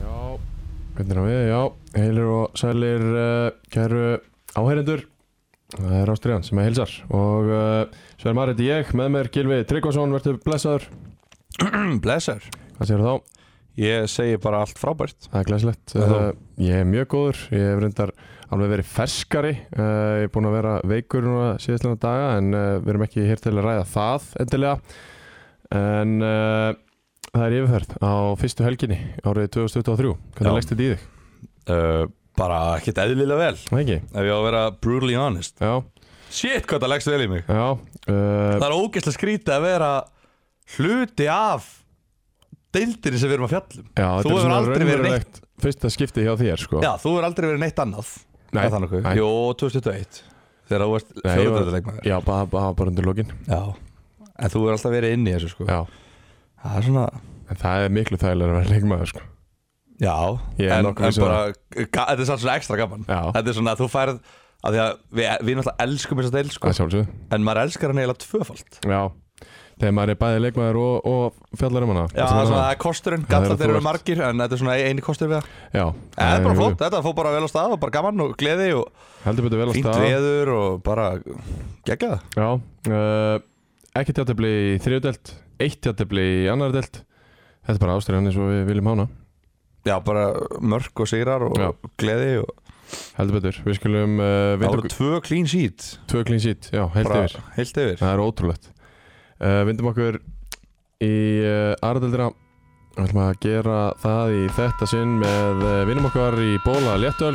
Já, hvernig er það við? Já, heilir og sælir uh, kæru áheyrendur Það er Ástriðan sem er heilsar og uh, Sveir Marit ég, með mér Gilvi Tryggvason, verður blessaður Blessar Hvað séu þá? Ég segi bara allt frábært Það er glæslegt Já, uh, þá. Ég er mjög góður, ég hef reyndar alveg verið ferskari uh, Ég er búinn að vera veikur núna síðastlega daga en uh, við erum ekki hér til að ræða það endilega En uh, það er yfirferð á fyrstu helginni árið 2023 Já. Hvernig leggst þetta í þig? uh, Bara ekkert eðlilega vel Það ekki? Ef ég á að vera brutally honest Já, Shit hvað það leggst vel í mig já uh, Það er ógeðslega skrítið að vera hluti af deildinni sem við erum að fjallum Já, Þú þetta er hefur svona aldrei verið raunverulegt fyrsta skipti hjá þér sko Já, þú er aldrei verið neitt annað Nei, Er það nokkuð? nei. Jó, 2021 Þegar þú varst Nei, ég var- fjóðræðarleikmaður Já, bara, bara, bara undir lokin Já En þú er alltaf verið inni í þessu sko Já, Það er svona en það er miklu þægilega að vera leikmaður sko Já, Ég er en, en nokkuð viss um bara, ga, þetta er samt svona ekstra gaman Já. Þetta er svona að þú færð af því að við, við náttúrulega elskum þess að deil sko, Það sjálfsögðu en maður elskar hann eiginlega tvöfald Já, þegar maður er bæði leikmaður og, og fjallar um hana Já, það er svona kosturinn, Það er gallar þeir eru þú ert- margir en þetta er svona eini kostur við það En Já, þetta er bara flott, þetta fór bara vel á stað og bara gaman og gleði og Heldur betur vel að fínt staða veður og bara gegga það Já, uh, ekki tjáttefli í þriðudelt Eitt tjáttefli í annar delt Þetta er bara ástriðan eins og við viljum hána Já, bara mörk og sigrar og Já. gleði og Heldur betur, við skulum uh, það vinda voru okkur tvö clean sheet Tvö clean sheet, já, heilt bara, yfir Heilt yfir Það er ótrúlegt uh, Vindum okkur í uh, aðradeldina Við ætlum að gera það í þetta sinn með uh, vinnum okkar í bóla léttöl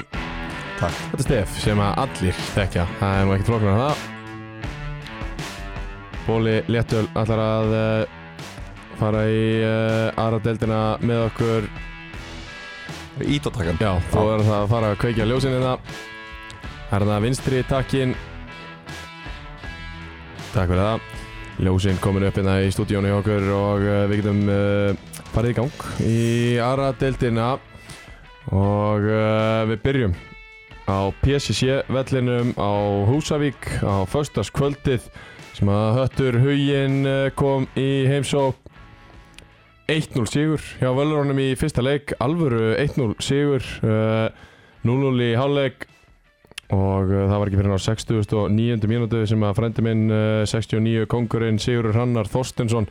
Takk. Þetta er stef sem að allir þekkja Það er nú ekkert flokkur en það Bóli léttöl ætlar að uh, fara í uh, aðradeldina með okkur Ítótakan Já, þú verður það að fara að kveikja ljósinn hérna Það er það vinstri takkin Takk fyrir það Ljósinn komin upp hérna í stúdíónu hjá okkur og uh, við getum uh, farið í gang í aðra deildina og uh, við byrjum á PCC vellinum á Húsavík á föstaskvöldið sem að höttur huginn eh, kom í heimsók 1-0 sigur hjá Völurónum í fyrsta leik alvöru 1-0 sigur eh, 0-0 í hálfleik og eh, það var ekki fyrir ná 69. mínútu sem að frendi minn eh, 69 kongurinn Sigurur Hannar Þorstensson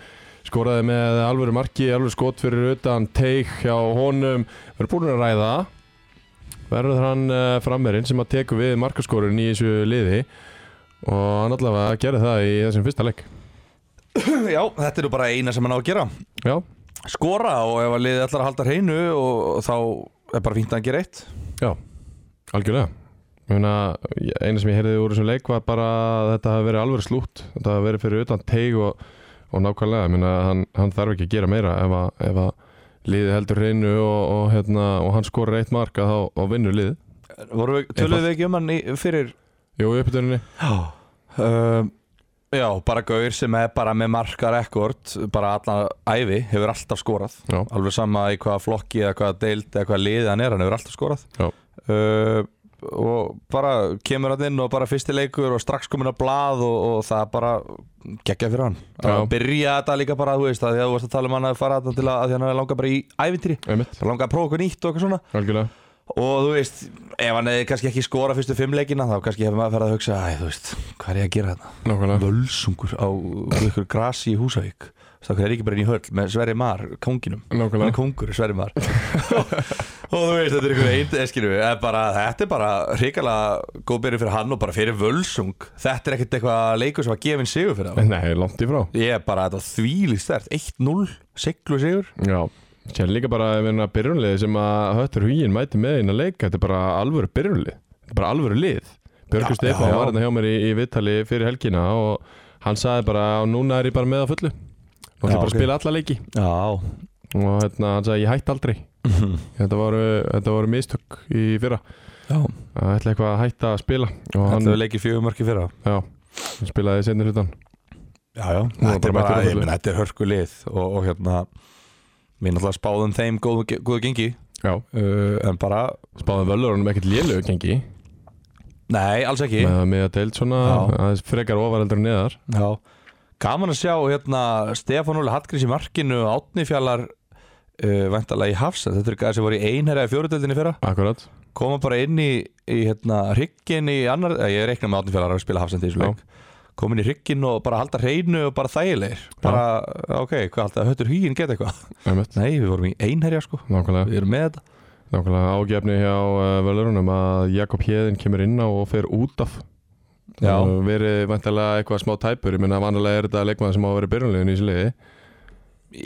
skoraði með alvöru marki, alvöru skot fyrir utan teik hjá honum verður búin að ræða það. verður hann eh, frammerinn sem að teku við markaskorun í þessu liði og hann allavega gerði það í þessum fyrsta leik Já, þetta er nú bara eina sem hann á að gera Já, skora og ef að liðið ætlar að halda hreinu og þá er bara fínt að hann gera eitt Já, algjörlega Ég meina, eina sem ég heyrði úr þessum leik var bara að þetta hafi verið alveg slútt þetta hafi verið fyrir utan teig og, og nákvæmlega, ég meina, hann, hann þarf ekki að gera meira ef að, ef að liði heldur hreinu og, og, hérna, og hann skorur eitt mark að þá og vinnur liði Vorum við, töluðum við ekki um hann í, fyrir Jú, í uppbytuninni, um, Já, bara Gaur sem er bara með marka rekord bara allan ævi, hefur alltaf skorað já, alveg sama í hvaða flokki eða hvaða deild eða hvaða liðið hann er, hann hefur alltaf skorað Já. uh, og bara kemur hann inn og bara fyrsti leikur og strax komin að blað og, og það er bara geggja fyrir hann Já. að byrja þetta líka bara, þú veist, að því að þú varst að tala um hann að fara þetta til að, að því hann hefði langað bara í ævintýri einmitt, bara langað að prófa okkur nýtt og eitthvað svona algjörlega og þú veist, ef hann hefði kannski ekki skora fyrstu fimm leikina þá kannski hefði maður að að hugsa æ, þú veist, hvað er ég að gera þetta? Nákvæmlega, Völsungur á ykkur grasi í Húsavík þá er ekki bara inn í höll með Sverri Mar, konginum hann er nákvæmlega kongur, Sverri Mar og þú veist, þetta er einhver einn eskinu, en eh, bara, þetta er bara hrikalega góð byrju fyrir hann og bara fyrir völsung þetta er ekkert eitthvað leikur sem að gefa inn sigur fyrir hann Nei, langt í frá ég er bara, þetta þvílið stert 1-0, siglu sigur Já, sér líka bara ég meina, byrjunlið sem að höttur huginn mæti með inn að leika, þetta er bara alvöru byrjunlið þetta er bara alvöru lið Björgur Já, Stefán já. var hérna hjá mér í, í viðtali fyrir helgina og hann sagði bara að núna er ég bara með að fullu og það Já, bara að ok. spila alla leiki já, og hérna, hann sagði ég hætti aldrei þetta voru, þetta voru mistök í fyrra Já, Það ætla eitthvað að hætta að spila Og hann hann, hefur leikið fjögur mörki fyrra já, hann spilaði seinni hlutan Já, já, var þetta bara er bara, mættur á ég fullu. meina, þetta er hörku lið og, og hérna Mér náttúrulega spáðum um þeim góðu, góðu gengi Já, uh, En bara, spáði völlur honum ekkert lélögu gengi nei, alls ekki Með með að deild svona Já. aðeins frekar ofar heldur en neðar Já, gaman að sjá hérna Stefán Óli Hallgrís í markinu Átnifjallar uh, Væntalega í Hafsa, þetta er gæði sem voru í einherja í fjóruðöldinni fyrra Akkurat, koma bara inn í, í hérna, hryggin í annar, eh, ég reikna með átnifjallar að spila hafsendi í þessu Já. leik komin í hryggin og bara halda hreinu og bara þægilegir bara, ok, hvað halda, höttur hýin geta eitthvað einmitt, nei, við vorum í einherja sko nákvæmlega við erum með þetta Nákvæmlega ágefni hjá uh, völlurunum að Jakob Hjeðin kemur inn á og fer út af Já. Það hefur verið vantilega eitthvað smá tæpur Ég minna vanalega er þetta leikmaður sem á að vera í byrjunlegin í þessu liði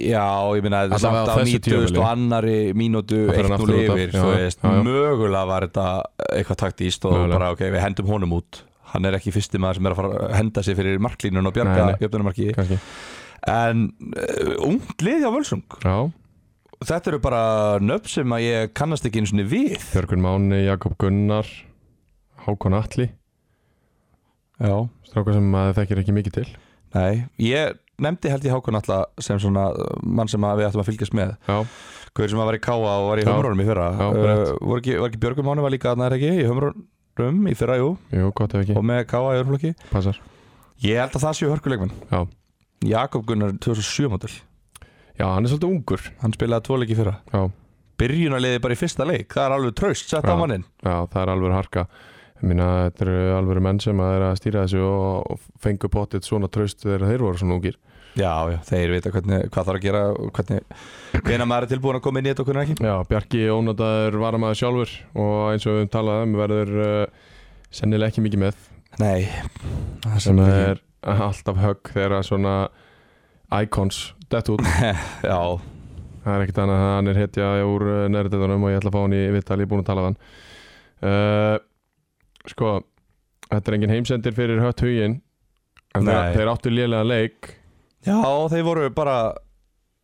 já, ég minna, þetta er Allavega samt á á þessu 90 og annari mínútu Það fer hann 1-0 aftur út af, yfir, já, þú veist já, já. mögulega var þetta eitthvað taktíst og Mögulega. bara, ok, við hendum honum út hann er ekki fyrsti maður sem er að fara að henda sig fyrir marklínun og Nei, bjarga nei. jöfnumarki kannski en uh, ungt lið hjá Völsung Já, Þetta eru bara nöfn sem að ég kannast ekki einu sinni við Björgun Máni, Jakob Gunnar Hákon Atli Já Stráka sem maður þekkir ekki mikið til Nei, ég nefndi held ég Hákon alltaf sem svona mann sem að við ættum að fylgjast með Já, Hver sem að var í Káa og var í Já. Hömrónum í fyrra Já, uh, rétt. Var ekki, var ekki Björgum Máni var líka að næra ekki í Hömrónum í fyrra, jú jú, gott ef ekki, og með Káa í Örflokki passar Ég held að það séu hörkuleikmenn Já. Jakob Gunnar 2007 mótil Já, hann er svolítið ungur Hann spilaði tvo leiki í fyrra Já, Byrjunarliði bara í fyrsta leik, það er alveg traust sett Já. á mannin já það er alveg harka Ég minna, þetta eru alveg menn sem að er að stýra þessu og, og fengu pottit svona traust þegar þeir voru svona ungir Já, já, þeir vita hvernig, hvað þarf að gera og hvernig, hvena maður er tilbúin að koma inn í þetta og hvernig ekki Já, Bjarki ónataður varamaður sjálfur og eins og við höfum talað um verður uh, sennilega ekki mikið með Nei það sem ekki- er alltaf högg þegar að svona icons dett út Já, það er ekkert annað að hann er hetja úr eh, nærdetunum og ég ætla að fá hann í vittal, ég er búin að tala við hann uh, sko þetta er engin heimsendir fyrir hött hugin en þeir, Nei. þeir áttu lélega leik já þeir voru bara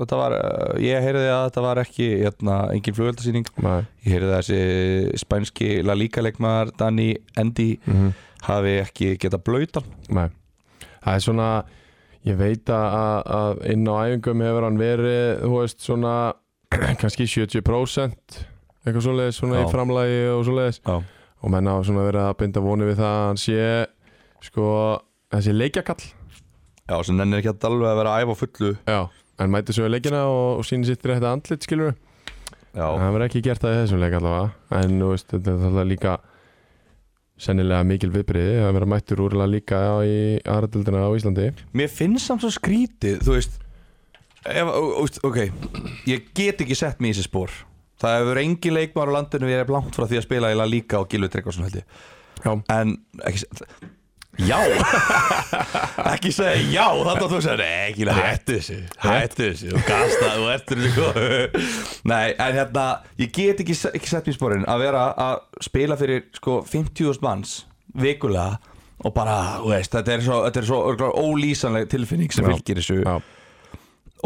Þetta var, uh, ég heyrði að þetta var ekki hérna, engin flugveldasýning Nei. Ég heyrði að þessi spænski La Liga leikmaðar Dani Endi Mm-hmm. hafi ekki getað blöytan Nei. það er svona ég veit að, að- að inn á æfingum hefur hann verið þú veist svona kannski 70% eitthvað svoleiðis svona í Já. framlagi og svoleiðis Já, og menn hafa svona verið að binda vonu við það að hann sé sko þessi leikjakall já sem nennir ekki alveg að vera að æfa á fullu já hann mæti svo í leikina og, og síni sittir þetta andlit skilur Já, hann verið ekki gert það í þessum leik allavega en þú veist þetta er alltaf líka sennilega mikil viðbriði að vera mættur úrlega líka á í aðradöldina á Íslandi mér finnst samt svo skrítið Þú veist ef, ó- ó- veist, Ok, ég get ekki sett mig í þessi spór Það hefur engin leikmaður á landinu við erum langt frá því að spila í La Liga og Gilvi Tryggvason held ég já en ekki se- Já Ekki segja já Þannig að þú segir "Nei, ekki hættu þessu Hættu þessu Þú gasta Þú ertur þessu góð." Nei en hérna Ég get ekki, se- ekki sett mér í sporin Að vera að spila fyrir sko 50.000 manns Vikulega Og bara þú veist, Þetta er svo, þetta er svo örugglega ólýsanleg tilfinning Sem Já. fylgir þessu já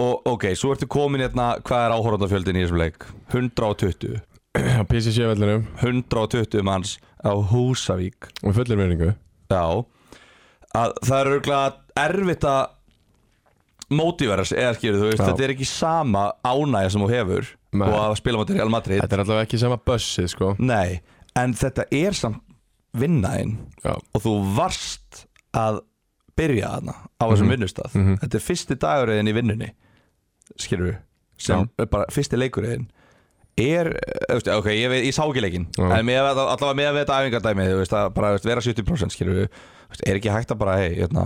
Og ok Svo ertu komin hérna Hvað er áhorandafjöldin í þessum leik 120 já písi sjöfellinu 120 manns Á Húsavík og fullir meiningu Já að Það er auðvitað erfitt að mótivera sig eða skilur þú veist Já. þetta er ekki sama ánægja sem þú hefur Nei. og að spila máttir Real Madrid þetta er allavega ekki sama bussið sko Nei, en þetta er samt vinnaðinn já og þú varst að byrja þarna á þessum vinnustaf Mhm. þetta er fyrsti dagurinn í vinnunni skilur við sem er bara fyrsti leikurinn er, eh, veist, ok, ég, veit, ég sá ekki leikinn Já. en með, að- allavega með að við þetta æfingardæmi þú veist, að bara veist, vera 70% skilur við veist, er ekki hægt að bara, hei, hérna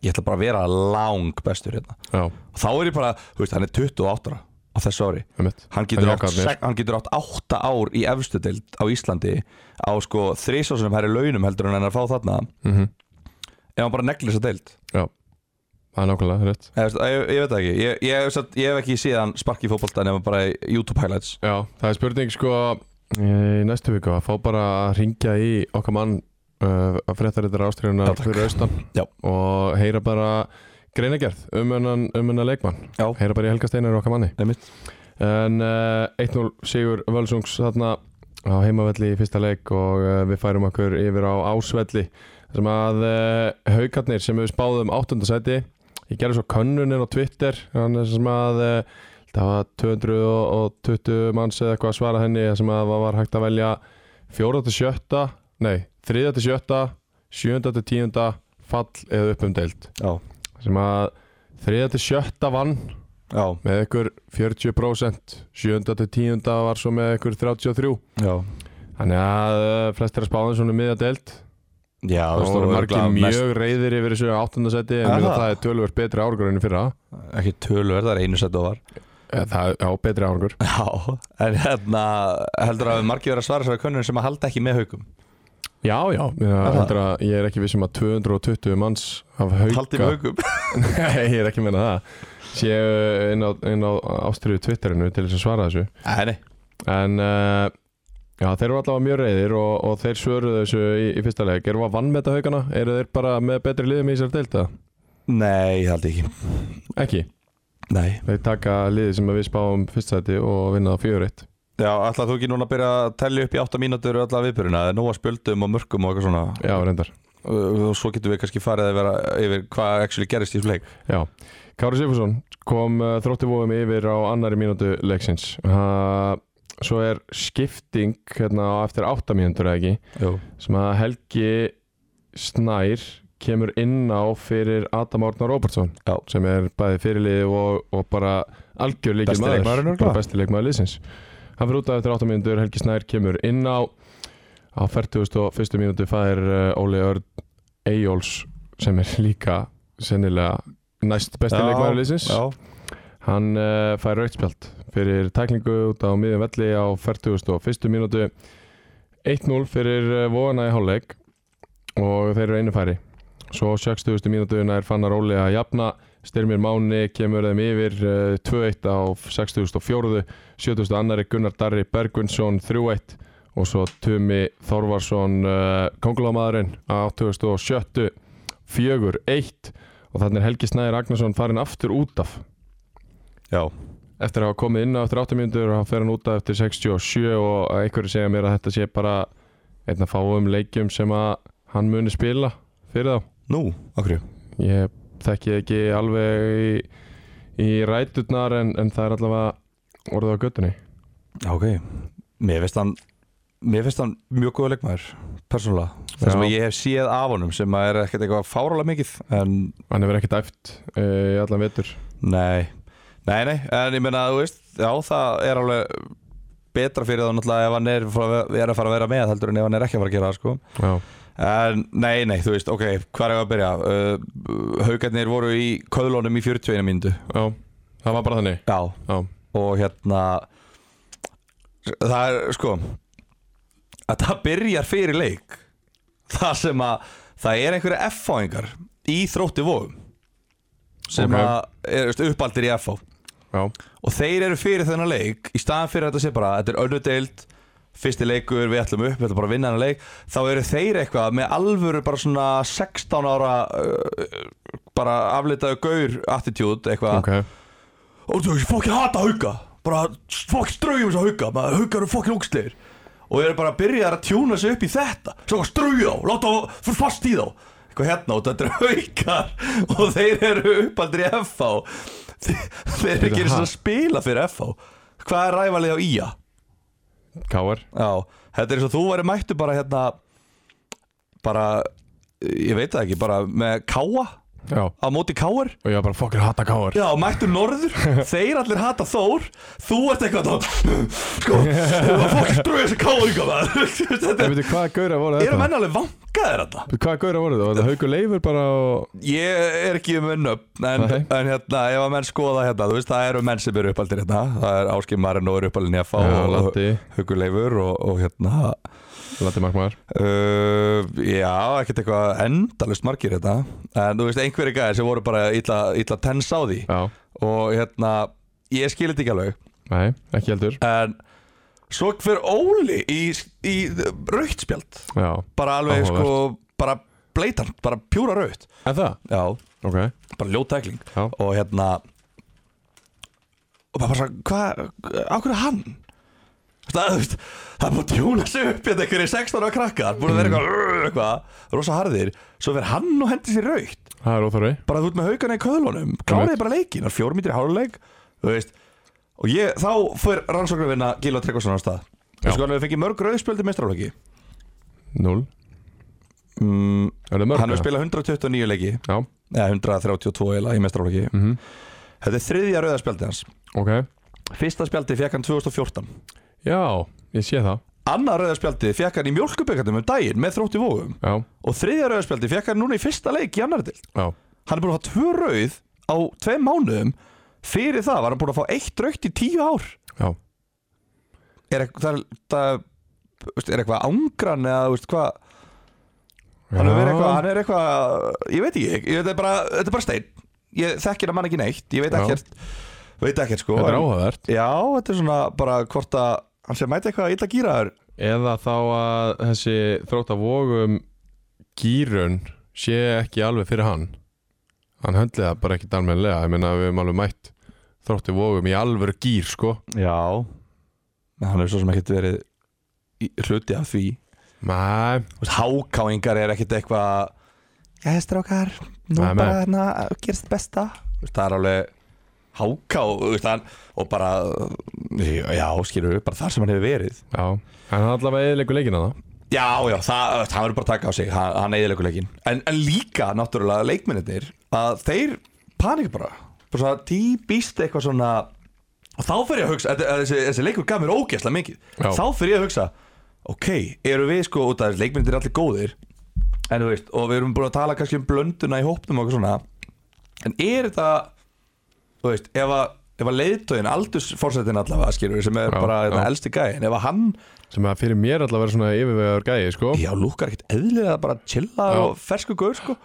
ég ætla bara að vera lang bestur hérna já og þá er ég bara, þú veist, hann er 28 ára á þessu ári einmitt Hann getur, Hann átt, Jakobs. sek, hann getur átt átta ár í efstu deild á Íslandi á sko þrísásunum herri launum heldur en hann er að fá þarna Mhm. ef hann bara neglir þessa deild það er nákvæmlega rétt Eða, veist, ég, ég veit það ekki, ég, ég, ég, ég hef ekki síðan sparki í fótbolta nema bara í YouTube highlights Já, það er spurning sko í næstu viku að fá bara að ringja í okkar mann uh, að fréttarittar ástriðuna Já, takk. fyrir austan Já. og heyra bara greinagerð um hennan um hennan leikmann Já. heyra bara í Helga Steinar okkar manni Einmitt. en uh, 1-0 sigur Völsungs þarna á heimavelli í fyrsta leik og uh, við færum okkur yfir á ásvelli þar sem að uh, haukarnir sem við spáðum 8. sæti ég gerði svo könnunin á Twitter þannig sem að uh, það var 220 manns eða eitthvað að svara henni þar sem að það var hægt að velja 4. til 7. nei, 3. til 7. 7. til 10. fall eða uppumdeild Já, sem að 3. til 7. vann já, með ykkur 40% 7. til 10. var svo með ykkur 33 já Þannig að uh, flestir að spáðum svona miðja deild Já, og voru þú margir veist, örugglega mjög mest- reyðir yfir þessu áttundasetti en Er mjög það? það er tölvöld betri árgur enn í fyrra Ekki tölverð, það er einu sett ofar Eh, það, Já, betri árgur Já, en hérna heldur að margir verið að svara svara könnun sem að halda ekki með haukum Já, já, ég, Er það? heldur að, ég er ekki vissum að 220 manns af hauka Haldi með haukum Nei, ég er ekki að menna það séu inn á, inn á ástriðu Twitterinu til þess að svara þessu Nei, nei, En uh, já, þeir eru allavega mjög reyðir og, og þeir svöruðu þessu í, í fyrsta leik Eru að vannmeta haukana? Eru þeir bara með betri liðum í þessar deilda? nei, ég haldi ekki Ekki Nei Þeir taka liðið sem við spáum fyrst sæti og vinna það fjögur eitt. Já, ætlaðu þú ekki núna að byrja að tellja upp í 8 mínútur alla viðbyrjuna, það er nóga spjöldum og mörgum og eitthvað svona Já, reyndar. og og svo getum við kannski farið að vera yfir hvað actually gerist í þessu leik Já. Kári Sifursson kom uh, þrótti vóðum yfir á annari mínútu leiksins. Uh, svo er skipting hérna á eftir átta mínútur eða ekki, Jú. sem að Helgi Snær kemur inn á fyrir Adam Árnar Róbertsson Já. sem er bæði fyrirlið og, og bara algjör líkil Besti maður leikmaðurinn örugglega. bara besti leikmaður liðsins hann fyrir út af eftir 8 mínútur, Helgi Snær kemur inn á á 41. mínútu fær uh, Óli Örn Eyjóls sem er líka sennilega næst besti Já, leikmaður liðsins Já, hann uh, fær rautspjald fyrir tæklingu út á miðjum velli á 41. mínútu 1-0 fyrir uh, vóana í hálfleik og þeir eru einu færi svo 60. mínútu nær fannar Óli að jafna Styrmir Máni kemur þeim yfir uh, 2-1 á 64. 70. annari Gunnar Darri Bergvinsson 3-1 og svo Tumi Þorvarsson uh, kongulámaðurinn á 87. 4-1 og þannig er Helgi Snæður Agnarsson farin aftur út af já, eftir að hafa komið inn á eftir 8 mínútur og hann fer hann út af eftir 67 og einhverju segja mér að þetta sé bara einn að fáum leikjum sem að hann muni spila fyrir þá nú, okkur ég þekki ekki alveg í, í ræturnar en, en það er allavega orðið á göttunni Ok, mér finnst hann mér finnst hann mjög góða leikmaður persónulega, það sem Já. ég hef séð af honum sem að er ekkert eitthvað fárálega mikið en hann hefur ekki dæft uh, í allan vetur nei, nei, nei en ég meina, þú veist, já, það er alveg betra fyrir þá náttúrulega ef hann er, er að fara að vera með heldur en ef hann er ekki að fara að gera það sko. já, en nei, nei, þú veist, ok, hvað er að byrja uh, haugarnir voru í köðlónum í 41 mínútu já, það var bara þannig já, já, og hérna það er sko að það byrjar fyrir leik það sem að það er einhverja F-fáingar í þrótti vóðum sem Ok. að er veist, uppaldir í F-fá já, og þeir eru fyrir þennan leik í staðan fyrir að þetta sé bara, þetta er önnudeild fyrsti leikur, við ætlum upp, við ætlum bara að vinna þennan leik þá eru þeir eitthvað með alvöru bara svona 16 ára uh, bara aflitaðu gaur attitude eitthvað ok og þú veist, fokkin hata hauka bara fokkin strauja um þess að hauka maður hauka eru fokkin ógslegir og eru bara að byrja að tjúna sig upp í þetta svo að strauja á, láta á, fyrir fast í þá eitthvað hérna og þetta eru haukar og þeir eru uppaldri í FH þeir, þeir eru ekki einu sinni að spila fyrir FH hvað er rævalið á IA? káar, Já, þetta er eins og þú væri mættu bara hérna bara, ég veit það ekki bara með káa á já og móti káar ég var bara fokkir hata káar Já, mættu norður, þeir allir hata Þór Þú ert eitthvað þá Sko, þú var fólk dröðu þessi káringa maður Þetta ég veit hvaða gauðra voru er þetta menn alveg vankaðir þetta hvaða gauðra voru þetta, var þetta haugur leifur bara og Ég er ekki með nöfn en, Nei. en hérna, ef að menn skoða hérna Þú veist, það eru menn sem eru uppaldir hérna Það er Áskip Marino er uppaldin í að fá Já, og Latti. Huguleifur og, og hérna Latti Markmaður Uh, já, ekkert eitthvað endalust margir þetta En þú veist, einhverjir gæðir sem voru bara illa, illa tens á því já, Og hérna, ég skil þetta ekki alveg nei, ekki heldur en svo fyrir Óli í, í raukt spjald já, bara alveg Áhugavert. sko bara bleitant, bara pjúra raukt en það já, Ok, bara ljótækling já, og hérna og bara bara svona, hvað, á hverju er hann? það, þú veist, það er búin að tjóna sig upp hérna einhverju 16 ára krakkar búin að vera Mm. eitthvað, eitthvað, rosa harðir svo fer hann og hendi sér raukt Það er óþarfi bara þú ert með haugana í köðlunum kláriði bara leikin, það er fjórum mítri háluleik þú veist, og ég, þá fyrir rannsóknarvinna Gilva Tryggvason á stað Já. Þú sko hann hefur fengið mörg rauðspjöldi mestrarleiki Null mm, Er það mörg? Hann hefur spilað 129 leiki Já, eða 132 eila í mestrarleiki Mhm. Þetta er þriðja rauðaspjaldi hans ok Fyrsta spjaldi fekk hann 2014 Já, ég sé það Annað rauðaspjaldi fekk hann í mjölkubökkandum um daginn með þrótti vóðum Já, og þriðja rauðaspjaldi fekk hann núna í fyrsta leik í annar til já, Hann er búin að fá tvö rauð á tveim mánuðum fyrir það var hann búin að fá eitt raukt í tíu ár já Er, ekk- það, er- það, veist, er eitthvað ángran eða veist, hvað Hann er Já. eitthvað, hann er eitthvað, ég veit ekki, ég, þetta, er bara, þetta er bara stein Ég þekkir að mann ekki neitt, ég veit Já. ekkert, veit ekkert sko Þetta er en- áhugavert Já, þetta er svona bara hvort að hann sé að mæta eitthvað illa gýraður Eða þá að þessi þrótt að vogum gýrun sé ekki alveg fyrir hann Hann höndlið það bara ekki dalmenlega Ég meina við höfum alveg mætt þrótti vogum í alvöru gýr sko Já En hann er svo sem ekkert verið í- hluti af því Mæ, Þú veist, Hákáingar er ekkert eitthvað Jæja strákar, nú Nei, nei. bara hérna gerst besta Þú veist, Það er alveg háká þú veist, hann, og bara, já skilur við, bara þar sem hann hefur verið já En hann allavega eðilegur leikina það Já, já, það, það verður bara að taka á sig hann, hann eiginleikur leikin en, en líka, náttúrulega, leikmennir að þeir panik bara bara svona típist eitthvað svona og þá fyrir ég að hugsa, að, að þessi, þessi leikur gaf mér ógeðslega mikið, Já. þá fyrir ég að hugsa ok, eru við sko út af þessi leikmennir er allir góðir, en þú veist og við erum búin að tala kannski um blönduna í hópnum og eitthvað svona, en er þetta þú veist, ef að ef að leiðtögin, aldursforsetin allavega skilur sem er Já, bara já. þetta elsti gæðin ef að hann Sem að fyrir mér allavega er svona yfirvegar gæði sko Já, lúkar ekkert eðlilega bara chilla Já. og fersku gaur sko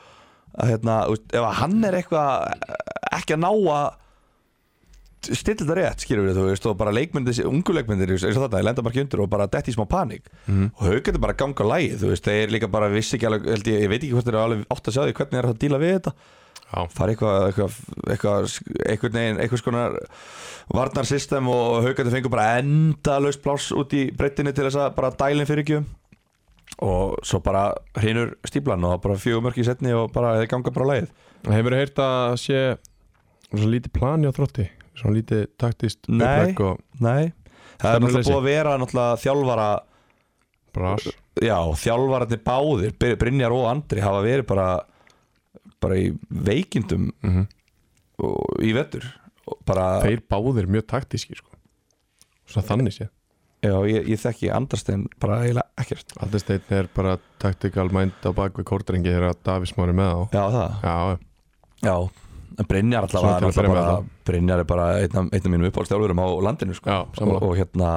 að hérna, þú veist, ef að hann er eitthvað eh, ekki að ná að stilla þetta rétt, skýrur við þú veist og bara leikmyndir, þessi ungu leikmyndir þú veist, eins og þetta, lenda bara ekki undir og bara detti í smá panik Mhm. og haugandi bara að ganga á lægi, þú veist þeir líka bara vissi ekki alveg, held ég, ég veit ekki hvort þeir eru alveg átt að sjá því hvernig er það að díla við þetta Já, það er eitthvað, eitthvað, eitthvað einhvern veginn, einhvers konar varnarsystem og haugandi fengur bara endalaust pláss út í breyttinni til þess að bara dælinn fyrir ekki um. og svo bara hrinur stíplan og bara fjögur mörk í setni og bara þeir ganga bara á lagið Hefur þið heyrt að sé svona lítið plani á þrótti Svona lítið taktist Nei. upplegg og Nei, það er náttúrulega Stefnuleysi. búið að vera náttúrulega þjálfara bras já, þjálfararnir báðir Br- Brynjar og Andri hafa verið bara bara í veikindum mm og, í vettur og bara, Þeir báðir mjög taktíski sko Svona þannig sé já, ég, ég þekki andarstein bara eiginlega ekkert Aldersteinn er bara tactical mind á bak við kórdrengi þegar Davís Mári með á Já, það Já, Já, en Brynjar alltaf Svona til var að byrja alltaf með bara, Brynjar er bara einn af, einn af mínum uppáhaldstjálfurum á landinu sko. Já, og, sammála. og hérna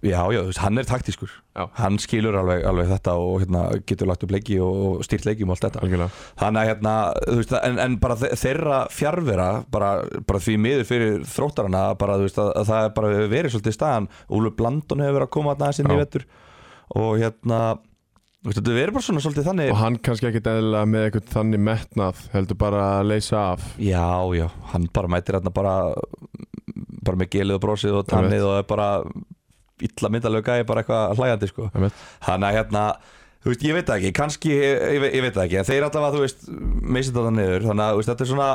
já, já, þú veist, hann er taktískur Já. hann skilur alveg, alveg þetta og hérna, getur lagt upp leiki og, og stýrt leikjum og allt þetta algjörlega þannig að hérna, þú veist, en, en bara þe- þeirra fjárvera, bara, bara því miður fyrir þróttarana, bara þú veist að, að það er bara verið svolítið staðan Úlur Blandon hefur verið að koma þarna aðeins inn í Já. vettur og hérna þú veist, þetta verið bara svona svolítið þannig Og hann kannski ekkit eðlilega með eitthvað þannig metnað heldur bara að leysa af Já, já, hann bara mætir hérna bara bara með gelið og brosið og tannið og er bara illa myndalög gæði bara eitthvað hlægandi sko Einmitt. Þannig að hérna, þú veist, ég veit það ekki kannski, ég, ve- ég veit það ekki, en þeir allavega þú veist, meysið þetta niður, þannig að þú veist, þetta er svona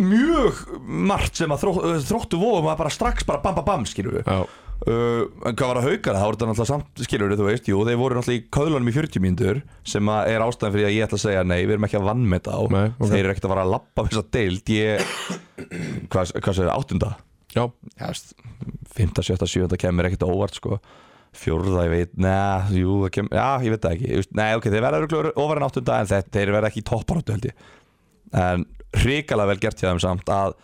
mjög margt sem að þró, þróttu vofum að bara strax bara bam bam bam skilur við Já, Uh, en hvað var að haukana, það voru þetta náttúrulega samt skilur þú veist, jú, þeir voru náttúrulega í köðlunum í 40 mínútur sem að er ástæðan fyrir að ég ætla að segja nei, við erum ekki að vannmeta á Nei, ok. þeir eru ekkert að fara að lappa þess að deild ég, hvað, hvað segir áttunda já, Já, veist, 5. 7. 7. kemur ekkert á óvart sko, fjórða, ég veit neða, jú, það kemur, já, ég veit það ekki Ég veist, nei, ok, þeir verða örugglega ofar en áttunda en þeir, þeir verða ekki í topparáttu held ég en hrikalega vel gert hjá þeim samt að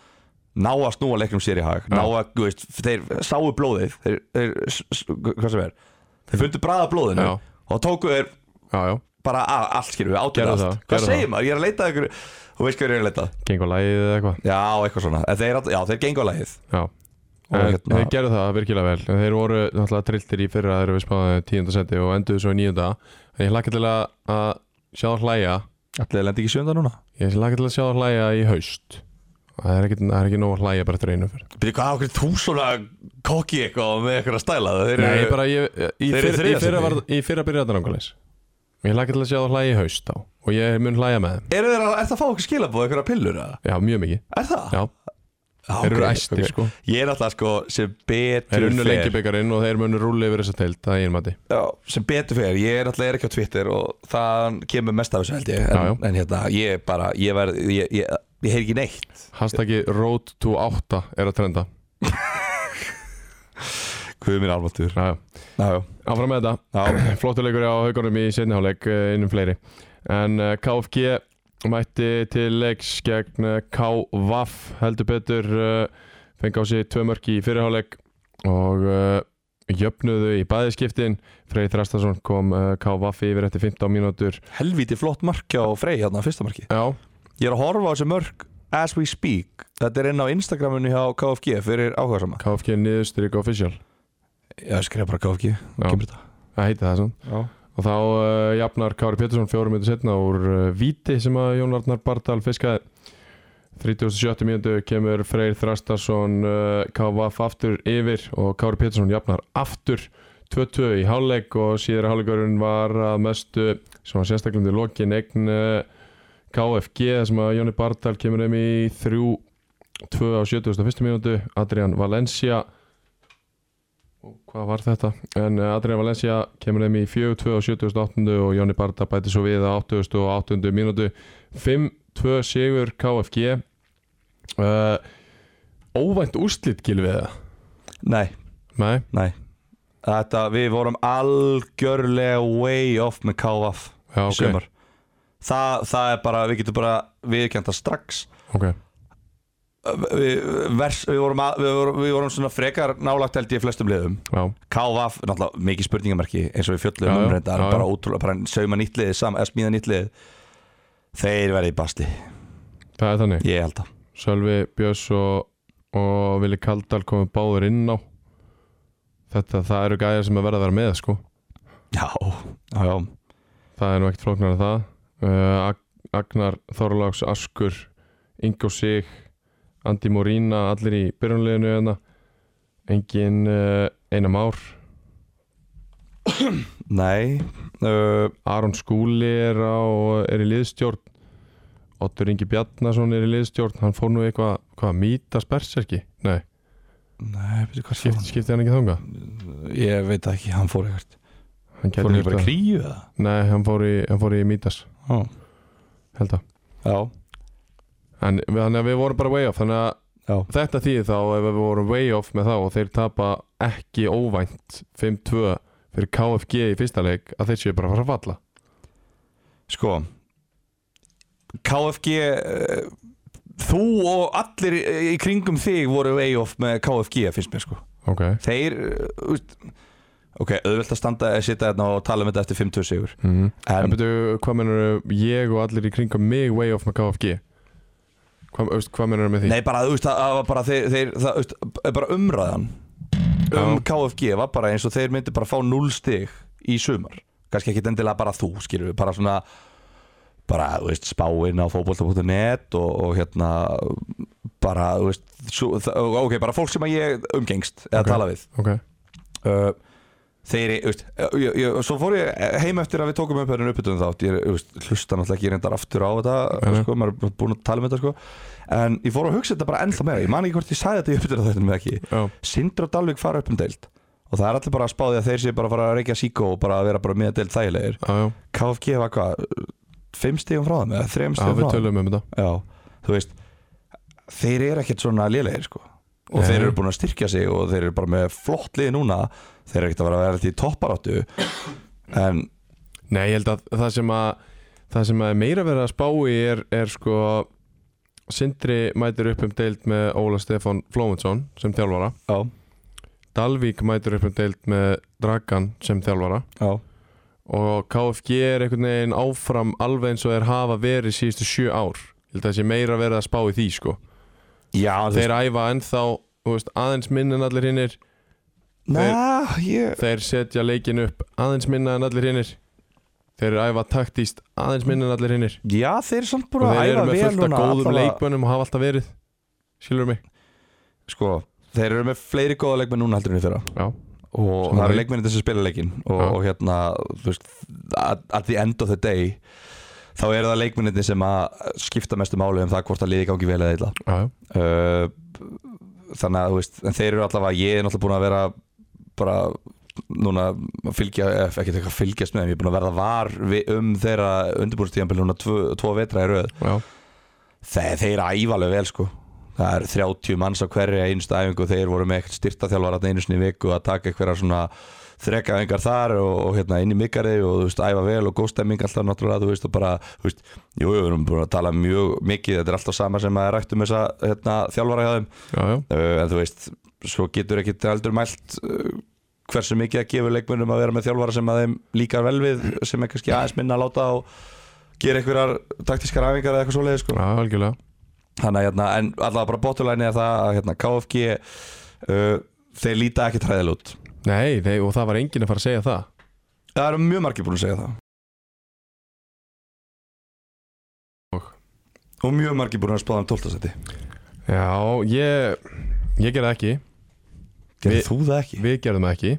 ná að snúa leiknum sér í hag ná að, þú veist, þeir sáu blóðið þeir, þeir s- s- hvað sem er þeir fundu bræða blóðinu Já. og tóku þeir já, já, bara að, allt skilur við, átöðu Gerðu allt það, hvað gerðu segir það. maður, ég er að leita að ykkur þú veist hvað ég er að leita, að? gengur lægið eða eitthvað já, eitthvað svona En þeir, já, þeir gengu á lagið Já, Og en, hérna- þeir gerðu það virkilega vel En Þeir voru náttúrulega trilltir í fyrra þegar við spáðum tíundasendi og enduðu svo í níunda En ég hlakka til að, að sjá það hlæja allir lendi ekki sjönda núna Ég hlakka til að sjá það hlæja í haust Það er ekki, það er ekki nóg að hlæja bara eftir einu fyrir Byrju, hvað okkur þú svona kokki eitthvað með eitthvað stæla Þeir eru- Nei, bara ég, í, Þeir eru fyrr, í þriðja fyrra sæti. var, í fyrra byrjaði þetta nákvæmleis Ég hlakka til að sjá það hlæja í haust á Og ég mun hlæja með þeim Eru þeir að, er það að fá okkur skilabóð, eitthvað pillur eða? Já, mjög mikið Er það? Já, Já, þeir eru Ah, ok, æstir ok. sko Ég er alltaf sko sem Þeir betur eru unnu lengi fer byggarinn og þeir munu rúli yfir þessa teilt Það er ég mati Já, sem betur fer, ég er alltaf er ekki á Twitter og það kemur mest af þessu held ég en, Já, já. en hérna, ég bara, ég verð ég, ég, ég heyr ekki neitt Hashtaggi road to 8 er að trenda Hvað er mér alvartur? Já, já Já, já, Áfram með þetta já, Flottur leikur á haugunum í seinni hálfleik eh, innum fleiri En eh, KFG mætti til leiks gegn eh, KVAF heldur betur eh, fengi á sig tvö mörk í fyrirháleik og uh, jöfnuðu í bæðiskiptin Freyr Þrastason kom uh, KVAF yfir eftir 15 mínútur helvíti flott markja og frey hérna, fyrsta marki Já, Ég er að horfa á þessu mörk as we speak Þetta er inn á Instagraminu hjá KFG fyrir áhugasama KFG niðurstryk official Já, skrifa bara KFG, Já. kemur þetta Það heiti það svona Já, Og þá uh, jafnar Kári Pétursson fjórum minnum setna úr uh, víti sem að Jón Arnar Bardal fiskaði. 37. mínútu kemur Freyr Þrastarsson uh, KVF aftur yfir og Kári Pétursson jafnar aftur 2-2 í hálfleik og síðara hálfleikurinn var að mestu sem var sérstaklandi lokin eign uh, KFG sem að Jóni Bardal kemur um í 3-2 á 71. mínútu Adrian Valencia og hvað var þetta en eh, Adrian Valencia kemur þeim í 4-2 á 78. og Jóni Barta bæti svo við á 88. mínútu 5-2 sigur KFG uh, óvænt úrslit gilvið það nei nei, Nei Þetta, við vorum algjörlega way off með KF já í ok, sumar Þa, Það er bara, við getum bara viðkjönda strax okay. við, vers, við, vorum að, við, vorum, við vorum svona frekar nálagt held ég flestum liðum Já, KF, náttúrulega mikið spurningamarki eins og við Já, fjöllum um já, reyndar já, já. bara ótrúlega, bara sauma nýtt liðið saman eða smíða nýtt liðið Þeir verði í basti, það er þannig ég held að Sölvi Björns og, og Vili Kaldal komu báður inn á þetta, það eru gæjar sem að verða að vera með sko, Já, já, já, það er nú ekkert flóknar en það uh, Ag- Agnar Þorláks Askur Ingo Sig Andi Morína, allir í byrjunleginu hérna. engin uh, Einar Már, nei uh, Aron Skúli er, á, er í liðstjórn Ottur Ingi Bjarnason er í liðstjórn hann fór nú eitthvað, hvað, mítast berserki? Nei, Nei, veitir hvað skipti, skipti hann ekki þanga? Ég veit það ekki, hann fór eitthvað Hann gæti Fór hann gert ekki bara það. í kríu eða? Nei, hann fór í, hann fór í mítas, Já, held að já, En við- þannig að við vorum bara way off Þannig að já. þetta þýði þá ef við vorum way off með þá og þeir tapa ekki óvænt 5-2 fyrir KFG í fyrsta leik að þeir séu bara að fara að falla Sko KFG eh, Þú og allir í kringum þig voru way off með KFG finnst mér sko Ok, Þeir eh, úst, Ok, auðvelt að standa að sitja hérna og tala um þetta eftir 50 sigur mm -hmm. en En betur, hvað mennur ég og allir í kringum mig way off með KFG? Hvað, veist, hvað mennur með því? Nei, bara, þú veist, það það var bara, þeir, þeir, það, úst, bara umræðan um Já. KFG var bara eins og þeir myndi bara fá 0 stig í sumar kannski ekki endilega bara þú, skilur við bara svona bara, þú veist, spáinn á fótbolta.net og, og hérna bara, þú veist, svo, það, ok, bara fólk sem að ég umgengst eða Ok. tala við Ok, uh, þeir, þú veist, eh, ég, ég, svo fór ég heim eftir að við tókum upp hérna uppbytun þátt ég, þú veist, hlusta náttúrulega ekki reyndar aftur á þetta Nei, nei. sko, maður er búin að tala um þetta sko en ég fór að hugsa þetta bara ennþá meira ég man ekki hvort ég sagði þetta í uppbytun þáttum eða ekki já, Sindri og Dalvik fara upp um deild og það er allir bara að spáði að þeir sé bara að fara að reykja síkó og bara að vera bara með deild þægilegir já, já, KFG var hvað, fimm stígum frá þeim eða þrem já stígum við frá þeim tölum um þetta Já, þú veist þeir eru ekkert svona lélegir sko og Nei. þeir eru búin að styrkja sig og þeir eru bara með flott lið núna þeir eru ekkert að vera að vera til topparáttu en Nei, ég held að það sem að það sem að er meira verið að spá í er, er sko Sindri mætir upp um deild með Óla Stefán Flómundsson sem þjálfara já, Dalvík mætir upp um deild með Dragan sem þjálfara já, og KFG er einhvern veginn áfram alveg eins og þeir hafa verið síðustu sjö ár ég held að það sé meira verið að spá í því sko já þeir æfa ennþá þú veist, aðeins minna en allir hinnir na, ég, þeir setja leikin upp aðeins minna en allir hinnir þeir æfa taktíst aðeins minna en allir hinnir já, þeir eru samt búin og að þeir eru æfa með vel fullt af núna góðum allavega- leikmönnum og hafa alltaf verið skilur mig sko, þeir eru með fleiri góða leikmenn núna heldur en í fyrra Já, Sammála og það eru því. leikmenn þess að spila leikin og, Já. og hérna, þú veist at, at the end of the day þá eru það leikmenninni sem að skipta mestu máli um það hvort að liði gangi vel eða illa já, já, uh, þannig að þú veist en þeir eru allavega, ég er náttúrulega búin að vera bara núna að fylgja, eh, ekki eitthvað að fylgjast með þeim, ég er búin að verða var við, um þeirra undirbúrstíðanbili núna tvo, tvo vetra í röð já, Þe, þeir æfa alveg vel sko það er 30 manns á hverja einustu æfingu og þeir voru með ekkert styrtaþjálfar þarna einu sinni í viku að taka einhverja svona þrekaðingar þar og, og hérna inn í mikarið og þú veist, æfa vel og góð stemming alltaf náttúrulega, þú veist, og bara, þú veist jú, við erum búin að tala mjög mikið þetta er alltaf sama sem að rættum þessa hérna, þjálfara hjá þeim já, já, uh, en þú veist, svo getur ekki heldur mælt uh, hversu mikið að gefa leikmönnum að vera með þjálfara sem að þeim líkar vel við, sem er kannski aðeins minna að láta og gera einhverjar taktískar æfingar eða eitthvað svoleiði sko. já, algjörlega Þannig að, hérna, en allavega bara botulæni er það að hérna, KFG uh, þeir líta ekki træðil út Nei, nei, og það var enginn að fara að segja það það eru mjög margir búin að segja það Og? og mjög margir búin að spáða um 12. seti Já, ég, ég gerði það ekki gerði Við- þú það ekki? Við gerðum það ekki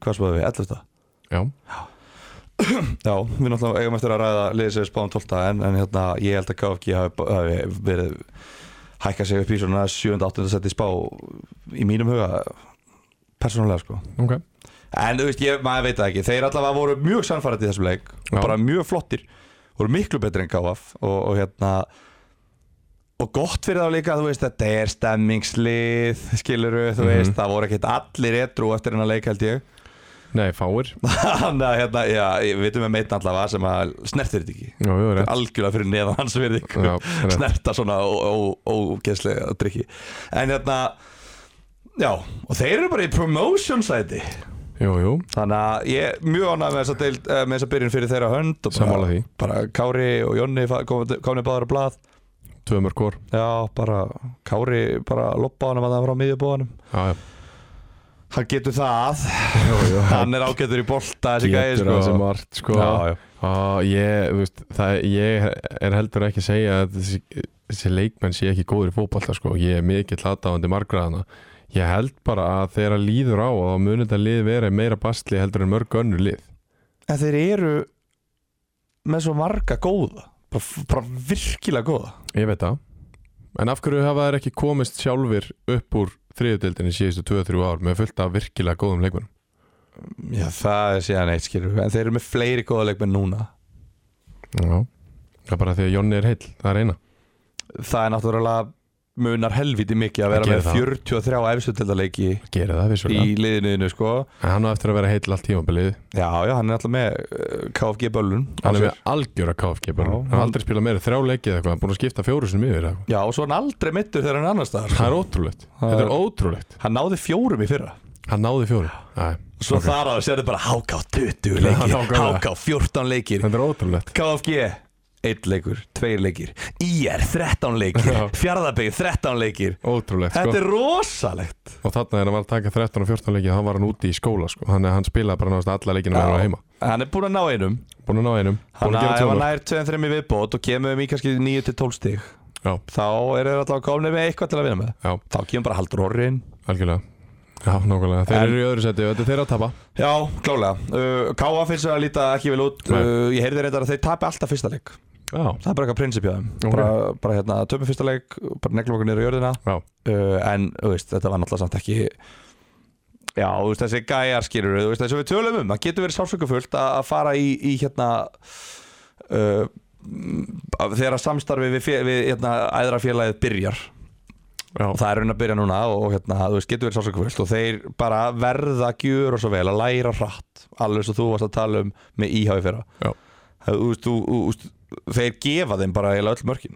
hvað spáðum við? 11. Já, Já, við náttúrulega eigum eftir að ræða liðið sem við spáðum 12. en, en hérna, ég held að KFG hafi, hafi verið hækka sig upp í svona 7. 8. seti spá í mínum huga persónulega sko ok En þú veist, ég, maður veit það ekki Þeir allavega voru mjög sannfærandi í þessum leik Já. Bara mjög flottir Voru miklu betri en KF og, og hérna Og gott fyrir þá líka, þú veist, þetta er stemmingslið Skiluru, þú Mhm. veist Það voru ekkert allir etrú eftir hennar leik held ég Nei, fáir Þannig að hérna, já, við veitum við meitin allavega sem að snertir þetta ekki Já, við erum Algjörlega fyrir neðan hans verið ykkur Já, rétt. snerta svona ógeðslega drikki En hérna, já, og þeir eru bara í promotion sæti Jú, jú, Þannig að ég er mjög ánægð með þessa, deild, eh, með þessa byrjun fyrir þeirra hönd og Sammála bara, því. bara Kári og Jonni fa- komu komu báðar á blað tvö mörg hór Já, bara Kári bara loppa honum að það frá miðjubóðanum Já, já Hann getur það, Jú, jú hann er ágættur í bolta þessi gæði Getur það sko. sem margt, sko Já, já. Á, ég, þú veist, það, ég er heldur ekki að segja að þessi, þessi leikmenn sé ekki góður í fótballta sko. ég er mikill aðdáðandi margraðana ég held bara að þegar að líður á þá munir þetta lið vera í meira bastli heldur en mörg önnur lið En þeir eru með svo marga góða bara, bara virkilega góða ég veit það en af hverju hafa þær ekki komist sjálfur upp úr þriðudeldinni síðustu 2-3 ár með fullt af virkilega góðum leikmennum Já, það er síðan eitt skilur En þeir eru með fleiri góða leikmenn núna já Það er bara því að Jonni er heill, það er eina Það er náttúrulega munar helviti mikið að Það vera gerir með það. 43 efstutildaleiki Gerið það vissulega í liðinuðinu sko En hann á eftir að vera heill allt tímabilið Já, já, hann er alltaf með uh, KFG böllun Hann er á sér. með algjöra KFG bara. Já, Hann hann- har aldrei spilað meira en þrjá leikið eða eitthvað Hann er búin að skipta fjóru sinni yfir eða eitthvað Já, og svo er hann aldrei mittur þegar hann er annars staðar Það er ótrúlegt, Það þetta er- er ótrúlegt Hann náði fjórum í fyrra Hann náði fjóru Æ, Svo ok. þar á þess er bara HK 20 Já, leikir nákvæmlega. HK 14 leikir Þetta er ótrúlegt KFG 1 leikur, 2 leikir IR 13 leikir, Já. Fjarðabegi 13 leikir Ótrúlegt Þetta sko er rosalegt Og þarna þegar hann var að taka 13 og 14 leikið Hann var hann úti í skóla sko Þannig að hann spilaði bara náðast alla leikina hann var heima Hann er búin að ná einum Búin að ná einum Búin að Hann að ef gera hann tjóðum nær 2-3 í viðbót og kemur um í kannski 9-12 stig Já, þá eru þeir alltaf komni með eitthvað til að vinna með já, Þá kemur bara Haldur Orrin algjörlega Já, nákvæmlega Þeir En- eru í öðru seti og þetta er þeirra að tapa Já, klálega. Uh, K.A. finnst það að líta ekki vel út. Nei. Uh, ég heyrði reyndar að þeir tapi alltaf fyrsta leik. Já, Það er bara eitthvað prinsipjáðum. Ok. Okay. Bara, bara hérna, töpum fyrsta leik, bara neglum okkur niður í jörðina. já, Uh, en, þú veist, þetta var náttúrulega samt ekki... Já, þú veist, þessi gæjar skilur, þú veist, þessi við tölum um. Það getur verið sálsökufullt að að fara í, í hérna... Uh, að- þegar að samstarfi við, fé- við hérna, æðra félagið byrjar já, og það er raun að byrja núna og hérna, þú veist, getur verið sásökufullt og þeir bara verða að gjöra svo vel að læra hratt alveg svo þú varst að tala um með íhæfi fyrra Já. Það- þú veist, þú, þú, veist, þeir gefa þeim bara eiginlega öll mörkin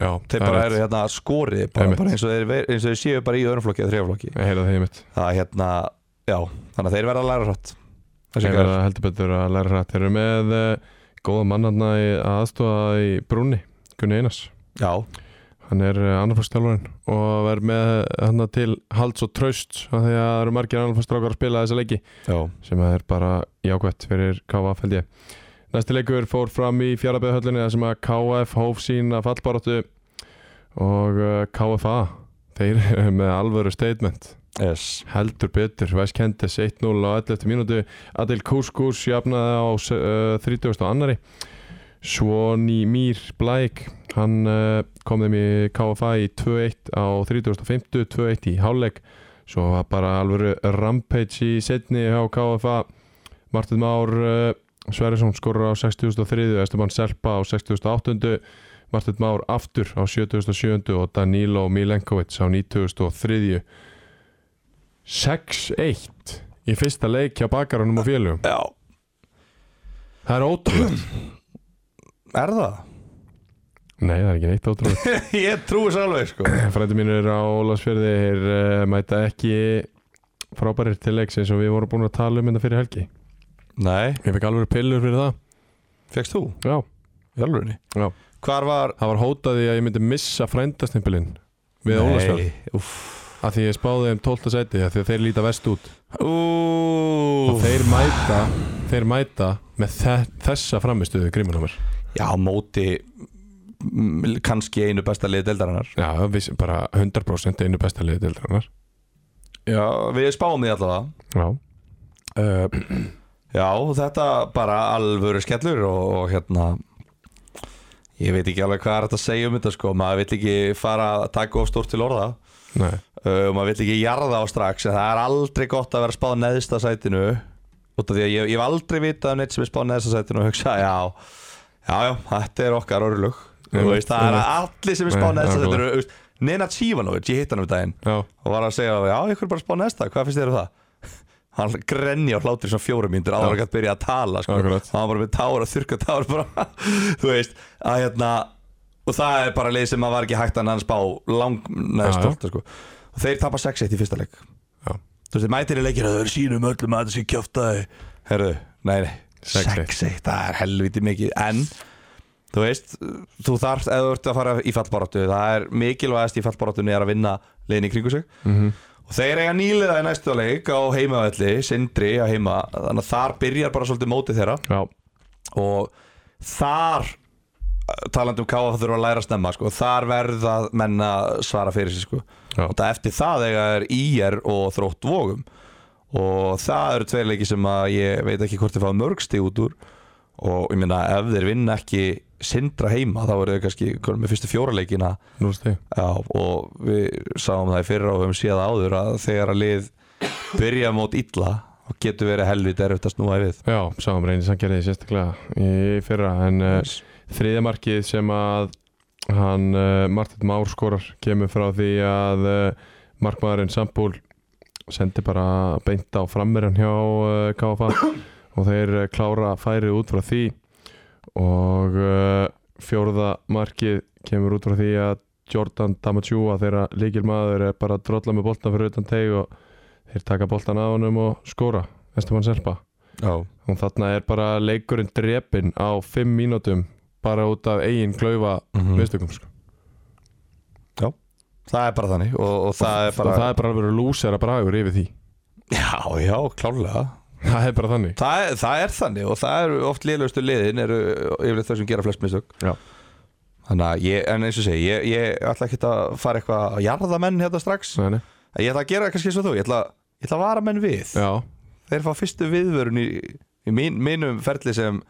já þeir það bara rétt. eru hérna skorið bara, Einmitt. bara eins, og þeir, ver- eins og þeir séu bara í öðrumflokki eða þrjaflokki Ég heyra það í mitt það er hérna, já, þannig að þeir verða að læra hratt Þeir Þessi eru gæjar. að heldur betur að læra hrætt Þeir eru með uh, góða mannarna aðstofa í brúnni Gunni Einars já, Hann er annarfagstjálfarinn og er með hann til halds og traust af því að það eru margir annarfagstrákar að spila þessa leiki já, sem að er bara jákvætt fyrir KF held ég. Næsti leikur fór fram í fjarabeðhöllinni þar sem að KF hóf sína fallbaráttu og uh, KFA þeir eru með alvöru statement yes. heldur betur, Væs Kendis 1-0 á 11. mínútu Adil Kúskús jafnaði á uh, 30. annari Svoni Mír Blæk hann uh, kom þeim í KFA í 2-1 á 30.50 2-1 í hálfleik svo var bara alvöru rampage í setni á KFA Martin Már uh, Sverrisson skorur á 60.3 Esteban Serpa á 60.8 Martin Már aftur á 70.7 og Danilo Milenkovic á 90.3 6-1 í fyrsta leik hjá bakarunum og félugum Já, það er ótrúlega er það? Nei, það er ekki neitt ótrúlegt. ég trúi þess alveg sko Frændi mínur á Ólasfjörði er uh, mæta ekki frábærir til leiks eins og við vorum búin að tala um þetta fyrir helgi. Nei, Ég fekk alveg pillur fyrir það. fegst þú? Já, Í alvegni? Já. Hvar var? það var hótaði að ég myndi missa frændastimpilinn við Ólasfjörð Nei, úff af því ég spáði þeim 12. sæti af því að þeir líta vest út og Úff þeir mæta, þeir mæta með þe- þessa framistuðu grímunumir. Já, á móti mm, kannski einu besta liði deildarinnar Já, viss, bara 100% einu besta liðið til drannar. Já, við spáum því allavega Já, Eh, Uh, já, þetta bara alvöru skellur og, og hérna ég veit ekki alveg hvað er þetta að segja um þetta sko, maður vill ekki fara að taka of stórt til orða nei, uh, og maður vill ekki jarða á strax en það er aldrei gott að vera spáð neðsta sætinu út af því að ég, ég hef aldrei vitað um neitt sem er spáð neðsta sætinu og hugsa, já, já, já, þetta er okkar orðlug, þú Einmitt, veist, það er einmitt. allir sem er spáð Nei, neðsta nákvæmlega. sætinu, þú veist, Nenad Sivanovic, ég hitt hann um daginn já, og var að segja já, ykkur er bara að spá næsta, hvað finnst þér um það? hann grenni á hlátri svona fjórum mínútur áður en hann gætt byrja að tala sko. Akkurat. hann var bara með tára, þurka tára bara, þú veist, að hérna og það er bara leið sem að var ekki hægt að hann spá lang Já, neðst tólta sko. og þeir tapa 6-1 í fyrsta leik Já. þú veist, þeir mætir í leikir að þau eru sínum öllum að það sé kjöftaði herðu, nei, nei, 6-1. 6-1 það er helviti mikið, en þú veist, þú þarft eða þú ert að fara í fallbaráttu, það er mikilvægast í fallbaráttunni er að vinna leiðin í kringu sig og þeir eiga nýliða í næstu leik á heimavelli, sindri á heima þannig að þar byrjar bara svolítið mótið þeirra já, og þar talandi um káfa þurfa að læra snemma sko, þar verða menn að svara fyrir sig sko. Já. og það eftir það eiga er ír og þrótt vogum og það eru tveir leiki sem að ég veit ekki hvort þeir fá mörgsti út úr og ég meina ef þeir vinna ekki sindra heima þá eru þau kannski komin með fyrstu fjóra leikina nú veist þið. Já, og við sáum það í fyrra og við höfum séð það áður að þegar að lið byrja mót illa og getur verið helvit erfitt að snúa við Já, sáum reynir sangjariði sérstaklega í fyrra en uh, þriðja markið sem að hann uh, Martin Már skorar kemur frá því að uh, markmaðurinn Sambúl sendi bara beint á frammerjan hjá uh, KFA og þeir uh, klára færið út frá því og uh, fjórða markið kemur út frá því að Jordan Damatjúa þeirra líkilmaður er bara að drolla með boltan fyrir utan teg og þeir taka boltan af honum og skora Esteban Serpa Já, og þarna er bara leikurinn drepinn á 5 mínútum bara út af eigin klaufa Mm. mistökum sko. það er bara þannig og, og það er bara og það er bara að vera lúsera bragur yfir því Já, já, klálega það er bara þannig það er, það er þannig og það eru oft liðlustu liðin eru yfirleitt þau sem gera flest mistök Já. Þannig að ég, en eins og segi, ég, ég ætla ekki að fara eitthvað að jarða menn hérna strax Nei, nei. Ég ætla að gera kannski eins og þú, ég ætla, ég ætla að vara menn við já, þeir fá fyrstu viðvörun í, í mín, mínum ferli sem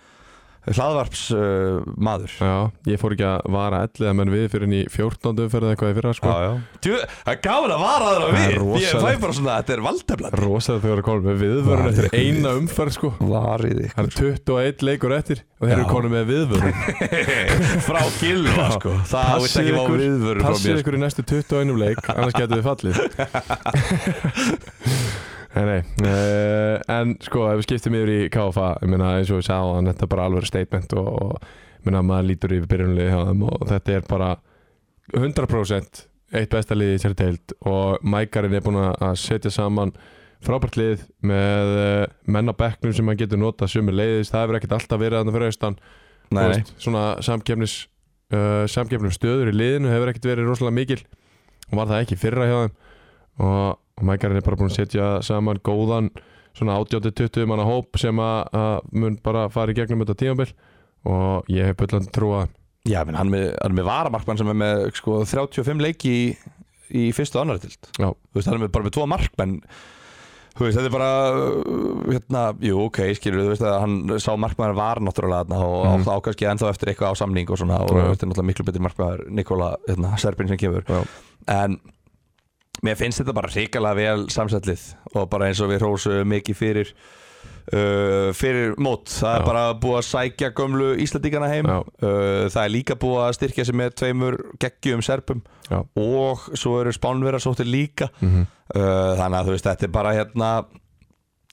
hlaðvarps uh, maður já, ég fór ekki að vara ellið menn við fyrir í 14. umferð eða eitthvað í fyrra sko. já. Djú, það er gaman að vara aðra Það er við ég fæ rosalegt. bara svona þetta er valdeflan rosalega þegar að koma með viðvörun Var eftir ykkur við? eina umferð sko. varið það er 21 leikur eftir og þeir eru Já. konum með viðvörun frá gilva Já. sko það vilt Passið ekki fá ykkur- viðvörun frá Passið mér ykkur í næstu 21 leik annars getur við fallið Nei, nei uh, En sko, ef við skiptum yfir í KFA ég meina, eins og við sáðan, þetta er bara alveg statement og, og ég meina, maður lítur yfir byrjunlið hjá þeim og þetta er bara 100% eitt besta liði í sér deild og mækarinn er búin að setja saman frábært lið með uh, menn á bekknum sem maður getur notað sömu leiðis, það hefur ekkert alltaf verið þannig fyrir austan nei, Þú nei. veist, svona samkefnis uh, samkefnum stöður í liðinu hefur ekkert verið rosalega mikil og var það ekki í fyrra hjá þeim og, og mækarinn er bara búin að setja saman góðan svona 80-20 manna hóp sem að, að mun bara fara í gegnum þetta tímabil og ég hef bullan trúa Já, menn, hann, er með, hann er með varamarkmann sem er með sko, 35 leiki í, í fyrstu og annari tild Já, Þú veist, hann er með, bara með tvo markmenn Þú veist, þetta er bara uh, hérna, Jú, ok, skilur, þú veist að hann sá markmann var náttúrulega þarna og mm. á kannski ennþá eftir eitthvað á samning og svona og Mhm. Já. þetta er náttúrulega miklu betri markmann Nikola, hérna, Serbin sem kemur já, en mér finnst þetta bara hrikalega vel samsætlið og bara eins og við hrósum mikið fyrir uh, fyrir mót, það Já. er bara búið að sækja gömlu Íslandíkana heim Já. uh, það er líka búið að styrkja sig með tveimur geggjum serpum já og svo eru spánverðar sóttir líka mm uh, þannig að þú veist þetta er bara hérna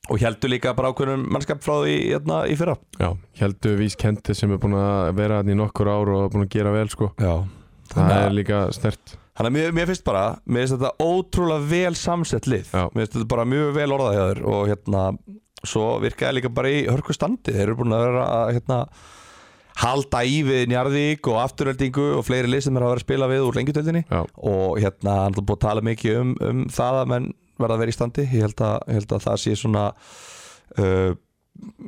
og heldur líka bara ákveðnum mannskap frá því hérna í fyrra Já, heldur vís kendi sem er búin að vera hann í nokkur ár og búin að gera vel sko Já. Það Þannig að- er líka stert Þannig að mér, mér finnst bara, mér finnst þetta ótrúlega vel samsett lið Já. Mér finnst þetta bara mjög vel orðað hjá þér og hérna, svo virkaði líka bara í hörku standi Þeir eru búin að vera að hérna, halda í við Njarðvík og afturöldingu og fleiri lið sem er að vera að spila við úr lengjutöldinni Já, Og hérna, hann er búin að tala mikið um, um það að menn verða að vera í standi Ég held að, ég held að það sé svona... Uh,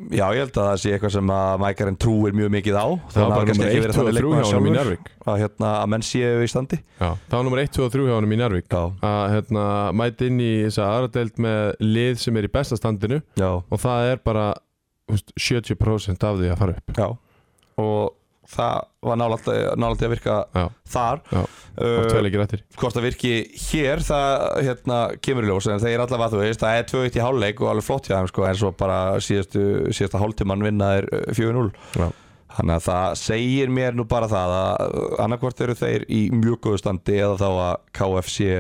Já, ég held að það sé eitthvað sem að Mækarinn trúir mjög mikið á það var Þannig að bara kannski nummer ekki 1, 2 og verið 3 þannig hjá honum leikmaður í sjálfur, Njárvík Að hérna, að menn séu í standi Já, það var nummer 1, 2 og 3 hjá honum í Njárvík Já, að hérna, mæta inn í þessa aðradelt með lið sem er í besta standinu já, og það er bara þú veist, 70% af því að fara upp já og það var nálægt nálægt að virka Já, þar Já, og Uh, tveil ekki rættir hvort það virki hér það hérna, kemur í ljós en þeir allavega þú veist það er 2-1 í hálfleik og alveg flott hjá þeim sko, en svo bara síðastu, síðasta hálftíman vinna er 4-0 Já, þannig að það segir mér nú bara það að annarkvort eru þeir í mjög góðu standi eða þá að KF sé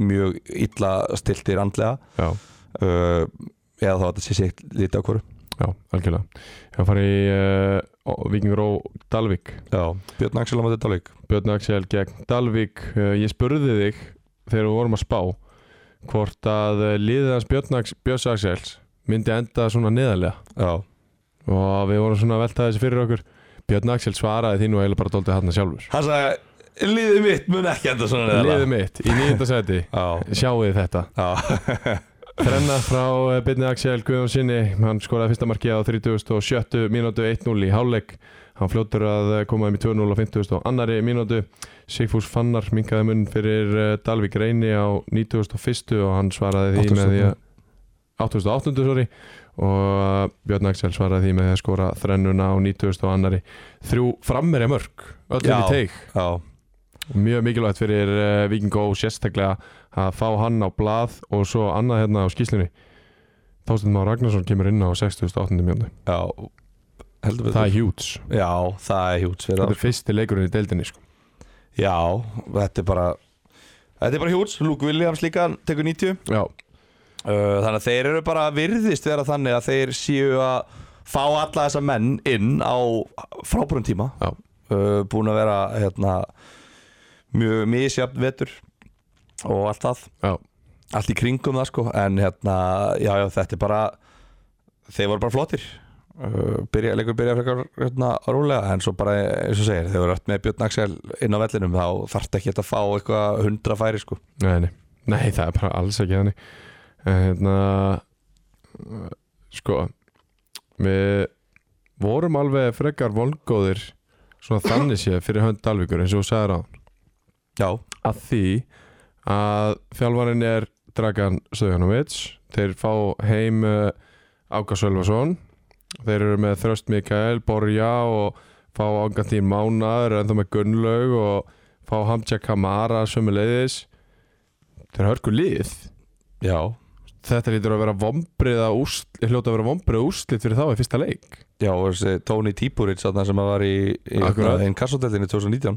mjög illa stiltir andlega já, uh, eða þá að það sé sér lítið á hverju já, algjörlega Það fari í uh, Vikingur Ó Dalvík Já, Björn Axel á maður þetta leik Björn Axel gegn Dalvík uh, Ég spurði þig þegar við vorum að spá hvort að eh, liðið hans Björn Ax- Björns Axels myndi enda svona neðarlega Já, og við vorum svona að velta þessi fyrir okkur Björn Axel svaraði því nú eiginlega bara dóldi hann sjálfur Hann sagði Liðið mitt mun ekki enda svona neðarlega." Liðið mitt í nýjunda seti Já, Sjáuði þetta já Þrenna frá Byrni Axel Guðjónssoni Hann skoraði fyrsta markið á 37. mínútu 1-0 í hálfleik Hann fljótur að koma um í 2-0 á 50. og annari mínútu Sigfús Fannar minkaði munn fyrir eh, Dalvík Reyni á 91. og hann svaraði því með því að 88. sorry og eh, Björn Axel svaraði því með því að skora þrennuna á 90. og annari þrjú frammerja mörg öllum Já. í teik Já, mjög mikilvægt fyrir uh, Viking og sérstaklega að fá hann á blað og svo annað hérna á skýslunni Þásteinn Már Ragnarsson kemur inn á 68. mjöndu já Heldur við það er hjúts Já, það er hjúts fyrir þetta það er fyrsti leikurinn í deildinni sko. Já, þetta er bara Þetta er bara hjúts, Luke Williams líka hann tekur 90 uh, já, Þannig að þeir eru bara virðist vera þannig að þeir séu að fá alla þessa menn inn á frábærum tíma já, uh, búin að vera hérna, mjög misjafn vetur og allt það já, allt í kringum það sko en hérna, já, já, þetta er bara þeir voru bara flottir Uh, byrja, leikur byrja frekar hérna, rólega en svo bara eins og segir þegar þú ert með Björn Axel inn á vellinum þá þarft ekki að fá eitthvað hundra færi sko nei, nei nei, það er bara alls ekki þannig en hérna eh, sko við vorum alveg frekar vongóðir svona þannig séð fyrir hönd Dalvíkur eins og þú sagðir á já, að því að fjálfarinn er Dragan Söðjanovic þeir fá heim uh, Áka Sölvason þeir eru með Þröst Mikael, Borja og fá Ángantín Mánar ennþá með Gunnlaug og fá Hamja Kamara sömuleiðis þeir hörku lið já, þetta lítur að vera vombriða úrslit hljóta að vera vombriða úrslit fyrir þá í fyrsta leik já og þessi Tony Típuritt þarna sem að var í, í hérna, Akkurat. einn kassoteltinni 2019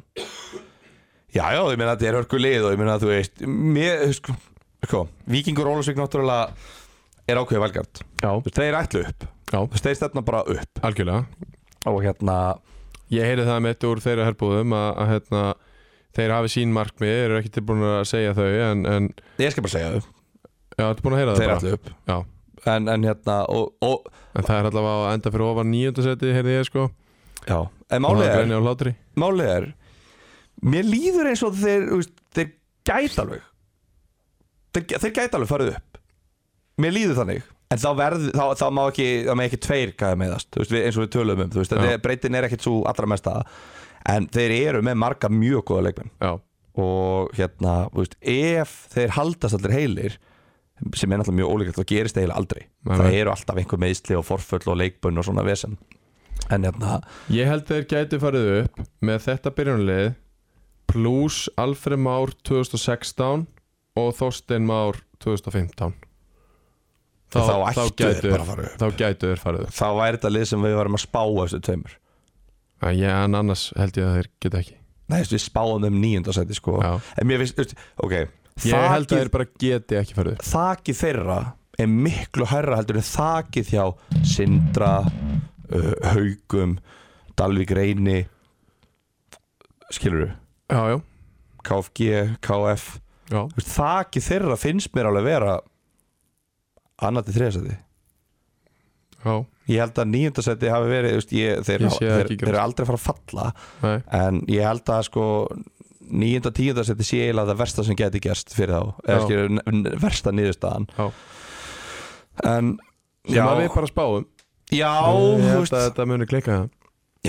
já, já, ég meina að þetta er hörku lið og ég meina að þú veist mér, sko, sko Víkingur Ólusvík náttúrulega er ákveðið velgart já, þeir ætlu upp, já, þeir stefna bara upp algjörlega og hérna Ég heyri það mitt úr þeirra herbúðum að, að hérna, þeir hafi sín markmið, þeir eru ekki tilbúin að segja þau en, en Ég skal bara segja þau, já, þetta er búin að heyra það þeir bara ætlu upp Já. en, en hérna og, og, En það er allavega að enda fyrir ofan nýjöndasæti, heyrði ég sko Já. En Og það málið er, grenja á hlátri málið er Mér líður eins og þeir þú veist, Þeir gæta alveg þeir, þeir gæta alveg farið upp Mér líður þannig En þá, verð, þá, þá má ekki, þá má ekki tveir gæða meðast þú veist, við, eins og við tölum um, þú veist, Já. þetta er- breytin er ekkit svo allra mesta en þeir eru með marga mjög góða leikmenn já, og hérna, þú veist, ef þeir haldast allir heilir sem er náttúrulega mjög ólíkvægt, þá gerist það eiginlega aldrei Nei, það nei. eru alltaf einhver meðsli og forföll og leikbönn og svona vesen en hérna, ég held þeir gætu farið upp með þetta byrjunlið pluss Alfred Már 2016 og Þorstein Már 2015 þá, ættu gætu þeir bara að fara upp þá gætu þeir farið upp þá væri þetta lið sem við varum að spá á þessu tveimur Já, ég, en annars held ég að þeir geta ekki Nei, þú veist, við spáum þeim nýjunda sæti sko já. en mér finnst, þú veist, ok Ég held að þakið, þeir bara geti ekki farið upp þakið þeirra er miklu hærra heldur en þakið hjá Sindra uh, Haugum, Dalvik Reyni skilur við Já, já, KFG, KF já, Þú veist, þakið þeirra finnst mér alveg vera annar til þriðasæti já, ég held að nýjöndasæti hafi verið þú veist, ég, þeir, Ég sé það þeir, ekki gerast. þeir eru aldrei að fara að falla nei, en ég held að sko nýjönda tíundasæti sé eiginlega það versta sem geti gerst fyrir þá eða Já. skilur, n- n- versta niðurstaðan já en Sem já, að við bara spáum já, Ég þú held veist að þetta muni klika það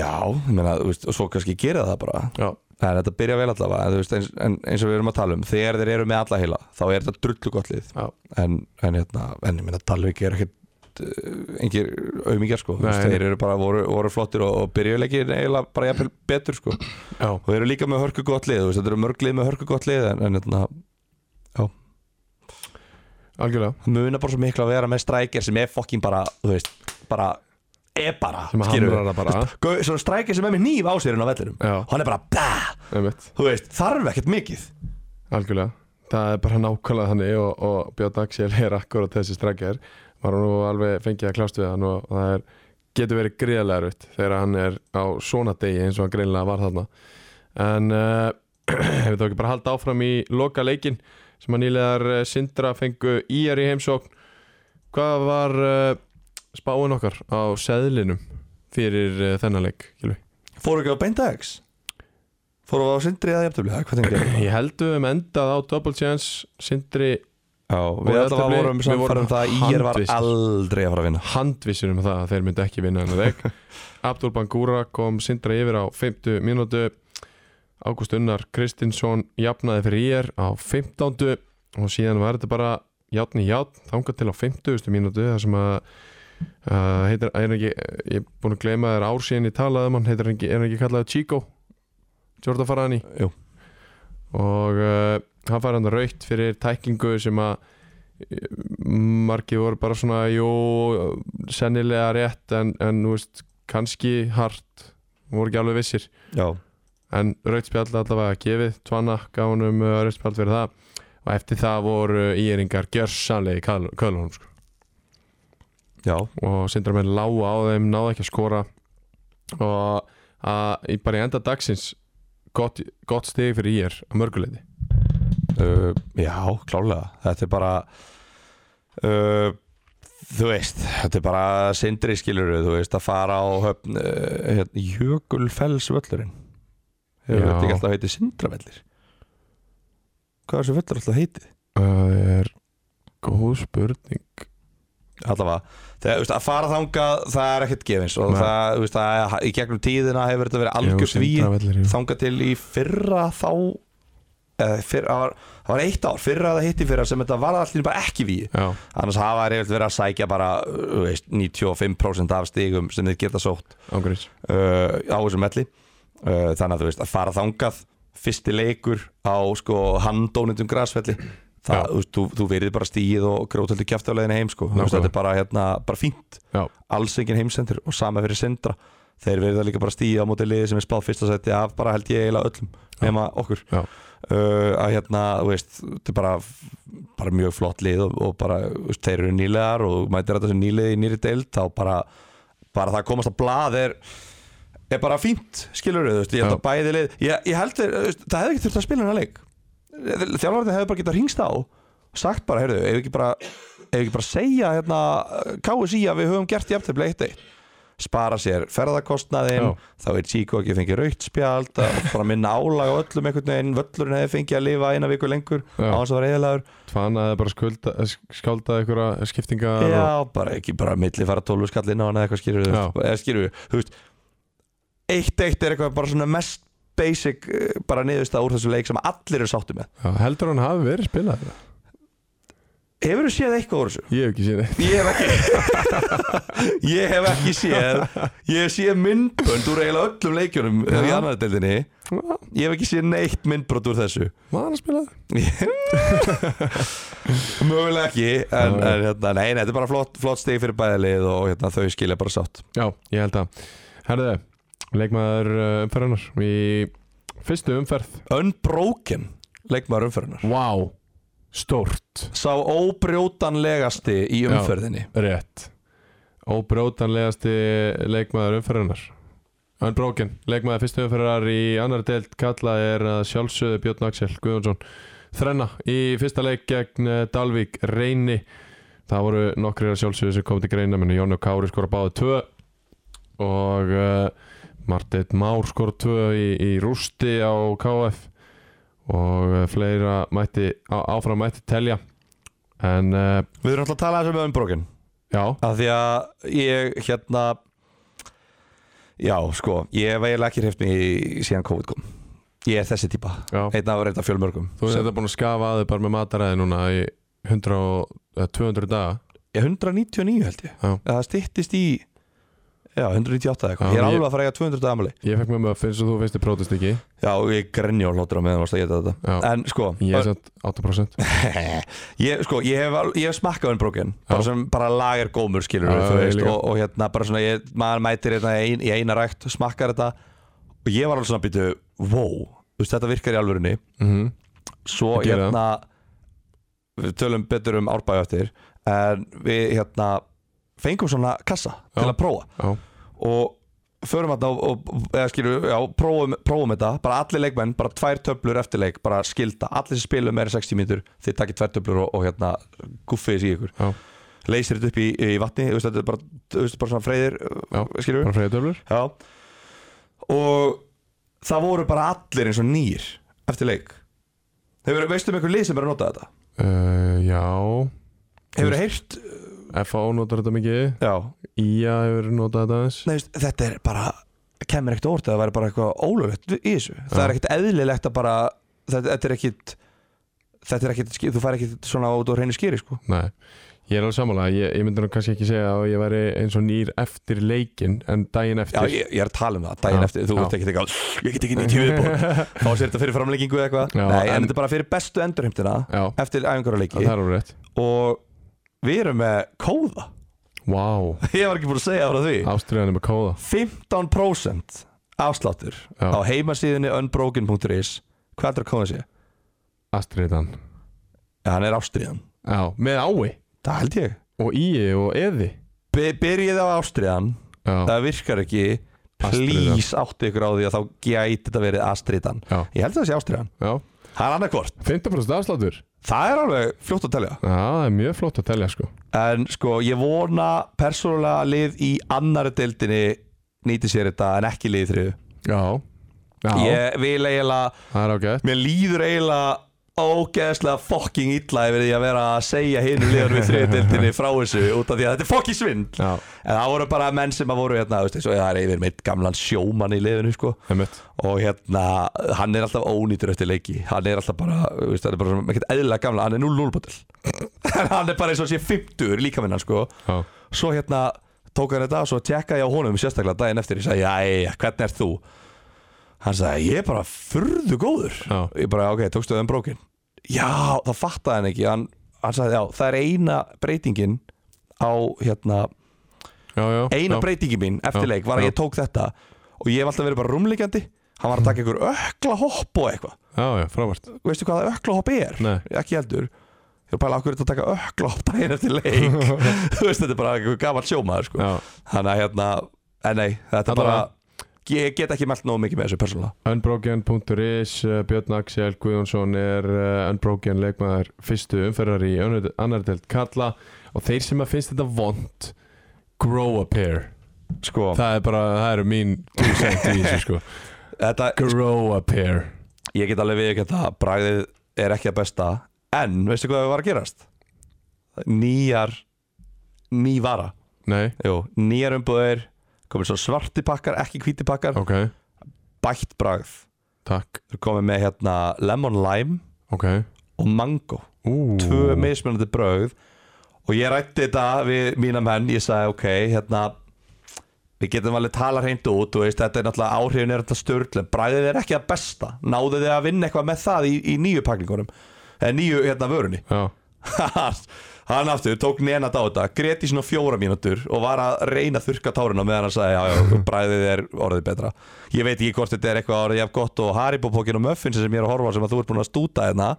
já, ég meina, þú veist, og svo kannski gera það bara Já, en þetta byrja vel allavega en, þú veist, eins, en, eins og við erum að tala um, þegar þeir eru með alla heila þá er þetta drullu gott lið Já. en, en, hérna, en ég meina Dalvik er ekkert uh, engir auðmíkjar sko Þú veist, Nei. þeir eru bara voru, voru flottir og, og byrjuleikir eiginlega bara jafnvel betur sko og já, þeir eru líka með hörku gott lið þú veist, þetta eru mörg lið með hörku gott lið en, en hérna, algjörlega muna bara svo miklu að vera með strækir sem er fokkin bara, þú veist, bara er bara, Sem að skilurðu. hamrar það bara Gau- svona strækir sem er með nýf á sér en á vellinum Já, hann er bara, bæ, einmitt, þú veist, þarf ekkert mikið algjörlega Það er bara nákvæmlega þannig og, og Björn Axel er akkurat þessi strækjar Var nú alveg fengið að klást við hann og það er, getur verið greiðlega rutt þegar hann er á svona degi eins og hann greinlega var þarna En uh, hefur þá ekki bara haldið áfram í loka leikin sem að nýlegar eh, Sindra fengu íjar í heimsókn Hvað var uh, spáin okkar á seðlinum fyrir uh, þennan leik? Gylfi? Fóru ekki á beindags? Fóru á sindri eða jafntöfli? eða Hvað tengið? Ég held við um endað á double chance Sindri Já, við Og alltaf jafntefli, vorum við samfærum vorum það að IR var handvissir. aldrei að fara að vinna handvissur um það að þeir myndi ekki vinna hennar leik Abdul Bangura kom Sindra yfir á 50 mínútu Ágúst Unnar Kristinsson jafnaði fyrir IR á 15 og síðan var þetta bara játn í játn þangað til á 50 mínútu þar sem að uh, heitir, er hann ekki, ég er búin að gleyma þér ár síðan ég talaði um hann, heitir hann ekki, er hann ekki kallaði Chico Jordan Farani Jú. og uh, hann fær hann raukt fyrir tæklingu sem að eh, margir voru bara svona jú, sennilega rétt en, en þú veist, kannski hart, voru ekki alveg vissir Já, en rautspjall allavega gefið Tvanna gaf hann um rautspjall fyrir það og eftir það voru íringar gjörsanlega í Köl- Kölunum sko. já, og sindramenn lága á þeim, náðu ekki að skora og að, í- bara í enda dagsins gott, gott stegi fyrir ír að mörguleiti uh, já, klálega Þetta er bara uh, Þú veist, þetta er bara sindri skilur Þú veist, að fara á höfn uh, hérna, Jökulfellsvöllurinn Hefur Já. þetta ekki alltaf heitið sindravellir? Hvað er þessi völlur alltaf heitið? Það er góð spurning allavega þegar, þú veist, að fara þangað það er ekkert gefins og Nei. það, þú veist, að, í gegnum tíðina hefur þetta verið algjör sví þá þangað til í fyrra þá eða fyrr, það, var, það var eitt ár fyrra eða hitti fyrra sem þetta var allir bara ekki ví Já, annars hafa þeir yfirleitt verið að sækja bara þú veist, 95% af stigum sem þeir geta sótt ángurins uh, á þessum melli uh, þannig að þú veist að fara þangað fyrsti leikur á sko handónundum græsfelli Já. það, þú, veist, þú, þú verið bara stíð og grótöldu kjæfti á leiðinu heim sko, Þú veist, Nákvæmlega. þetta er bara, hérna, bara fínt Já. alls engin heimsendur og sama fyrir sindra þeir verið það líka bara stíð á móti liði sem er spáð fyrsta seti af bara held ég eiginlega öllum Já. nema okkur Já. uh, að hérna, þú veist, þetta er bara bara mjög flott lið og, og bara þú veist, þeir eru nýlegar og mætir þetta sem nýlið í nýri deild þá bara, bara það að komast að blað er, er bara fínt skilur við, veist, ég Já. held að bæði lið ég, ég held þeir, þú veist, það hefði ekki þurft að spila hennar leik þjálfarnir hefði bara getað hringst á og sagt bara, heyrðu, ef við ekki bara ef við ekki bara segja hérna KSI að við höfum gert jafntefni eitt eitt spara sér ferðakostnaðinn Já. þá er Chico ekki fengið raukt spjald að bara minna álag á öllum einhvern veginn völlurinn hefði fengið að lifa eina viku lengur Já. á hans að vera eðalagur Tvanna hefði bara skulda, skálda einhverja skiptingar og- Já, bara ekki bara milli fara 12 skall inn á hann eða eitthvað skýrur Já. eða skýrur, þú veist 1-1 er eitthvað bara svona mest basic eh, bara niðurstað úr þessu leik sem allir eru sáttu með Já, heldur hann hafi verið spilað Hefur þú séð eitthvað úr þessu? Ég hef ekki séð neitt Ég hef ekki Ég hef ekki séð Ég hef séð myndbönd úr eiginlega öllum leikjunum Já. í annar deildinni Já, Ég hef ekki séð neitt myndbrot úr þessu Var hann spilað? Mögulega ekki En, Já. en hérna, nei, nei, þetta er bara flott, flott stig fyrir bæðilið og hérna, þau skilja bara sátt Já, ég held að Herðu, leikmaður uh, umferðarnar Í fyrstu umferð Unbroken leikmaður umferðunar Vá, stórt Sá óbrjótanlegasti í Já. umferðinni Rétt Óbrótanlegasti leikmaður umferðarnar Unbroken, leikmaður fyrstu umferðar í annar deild kalla er að sjálfsögðu Björn Axel Guðjónsson Þrenna í fyrsta leik gegn eh, Dalvík Reyni Það voru nokkrir að sjálfsögðu sem kom til greina menn Jónu Kári skora báði tvö og uh, Marteit Már skora tvö í, í rústi á KF og uh, fleira mætti, á, áfram mætti telja en uh, Við erum alltaf að tala þessu með Unbroken já Af því að ég hérna Já, sko, ég hef eiginlega ekki hreift mig í- síðan COVID kom Ég er þessi típa, Já. einn af reynda fjölmörgum Þú hefði þetta búin að skafa að þig bara með mataræði núna í 100 og, eða 200 daga Ég er 199 held ég Já. Það styttist í Já, 198 eða eitthvað Já, Ég er ég- alveg að fara að eiga 200 damali Ég fekk með mig að finnst að þú finnst þið prótist ekki Já, og ég grenja á hlótur á meðan varst að geta þetta Já, En sko ég er satt 8% ég, sko, ég hef, al- ég hef smakkað unbroken bara Já. sem bara lager gómur skilur Já, þú já, ég veist, líka. og, og hérna bara svona ég, maður mætir hérna í ein, í eina rækt smakkar þetta og ég var alveg svona býtu wow, þú veist, þetta virkar í alvörunni mm Mhm. svo Ég geri hérna við tölum betur um árbæðu eftir en við hérna fengum svona kassa Já. til að prófa Já, og förum þetta og, og eða skilur, já, prófum, prófum þetta bara allir leikmenn, bara tvær töflur eftir leik bara skilda, allir sem spilum meira en 60 mínútur þið takkir tvær töflur og, og hérna guffið þessi í ykkur, já, leysir þetta upp í, í vatni þú veist, þetta er bara, þú veist, bara svona freyðir Já. skilur bara fræðið döflur já. og það voru bara allir eins og nýr eftir leik hefur, veistu um einhver lið sem er að nota þetta uh, Já, hefur þú heyrt, FA notar þetta mikið já, IA hefur notað þetta aðeins Nei, veist, þetta er bara kemur ekkert orð að það væri bara eitthvað ólöglegt í þessu, Já. það er ekkert eðlilegt að bara þetta, þetta er ekkert þetta er ekkert, ski- þú fær ekkert svona út á reynu skýri sko. Nei, ég er alveg sammála Ég, ég myndi nú kannski ekki segja að ég væri eins og nýr eftir leikin en daginn Já, eftir ég, ég er að tala um það, daginn Já. eftir, þú Já. ert ekkert eitthvað ég get ekki 90 viðbúr, þá sér þetta fyrir framleggingu eða eitthvað, Já, nei, en, en- þetta er bara fyrir bestu endurheimtina Já, eftir æfingar og leiki það er alveg rétt og við erum með kóða, Vá, wow. ég var ekki búin að segja frá því, ástriðan er með kóða 15% afsláttur Já. á heimasíðinni unbroken.is hvað er að kóða sé? Ástriðan Já, hann er ástriðan, Já, með ái það held ég og íi og eði By- Byrjið á ástriðan Já, Það virkar ekki Ástríðan. Please áttu ykkur á því að þá gæti þetta verið ástriðan já, Ég held að það sé ástriðan já Það er annarkvort 50% afsláttur Það er alveg fljótt að telja Já, það er mjög flott að telja sko En sko, ég vona persónulega að lið í annari deildinni nýti sér þetta en ekki lið í þriðu Já, já Ég vil eiginlega, það er ágætt mér líður eiginlega ógeðslega fucking illa yfir því að vera að segja hinu liðanum í þriðu deildinni frá þessu út af því að þetta er fucking svindl Já, En það voru bara menn sem að voru hérna, þú veist, eins og það er yfir mitt gamlan sjómann í liðinu, sko. einmitt Og hérna, hann er alltaf ónýtur eftir leiki. Hann er alltaf bara, þú veist, hann er bara svona, ekkert eðlilega gamla, hann er 0-0 bóttil. hann er bara eins og sé 50 líka minn hann, sko. Já, Svo hérna, tók hann þetta og svo tjekkaði ég á honum sérstaklega daginn eftir. Ég sagði, jæja, hvernig ert þú? Hann sagði, ég er bara furðu góður. já, Ég bara, ok, tókstu þau um brókin? Já, það fattaði hann ekki. Hann, hann sagði, já, það er eina breytingin á, hérna, já, já já. eina breytingi mín eftir Já. leik var Já. að Mm. ég tók þetta og ég hef alltaf verið bara rúmliggjandi hann var að taka ykkur ökla hopp og eitthvað Já, já, frábært veistu hvað ökla hopp er? Nei, ekki heldur ég er að pæla okkur þetta að taka ökla hopp daginn eftir leik þú veist þetta er bara einhver gammal sjómaður sko. já þannig að hérna en nei þetta Alla bara ég get ekki mælt nógu mikið með þessu persónulega Unbroken.is uh, Björn Axel Guðjónsson er uh, Unbroken leikmaður fyrstu umferðar í önnur- annar delt kalla og þeir sem að finnst þetta vond grow a pair sko það er bara, það eru mín 2cent í þessu sko þetta grow a pair ég get alveg við ekki þetta bragðið er ekki að besta en veistu hvað var að gerast? nýjar ný vara Nei, Jú, nýjar umbúðir komið svo svarti pakkar, ekki hvíti pakkar Ok, bætt bragð, takk þeir komið með hérna lemon lime Ok og mango Ú, tvö mismunandi brauð og ég rætti þetta við mína menn ég sagði ok, hérna við getum alveg tala hreint út þú veist, þetta er náttúrulega áhrifin er þetta störtlum bræðið er ekki að besta, náðu þið að vinna eitthvað með það í, í nýju pakningunum eða nýju hérna vörunni Já, hann aftur tók nenat á þetta greti svona fjóra mínútur og var að reyna að þurka táruna meðan hann sagði já, já, bræðið er orðið betra ég veit ekki hvort þetta er eitthvað orðið jafn gott og Haribo-pókin og Muffins sem ég er að horfa á sem að þú ert búin að stúta hérna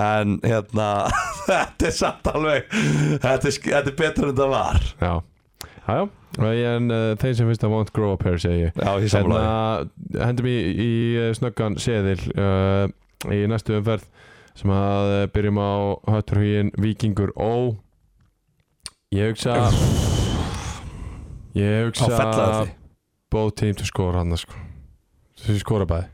en hérna þetta er samt alveg þetta er, sk- þetta er betra en þetta var já Jájá, en uh, þeim sem finnst að won't grow up here segi ég já, ég samla því Hérna hendum í, í eh, snöggan seðil uh, í næstu umferð sem að eh, byrjum á hötturhugin Víkingur Ó Ég hugsa Ég á hugsa fellaði both team to score hann sko. Þessi skora bæði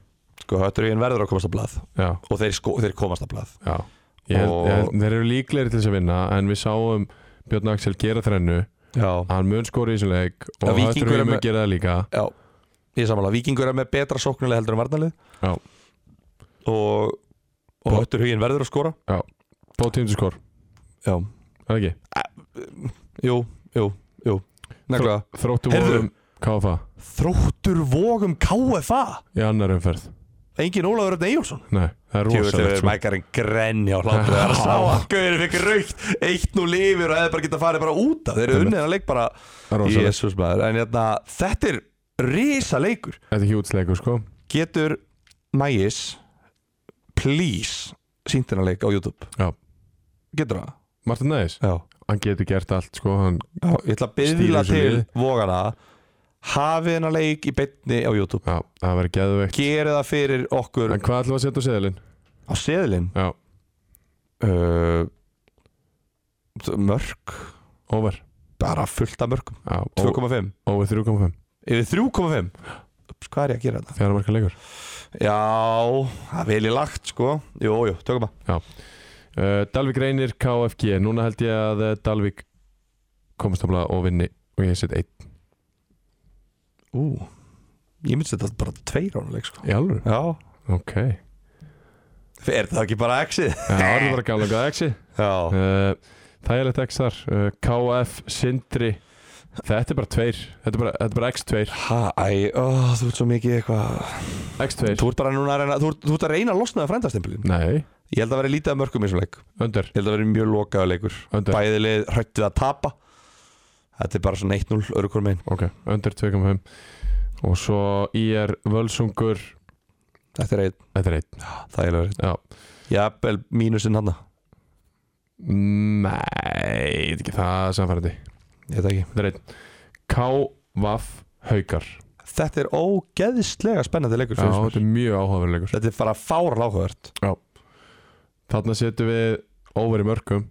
sko, hötturinn verður að komast á blað Já, og þeir, sko, þeir komast á blað já ég, held- Og- ég, held- Þeir eru líklegri til þess að vinna en við sáum Björn Axel gera þrennu já, hann mun skora í þessum leik Já, og Víkingur er hötturhugin mun með- gera það líka Já, ég samanlega Víkingur er með betra sóknulega heldur en varnalið Já. Og, og Bo- Höttur Huginn verður að skora both team to score, Já er það ekki? Jú, jú, jú Nefnilega Þróttu Heyrðu. vorum KFA Þróttur vógum KFA í annar umferð Engin Ólafur Örn Eyjólfsson Nei, það er rosalegt Tjóðslegur sko. mækarinn grenja á hlátur Það er að sá að Gauðir fikk raukt Eitt nú lifir og hefði bara getað farið bara út af Þeir eru Einmitt. unnið að leik bara Það er rosalegt yes. Jésús maður En hérna, þetta er risa leikur Þetta er hjútsleikur sko Getur Mægis Please Sýnt hennar leik á YouTube Já. Getur það? Martin Næs, Já hann getur gert allt sko hann, Já, ég ætla að Stýra byggla þessu til liði. vógana hafið hennar leik í beinni á YouTube Já, það verður geðveikt gerið það fyrir okkur En hvað ætlum við að setja á seðilinn? á seðilinn Já, uh, mörg over bara fullt af mörgum Já, ó- 2,5 over 3.5 yfir 3,5 Ups, hvað er ég að gera þetta? Þegar marka leikur Já, það er vel í lagt sko Jú, jú, tökum það uh, Dalvik reynir KFG Núna held ég að eh, Dalvik komast komstamla og vinni og ég set eitt Ú, ég myndi þetta bara tveir ára leik sko Í alveg? Já, Ok Já, er það ekki bara exið? það er bara gamla góða exi Já, uh, Þægilegt X þar uh, KF, Sindri Þetta er bara tveir Þetta er bara, þetta er bara X2 ha, æ, ó, þú ert svo mikið eitthvað X2 Þú ert bara núna að reyna, þú ert, þú ert að reyna að losna það frændastemplin Nei, Ég held að vera lítið af mörgum í þessum leik undir, Ég held að vera mjög lokaðu leikur undir Bæði lið hrættu að tapa Þetta er bara svona 1-0 örugur megin Ok, undir 2.5 Og svo IR Völsungur Þetta er einn Þetta er eitt þægilegur einn. Já. Jafnvel mínusinn hann Nei, þetta er ekki það samfærandi Ég veit ekki Þetta er eitt KVaf Haukar Já, Þetta er ógeðislega spennandi leikur finnst mér. þetta er mjög áhugaverleikur Þetta er bara fárál áhugavert Þarna setjum við over í mörgum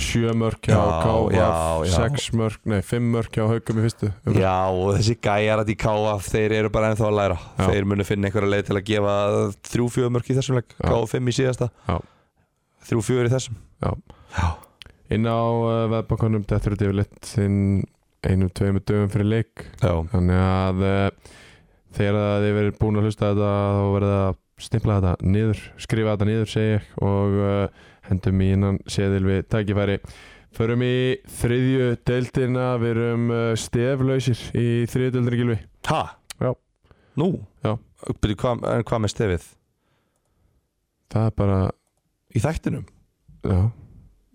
Sjö mörg hjá Já, já, KVaf já. Sex mörg, nei, fimm mörg hjá Haukum í fyrstu Um umferð. Já og þessi gæjar að í KF Þeir eru bara ennþá að læra Já. Þeir munu finna einhverja leið til að gefa 3-4 mörk í þessum leik Já. KF5 í síðasta Já. 3-4 í þessum Já. Já. Inn á uh, veðbankanum Þetta eru yfirleitt þinn einum, tveimur dögum fyrir leik Já. Þannig að uh, þegar að þið verið búin að hlusta þetta þá verið að stimpla þetta niður skrifa þetta niður segi ég og uh, hendum í innan séðil við tækifæri Förum í þriðju deildina, við erum uh, steflausir í þriðju deildina gilvi Ha? Já. Nú? Já. Byrju, hvað, en hvað með stefið? Það er bara, Í þættinum? já,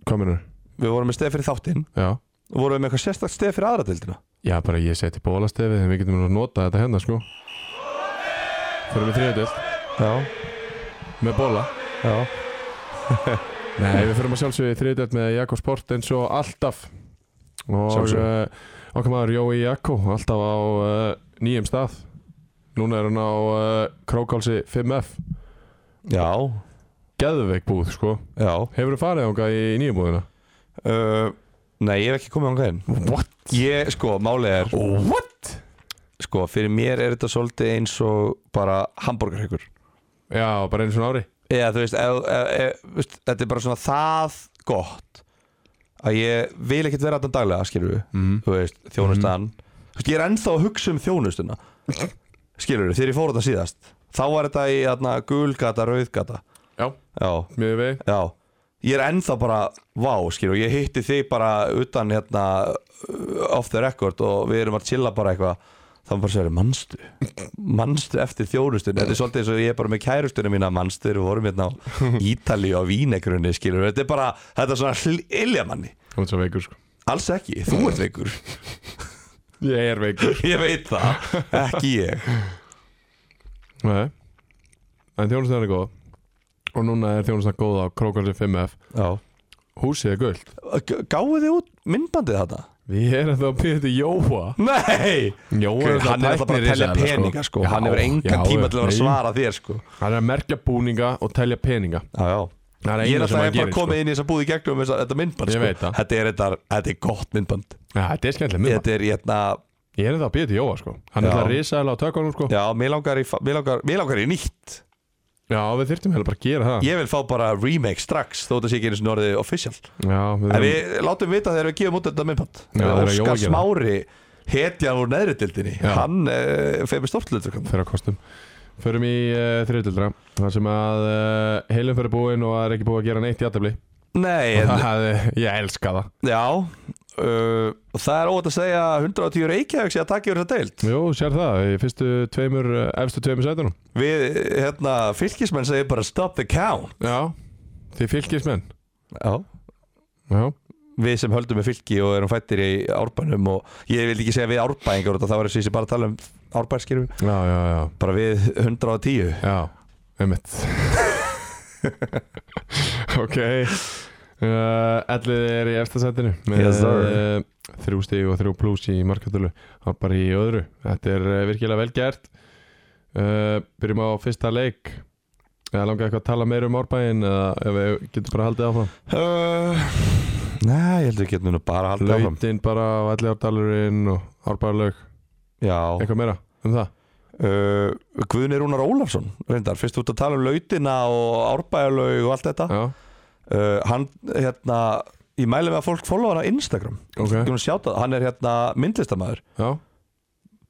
kominur Við vorum með stefið fyrir þáttinn Já, og vorum við með eitthvað sérstakt stefið fyrir aðra deildina já bara ég seti bólastefið en við getum nú að nota þetta hérna sko Förum í þriðju deild Já, með bóla já Nei, við fyrir að sjálfsögja í þriðdelt með Jakko Sport eins og alltaf og Sjálfsögðu. uh, okkar maður Jói Jakko alltaf á uh, nýjum stað núna er hann á uh, Krókálsi 5F Já, Geðveik búð, sko já Hefur þú farið ánga í nýjum búðina? uh, Nei, ég hef ekki komið á hann What? Ég, sko, málið er What? Sko, fyrir mér er þetta svolítið eins og bara hambúrgarhyggur Já, bara einu svona ári Eða, þú veist, eð, eð, eð, veist, þetta er bara svona það gott að ég vil ekkert vera þetta daglega skilur við, Mhm. þú veist, þjónustan þú veist, ég er ennþá að hugsa um þjónustuna skilur við, þegar ég fór þetta síðast þá var þetta í þarna gulgata, rauðgata Já, já, miður vegi já ég er ennþá bara, vá, skilur við, ég hitti þig bara utan hérna off the record og við erum að chilla bara eitthvað þá er bara sér, mannstu mannstu eftir þjónustunni, þetta er svolítið eins og ég er bara með kærustunni mína mannstu, við vorum hérna á Ítali og Vínegrunni, skilur við, þetta er bara þetta er svona hlilja manni Þú ert svo veikur sko Alls ekki, þú ert veikur Ég er veikur Ég veit það, ekki ég Nei En þjónustan er góð Og núna er þjónustan góð á Krókarsi 5F Já Húsið er guld Gáðu þið út myndbandið þetta? Við erum þá að byrja til Jóa Nei Jóa Guð, Hann er það bara að telja peninga sko Já, Hann hefur já, engan tíma til að vera að nei. svara þér sko Hann er að merkja búninga og telja peninga Já, já Það er Ég er eina alltaf sem bara hann gerir, gerir sko. komið inn í þess að búið í gegnum þessa, þetta myndband Ég sko. veit það. Þetta er, þetta, þetta er gott myndband Já, Þetta er skemmtileg mynd Þetta er hérna Ég er það að byrja til Jóa sko Hann er Já. það að risa á tökunum sko Já, mér langar, í, fa- mér, langar, mér langar í nýtt Já, við þyrftum hefur bara að gera það Ég vil fá bara remake strax Þó þetta sé ekki einu sinni orðið official Já, við En erum við látum vita þegar við gefum út þetta myndband Já, það er að Jói Óskar gera. Smári hetjan úr neðri dildinni Já. Hann uh, fyrir með stortlutur fyrir að kostum Förum í uh, þriðdildra Það sem að uh, heilum fyrir búin og það er ekki búið að gera neitt í aðtöfli Nei, en, Ég elska það já uh, og Það er óvægt að segja 110 Reykjavík sé að taka yfir þetta deild Jú, sér það, í fyrstu tveimur, eh, efstu tveimur sætunum Við, hérna, fylgismenn segir bara stop the count Já, þið fylgismenn Já Já, Við sem höldum með fylgi og erum fættir í árbænum og ég vil ekki segja við árbæingar út af það var þessi bara að tala um árbænskirfum já, já, já, bara við 110 já Einmitt Ok uh, Ellið er í efsta sætinu með Yes, uh, sir. þrjú stig og þrjú plús í markatölu og bara í öðru Þetta er eh, virkilega vel gert uh, Byrjum á fyrsta leik Eða langar eitthvað að tala meira um árbæin eða ef við getum bara haldið áfram uh, Nei, ég heldur við getum nú bara að halda áfram Lautin bara á Elliðardalurinn og árbæðarlaug Já Eitthvað meira um það uh, Guðni Rúnar Ólafsson reyndar, fyrst út að tala um lautina og árbæjarlaug og allt þetta Já, uh, hann hérna ég mæli með að fólk follow hann á Instagram ok, Ég sjáta, það, hann er hérna myndlistamæður já,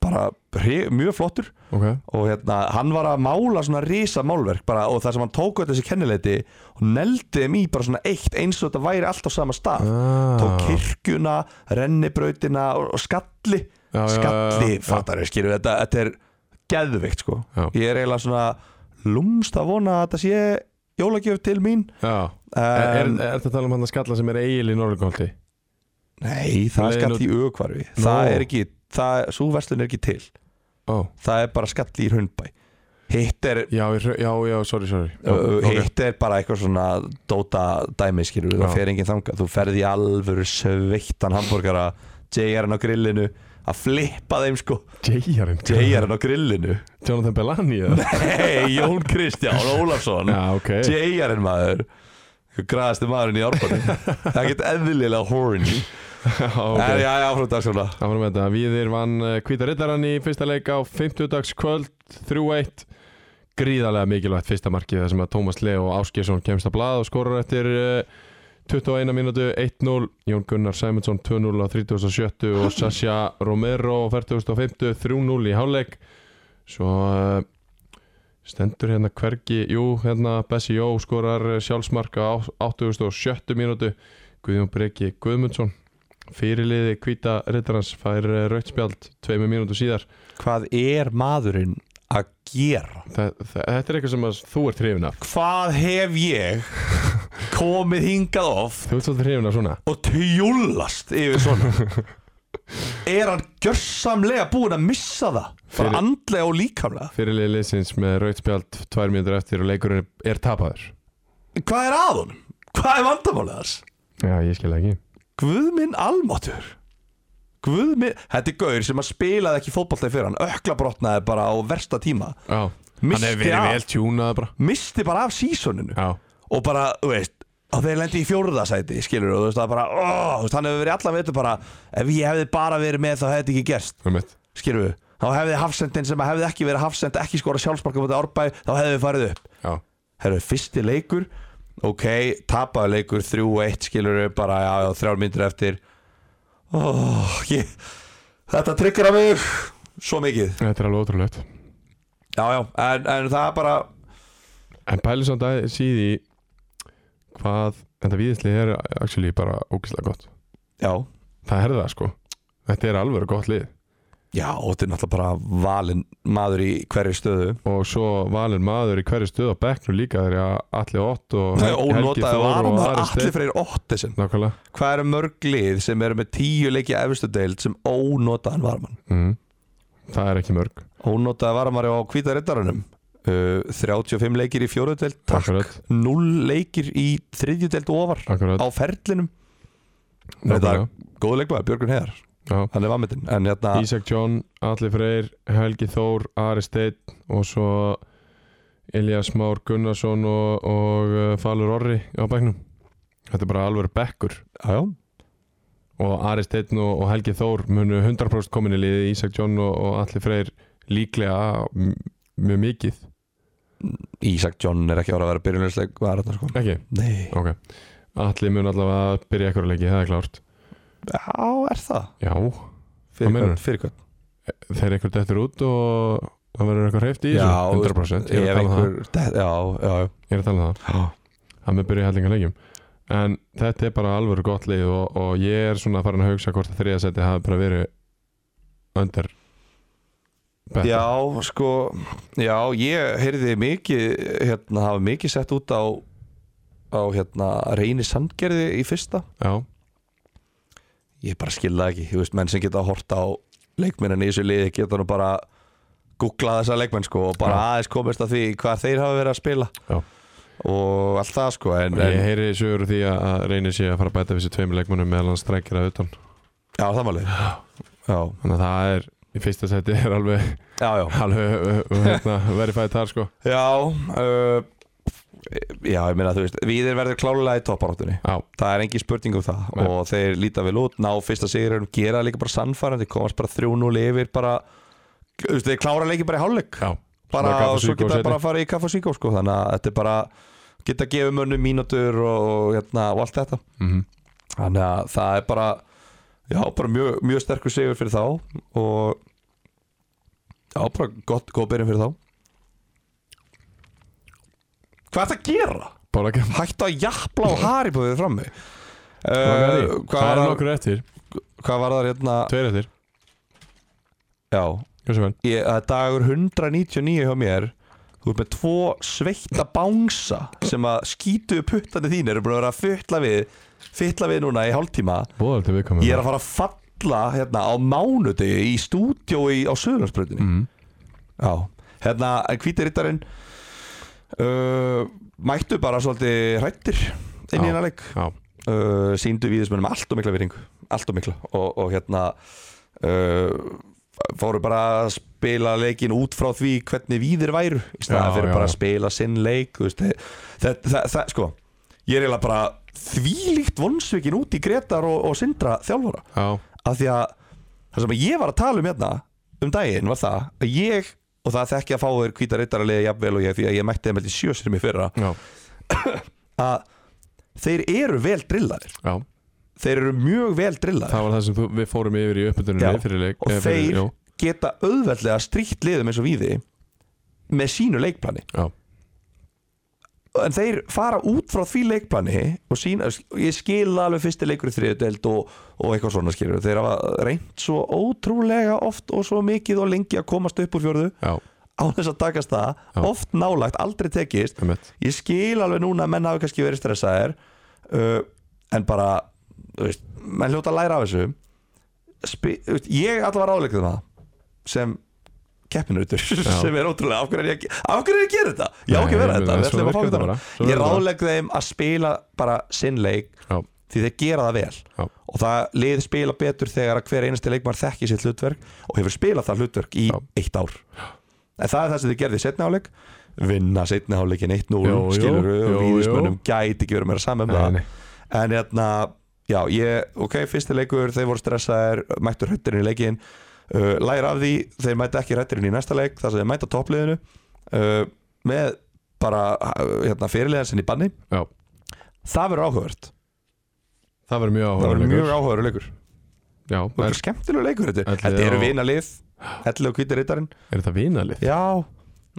bara hre- mjög flottur ok og hérna, hann var að mála svona risa málverk bara, og það sem hann tók öll þessi kennileiti og neldi þeim í bara svona eitt eins og þetta væri allt á sama stað ah, tók kirkjuna, rennibrautina og, og skalli Ah. Já, já, já, já, skalli, já. fattar við skilur þetta, þetta er geðveikt sko Já. ég er eiginlega svona lúmst að vona að þetta sé jólagjöf til mín Já, er, er, um, er þetta að tala um hann að skalla sem er eigil í Norrlugholti? nei, það er Leiðin skall í aukvarfi það Nó. er ekki, það, svo verslun er ekki til Ó, það er bara skall í hundbæ hitt er já, ég hrö- já, já, sorry, sorry Já, Uh, ok. hitt er bara eitthvað svona dóta dæmi skilur, Já. það fer enginn þangað þú ferði í alvöru sveittan hambúrgara JR-en á grillinu að flippa þeim sko J.R.inn JR-en á grillinu Jonathan Bellani eða? Nei, Jón Kristján Ólafsson Já, ok JR-en maður græðasti maðurinn í árbæðin það er ekkert eðlilega horny en okay. já, já, frá dagskona Áfram með þetta, Víðir vann Kvíta Rittarann í fyrsta leik á 50 dags kvöld 3-1 Gríðarlega mikilvægt fyrsta markið þar sem að Tómas Leo og Áskjesson kemst að blað og skorar eftir uh, 21 mínútu 1-0 Jón Gunnar Sæmundsson 2-0 á 37 og Sasha Romero á 40.50 3-0 í hálfleik Svo uh, stendur hérna hvergi, jú, hérna Bessi Jó skorar eh, sjálfsmark á 87. mínútu Guðjón Breki Guðmundsson fyrirliði Kvíta Rittarans fær eh, rautt spjald tveimur mínútu síðar hvað er maðurinn að gera? Þa, þa- Þetta er eitthvað sem að þú ert hrifin af hvað hef ég komið hingað oft Þú ert svolítið hrifin af svona og tjúllast yfir svona er hann gjörsamlega búinn að missa það bara Fyrir- andlega og líkamlega Fyrirliði liðsins með rautt spjald tvær mínútur eftir og leikurinn er, er tapaður hvað er að honum? hvað er vandamálið þess? Já, ég skil það ekki Guð minn almáttur Guð minn, þetta er gaur sem að spilaði ekki fótballtæði fyrir hann ökla brotnaði bara á versta tíma Já, hann Missti hefur verið af. vel tjúnað bara misti bara af sísoninu Já, og bara, þú veist og þeir lendi í fjórðasæti, skilur og þú veist, það er bara, ó, þú veist, hann hefur verið allan veitur bara, ef ég hefði bara verið með þá hefði þetta ekki gerst um mitt skilur við, þá hefði hafsendin sem hefði ekki verið hafsend, ekki skora sjálfsmarka mútið árbæ, þá hefði við farið upp Já, herru, fyrsti leikur ok, tapaðu leikur 3-1 skilur við bara já, já, þrjár myndir eftir oh, ég, þetta tryggir að mig svo mikið Þetta er alveg ótrúlegt já, já, en, en það er bara En pæli samt að síði hvað þetta víðisli er actually bara ógislega gott já, Það er það sko Þetta er alveg gott lið já, og þetta er náttúrulega bara valin maður í hverju stöðu og svo valin maður í hverju stöð á bekknum líka þegar Alli Ott og Hel- Helgi ónótaði Þór og varamaður Ari allir Steinn fyrir óttisen Nákvæmlega hvað eru mörg lið sem eru með tíu leikja efstu deild sem ónótaðan varamann mm. Það er ekki mörg ónótaði varamann á hvítarittarunum uh, 35 leikir í fjóru deild takk, Akkurat, 0 leikir í þriðju deild og ofar akkurat á ferlinum þetta er nákvæmlega. góð leikmaður, Björgun Heiðar Já. hann er vammitinn, en hérna Ísak John, Alli Freyr, Helgi Þór, Ari Steinn og svo Elias Már Gunnarsson og, og uh, Falur Orri á bekknum Þetta er bara alveg bekkur já, já, og Ari Steinn og, og Helgi Þór munu 100% komin í liði Ísak John og, og Alli Freyr líklega m- mjög mikið Ísak John er ekki ára að vera byrjunlegsleik hvað er þetta sko? Ekki? Nei, Ok, Alli mun allavega byrja ekkur leiki, það er klárt já, er það Já, Hvað fyrir meinarðu? hvern, fyrir hvern þeir ekkur dettur út og það verður eitthvað hreift í Já, þessu 100% Ég er að ef tala um það, einhver, það. já, já, ég er að tala um það já Það mun byrja hellinga leikjum En þetta er bara alvöru gott lið og, og ég er svona farin að hugsa hvort að þriðasetti hafi bara verið under betur. Já, sko, já, ég heyrði mikið, hérna, hafa mikið sett út á, á hérna, reyni sandgerði í fyrsta. Já, Ég bara skilða ekki, þú veist, menn sem geta að horta á leikmennin í þessu liði geta nú bara googlað þessa leikmenn, sko, og bara aðeins komist að því hvað þeir hafa verið að spila. Já. Og allt það, sko, en, og ég en heyri sögur úr því að- að reynir sé að fara að bæta við þessu tveimur leikmönnum meðal hann strækir að utan já, það máli. Já, Þannig að það er, í fyrsta seti er alveg, já, já. alveg uh, uh, hérna, verifæði þar sko Já, uh, já, ég meina, þú veist, við erum verður klálega í topparáttunni. Já, Það er engi spurning um það Nei. og þeir líta vel út, ná fyrsta sigurinn gera það líka bara sannfærandi, komast bara 3-0 yfir bara, þú veist, þeir klára leiki bara í hálfleik já bara, Bara kaffi og svo Svíkó geta seinni. bara að fara í kaffa síkó sko, þannig að þetta er bara geta að gefa mönnu mínútur og, og, hérna, og allt þetta Mhm. þannig að það er bara já, bara mjög, mjög sterkur sigur fyrir þá og já, bara gott, góð byrjun fyrir þá Hvað er það að gera? Bara ekki hættu að jafla á haribóðið frammi uh, Uh, hvað, það var er það, nokkur eftir, hvað var það hérna tveir eftir já, Hversu menn? ég, það er dagur 199 hjá mér þú ert með tvo sveitta bánsa sem að skýtu upp puttandi þín eru búin að vera að fytla við fytla við núna í hálftíma Bóðal til viðkomið ég er að fara að falla hérna á mánudegi í stúdjói á Suðurlandsbröðinni mm. Já, hérna, en hvíti rittarinn uh, mættu bara svolítið hrættir inn í Já, hérna leik já. uh, síndu viðismennum allt og mikla viðringu allt og mikla og, og hérna uh, fóru bara að spila leikin út frá því hvernig víðir væru í staðan Já, fyrir já, bara já. að spila sinn leik þú veist, það, það, það, það, sko ég er eiginlega bara þvílíkt vonsvikin út í Gretar og, og Sindra þjálfara já, af því að það sem ég var að tala um hérna um daginn var það að ég og það þekki að fá þér hvíta reytaralegi jafnvel og ég því að ég mætti þeim held í sjö sérum í fyrra já, að þeir eru vel drillaðir já þeir eru mjög vel drillaðir Það var það sem þú, við fórum yfir í uppbytunum Já. fyrir leik og eh, fyrir, þeir já, geta auðveldlega stríkt liðum eins og við með sínu leikplani já, en þeir fara út frá því leikplani og sína, ég skil alveg fyrsti leikur í þriðudeld og, og eitthvað svona skilur þeir hafa reynt svo ótrúlega oft og svo mikið og lengi að komast upp úr fjörðu já, á þess að takast það, Já. oft nálægt aldrei tekist, emmett ég skil alveg núna að menn hafi kannski verið stressaðir uh, en bara þú veist, menn hljóta að læra af þessu Spi, þú veist, ég allavega ráðleikði það sem keppinautur sem er ótrúlega, af hverju er ég að ge- af hverju er ég að gera þetta? Ég á ekki að vera þetta, við ætlum að fá þetta núna. ég ráðlegði þeim að spila bara sinn leik Já, því þeir gera það vel já, og það lið spila betur þegar að hver einasti leikmar þekki sitt hlutverk og hefur spilað það hlutverk í Já. eitt ár en það er það sem þið gerði í setni áleik vinna setni áleikin 1-0 Jú, jú, skilur jú, og jú. víðismönnum gæti ekki verið meira saman um Nei, það nei. en hérna, já, ég, ok, fyrsti leikur þeir voru stressaðir, mættu hrættirinn í leikin uh, læra af því, þeir mæta ekki hrættirinn í næsta leik, þar sem þeir mæta toppliðinu uh, með bara uh, hérna, fyrirlegan sinni í banni já, það verður áhugavert Það verður mjög það áhuga verður mjög áhugaverður leikur Já, það er, verður skemmtilega leikur þetta Elliði þetta eru og- vinalið Ellu og Hvíti Rittarinn er þetta vinalið? já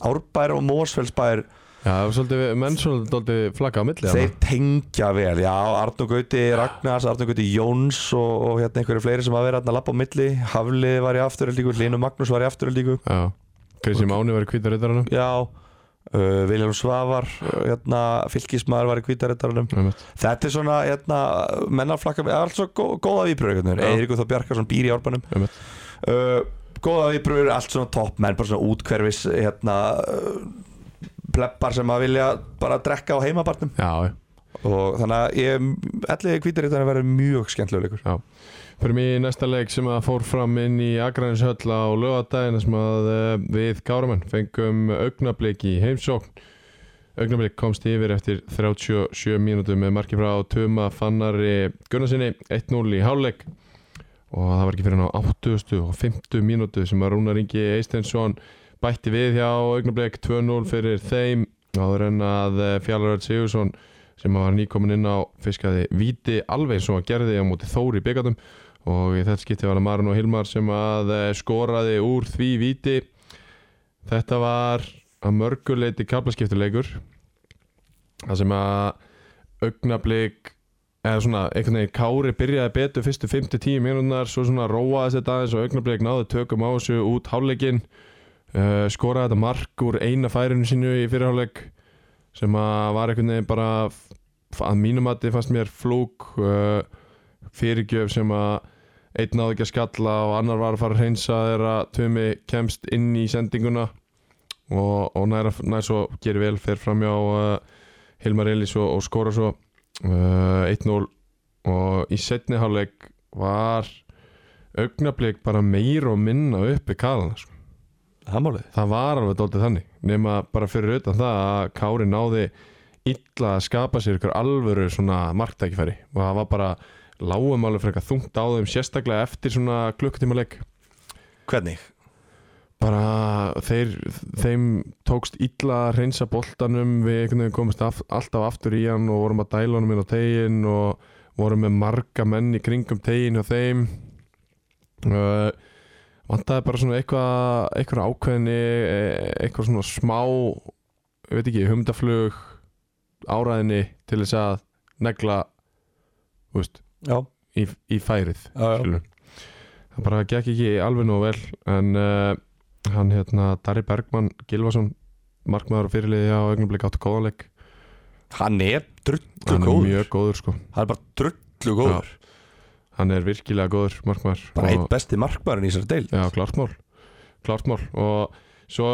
Árbær og Mósfellsbær Já, það var svolítið, menn svolítið flagga á milli þeir tengja vel já Arnur Gauti Ragnars Arnur Gauti Jóns og, og hérna einhverju fleiri sem að vera hérna að lappa á milli Haflið var í afturöldíku Linu Magnús var í afturöldíku þarna. Já, Krissi Máni var í kvítarittarunum já uh, Viljálf Svavar uh, hérna fylgismæður var í Hvíti Rittarinn Þetta er svona hérna, mennaflakka það er allt svo gó, góða viðbröður Já. Eiríkur þá Bjarkarsson býr í árbanum Einmitt. uh, Góða viðbröður, allt svona topp menn bara svona útkverfis hérna, uh, pleppar sem að vilja bara drekka á heimabarnum Já, já og þannig að ég allir kvítarittarinn verður mjög skemmtilega leikur Fyrir mig í næsta leik sem að fór fram inn í Akranishöll á lögadaginn sem að eh, við Káramann fengum augnablik í heimsókn augnablik komst yfir eftir 37 mínútum með marki frá Tuma Fannari Gunnarsinni 1-0 í hálfleik og það var ekki fyrir hann á 80 og 50 mínútu sem að Rúnar Ingi Eistensson bætti við hjá augnablik 2-0 fyrir þeim áður en að Fjallaröld Sigursson sem var nýkomin inn á fiskaði Víti alveg svo að gerði á móti Þóri byggatum og í þetta skipti var það Marun og Hilmar sem að eh, skoraði úr því víti þetta var að mörguleiti kaplaskiptuleikur það sem að augnablík eða svona einhvern veginn Kári byrjaði betur fyrstu 5-10 mínúnar svo svona róaðist þetta aðeins og augnablík náði tökum á þessu út hálfleikin uh, skoraði þetta mark úr eina færinu sínu í fyrirhálfleik sem að var einhvern veginn bara f- að mínum að þið fannst mér flúk uh, fyrirgjöf sem að einn náði ekki að skalla og annar var að fara að hreinsa þegar að Tumi kemst inn í sendinguna og, og nær, að- nær svo gerir vel fer framjá uh, Hilmar Elís og, og skora svo uh, 1-0 og í setni hálfleik var augnablik bara meir og minna uppi kalana sko. Það málið það var alveg dóltið þannig nema bara fyrir utan það að Kári náði illa að skapa sér ykkur alvöru svona marktækifæri og það var bara lágum alveg frekar þungt á þeim sérstaklega eftir svona klukkutíma leik Hvernig? bara þeir, þeim tókst illa að reynsa boltanum við einhvern veginn komist af, alltaf aftur í hann og vorum að dæla honum inn á tegin og vorum með marga menn í kringum tegin og þeim uh, vantaði bara svona eitthvað eitthvað ákveðni eh, eitthvað svona smá ég veit ekki, humdaflug áræðinni til þess að negla þú veist, Já, í, í færið já, já. skilur það bara gekk ekki alveg nóg vel en uh, hann hérna Dari Bergmann Gilvason markmaður og fyrirliði á augnablik áttu góðanleik Hann er drullu hann er góður mjög góður sko Hann er bara drullu góður hann er virkilega góður markmaður Bara og- eitt besti markmaðurinn í þessari deil Já, klartmál Klartmál og svo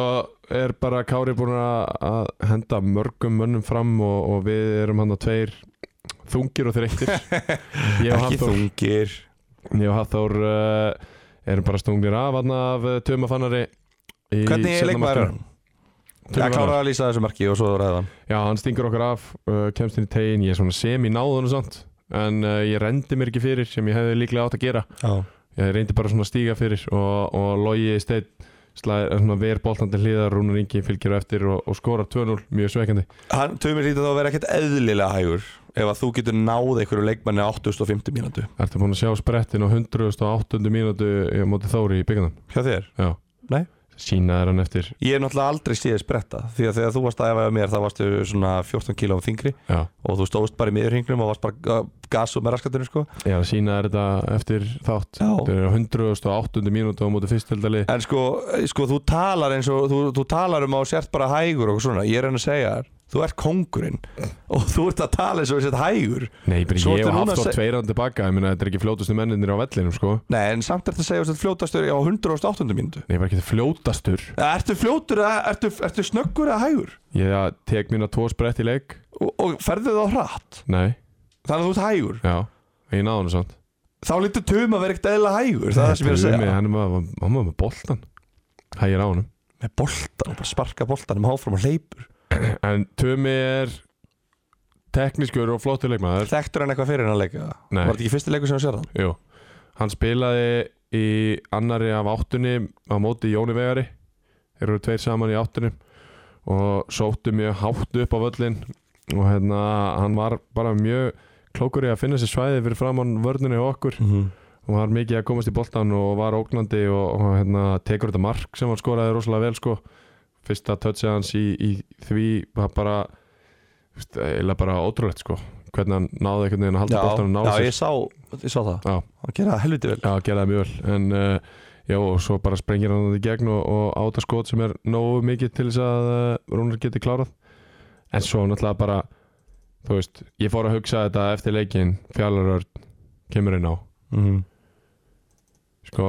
er bara Kári búin að að henda mörgum mönnum fram og, og við erum hann á tveir þungir og þreyttir Ég og Ekki Hafþór þungir Ég og Hafþór uh, erum bara stungnir af hann af uh, tömafannari Hvernig er leikmaður hann? Ég kláraði að lýsa þessu marki og svo ræða hann Já, hann stingur okkur af, uh, kemst inn í tegin Ég er svona sem í náðun og samt En uh, ég rendi mér ekki fyrir sem ég hefði líklega átt að gera Já, Ég reyndi bara svona að stíga fyrir og, og logi í stein slæðir svona ver boltandi hliðar Rúnar Ingi fylgir á eftir og, og skorar 2-0 mjög sveikandi Hann, Tumi lítið þá að vera ekkert eðlilega hægur ef að þú getur náð einhverju leikmanni á 850 mínútu Ertu búin að sjá sprettin á 108. mínútu í móti Þóri í byggjanum? hjá þér Já Nei. Sýnaðir hann eftir Ég hef náttúrulega aldrei séð spretta því að þegar þú varst að efa mér þá varstu svona 14 kíló um þingri Já og þú stóðst bara í miðurhingnum og varst bara uh, gas og með raskatunni sko Já, sýnaðir þetta eftir þátt Já. Þetta er á 108. mínútu á móti fyrstildali En sko, sko þú talar eins og þú, þú talar um að þú sért bara hægur og svona ég er hann að segja þér Þú ert kongurinn og þú ert að tala eins og þú sért hægur Nei, bara Svo ég ertu og núna að haft á seg- tveir án tilbaka Ég meina, þetta er ekki fljótustu menninir á vellinum, sko Nei, en samt er þetta að segja þess að fljótastur á 108 mínútu Nei, ég var ekki fljótastur Ertu fljótur, eða- ertu, ertu snöggur eða hægur? Ég tek mína tvo sprett í leik Og, og ferðu þá hratt Nei, Þannig að þú ert hægur já, ég náði hann samt Þá lítur Tuma verið ekkert eðla hægur Það er það sem ég er að segja Hann var, hann var með boltan Hægir á honum Með boltan, bara sparka boltanum áfram og hleypur En Tumi er teknískur og flottur leikmaður Þekktur hann eitthvað fyrir hann að leika? Nei. Var þetta ekki fyrsti leikur sem hann sér hann? Jú, hann spilaði í annari af áttunni á móti Jóni Vegari Þeir eru tveir saman í áttunni og sóttu mjög hátt upp á völlin og hérna, hann var bara mjög klókur í að finna sér svæði fyrir framann vörnunni og okkur Mhm. og var mikið að komast í boltan og var ógnandi og, og hérna, tekur þetta mark sem hann skoraði rosalega vel sko. fyrsta touchið hans í, í því var bara þú veist, eiginlega bara ótrúlegt sko. hvernig hann náði einhvern veginn að halda boltan og náði já sér ég, sá, ég sá það Já. Hann gera það helviti vel Já, gera það mjög vel en uh, já, og svo bara sprengir hann það í gegn og, og áta skot sem er nógu mikið til þess að uh, Rúnar geti klárað en svo náttúrulega bara þú veist, ég fór að hugsa þetta eftir leikin fjallarörn kemur inn á mm. sko,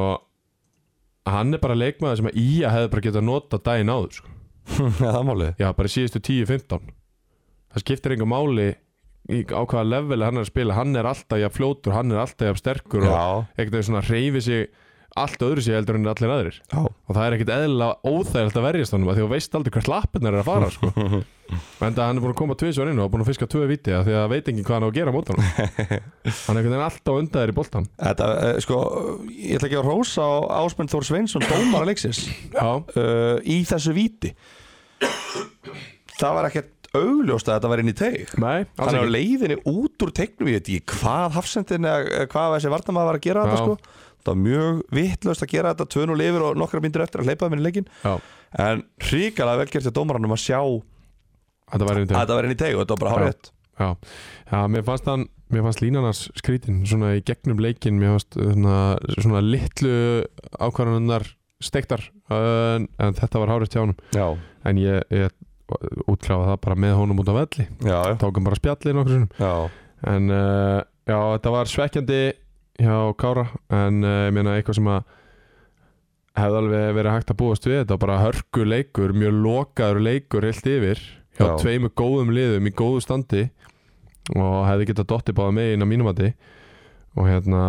hann er bara leikmaður sem að Ía hefði bara getað nota daginn áður sko. Já það er málið já, bara í síðustu 10-15 það skiptir engu máli í, á hvaða leveli hann er að spila hann er alltaf jafn fljótur, hann er alltaf jafn sterkur og Já, einhvern veginn svona reyfi sig allt öðru sig heldur en allir aðrir já. og það er ekkert eðlilega óþægilegt að verjast honum af því að þú veist aldrei hvert lappirnar er að fara sko. en það hann er búin að koma tvisvar inn og búin að fiska tvö viti af því að veit ekki hvað hann á að gera mót honum hann er einhvern veginn alltaf undaðir í boltan Þetta, eh, sko, ég ætla ekki að rósa á Ásmund Þór Sveinsson, dómara leiksins já, uh, í þessu víti það var ekkert augljóst að þetta var inn í teig nei, alls hann er á ekki leiðinni út úr tegnum ég veit ekki hvað hafsendin eða hvað þessi vartamæða var að gera þetta Já. sko það var mjög vittlöst að gera þetta tvön og lifir og nokkra myndir eftir að hleypa þeim inn í leikin já, en hrikalega vel gert hjá dómaranum að sjá að þetta var einhvern þetta var inn í teig og þetta var bara Já. hárið já. já, mér fannst hann mér fannst línarnas skrítin svona í gegnum leikin mér fannst eh, svona, svona litlu ákvarðanar stektar en, en þetta var hárið hjá honum já, en ég, ég útkláfa það bara með honum út á velli já, já, tókum bara spjallið nokkur sinnum já. en uh, já, þetta var svekkjandi hjá Kára en uh, ég meina eitthvað sem að hefði alveg verið hægt að búast við þetta var bara hörku leikur, mjög lokaður leikur heilt yfir hjá Já. tveimu góðum liðum í góðu standi og hefði getað dotti báða megin á mínum mati og hérna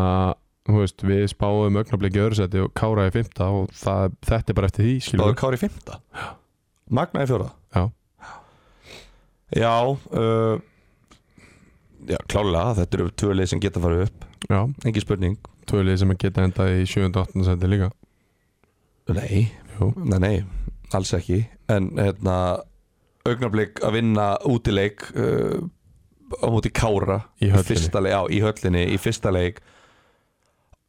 þú veist, við spáum augnabliki öðursæti og Kára í fymta og það, þetta er bara eftir því það skilur var Kári fymta Magna í fjóra Já. já uh, já, klálega þetta eru tvö leið sem geta farið upp já, Engi spurning tvölið sem að geta endað í 7.8. seti líka Nei, Jú. nei, nei alls ekki En hérna, augnablík að vinna útileik uh, á móti Kára Í höllinni. fyrsta leik, Já, í höllinni, í fyrsta leik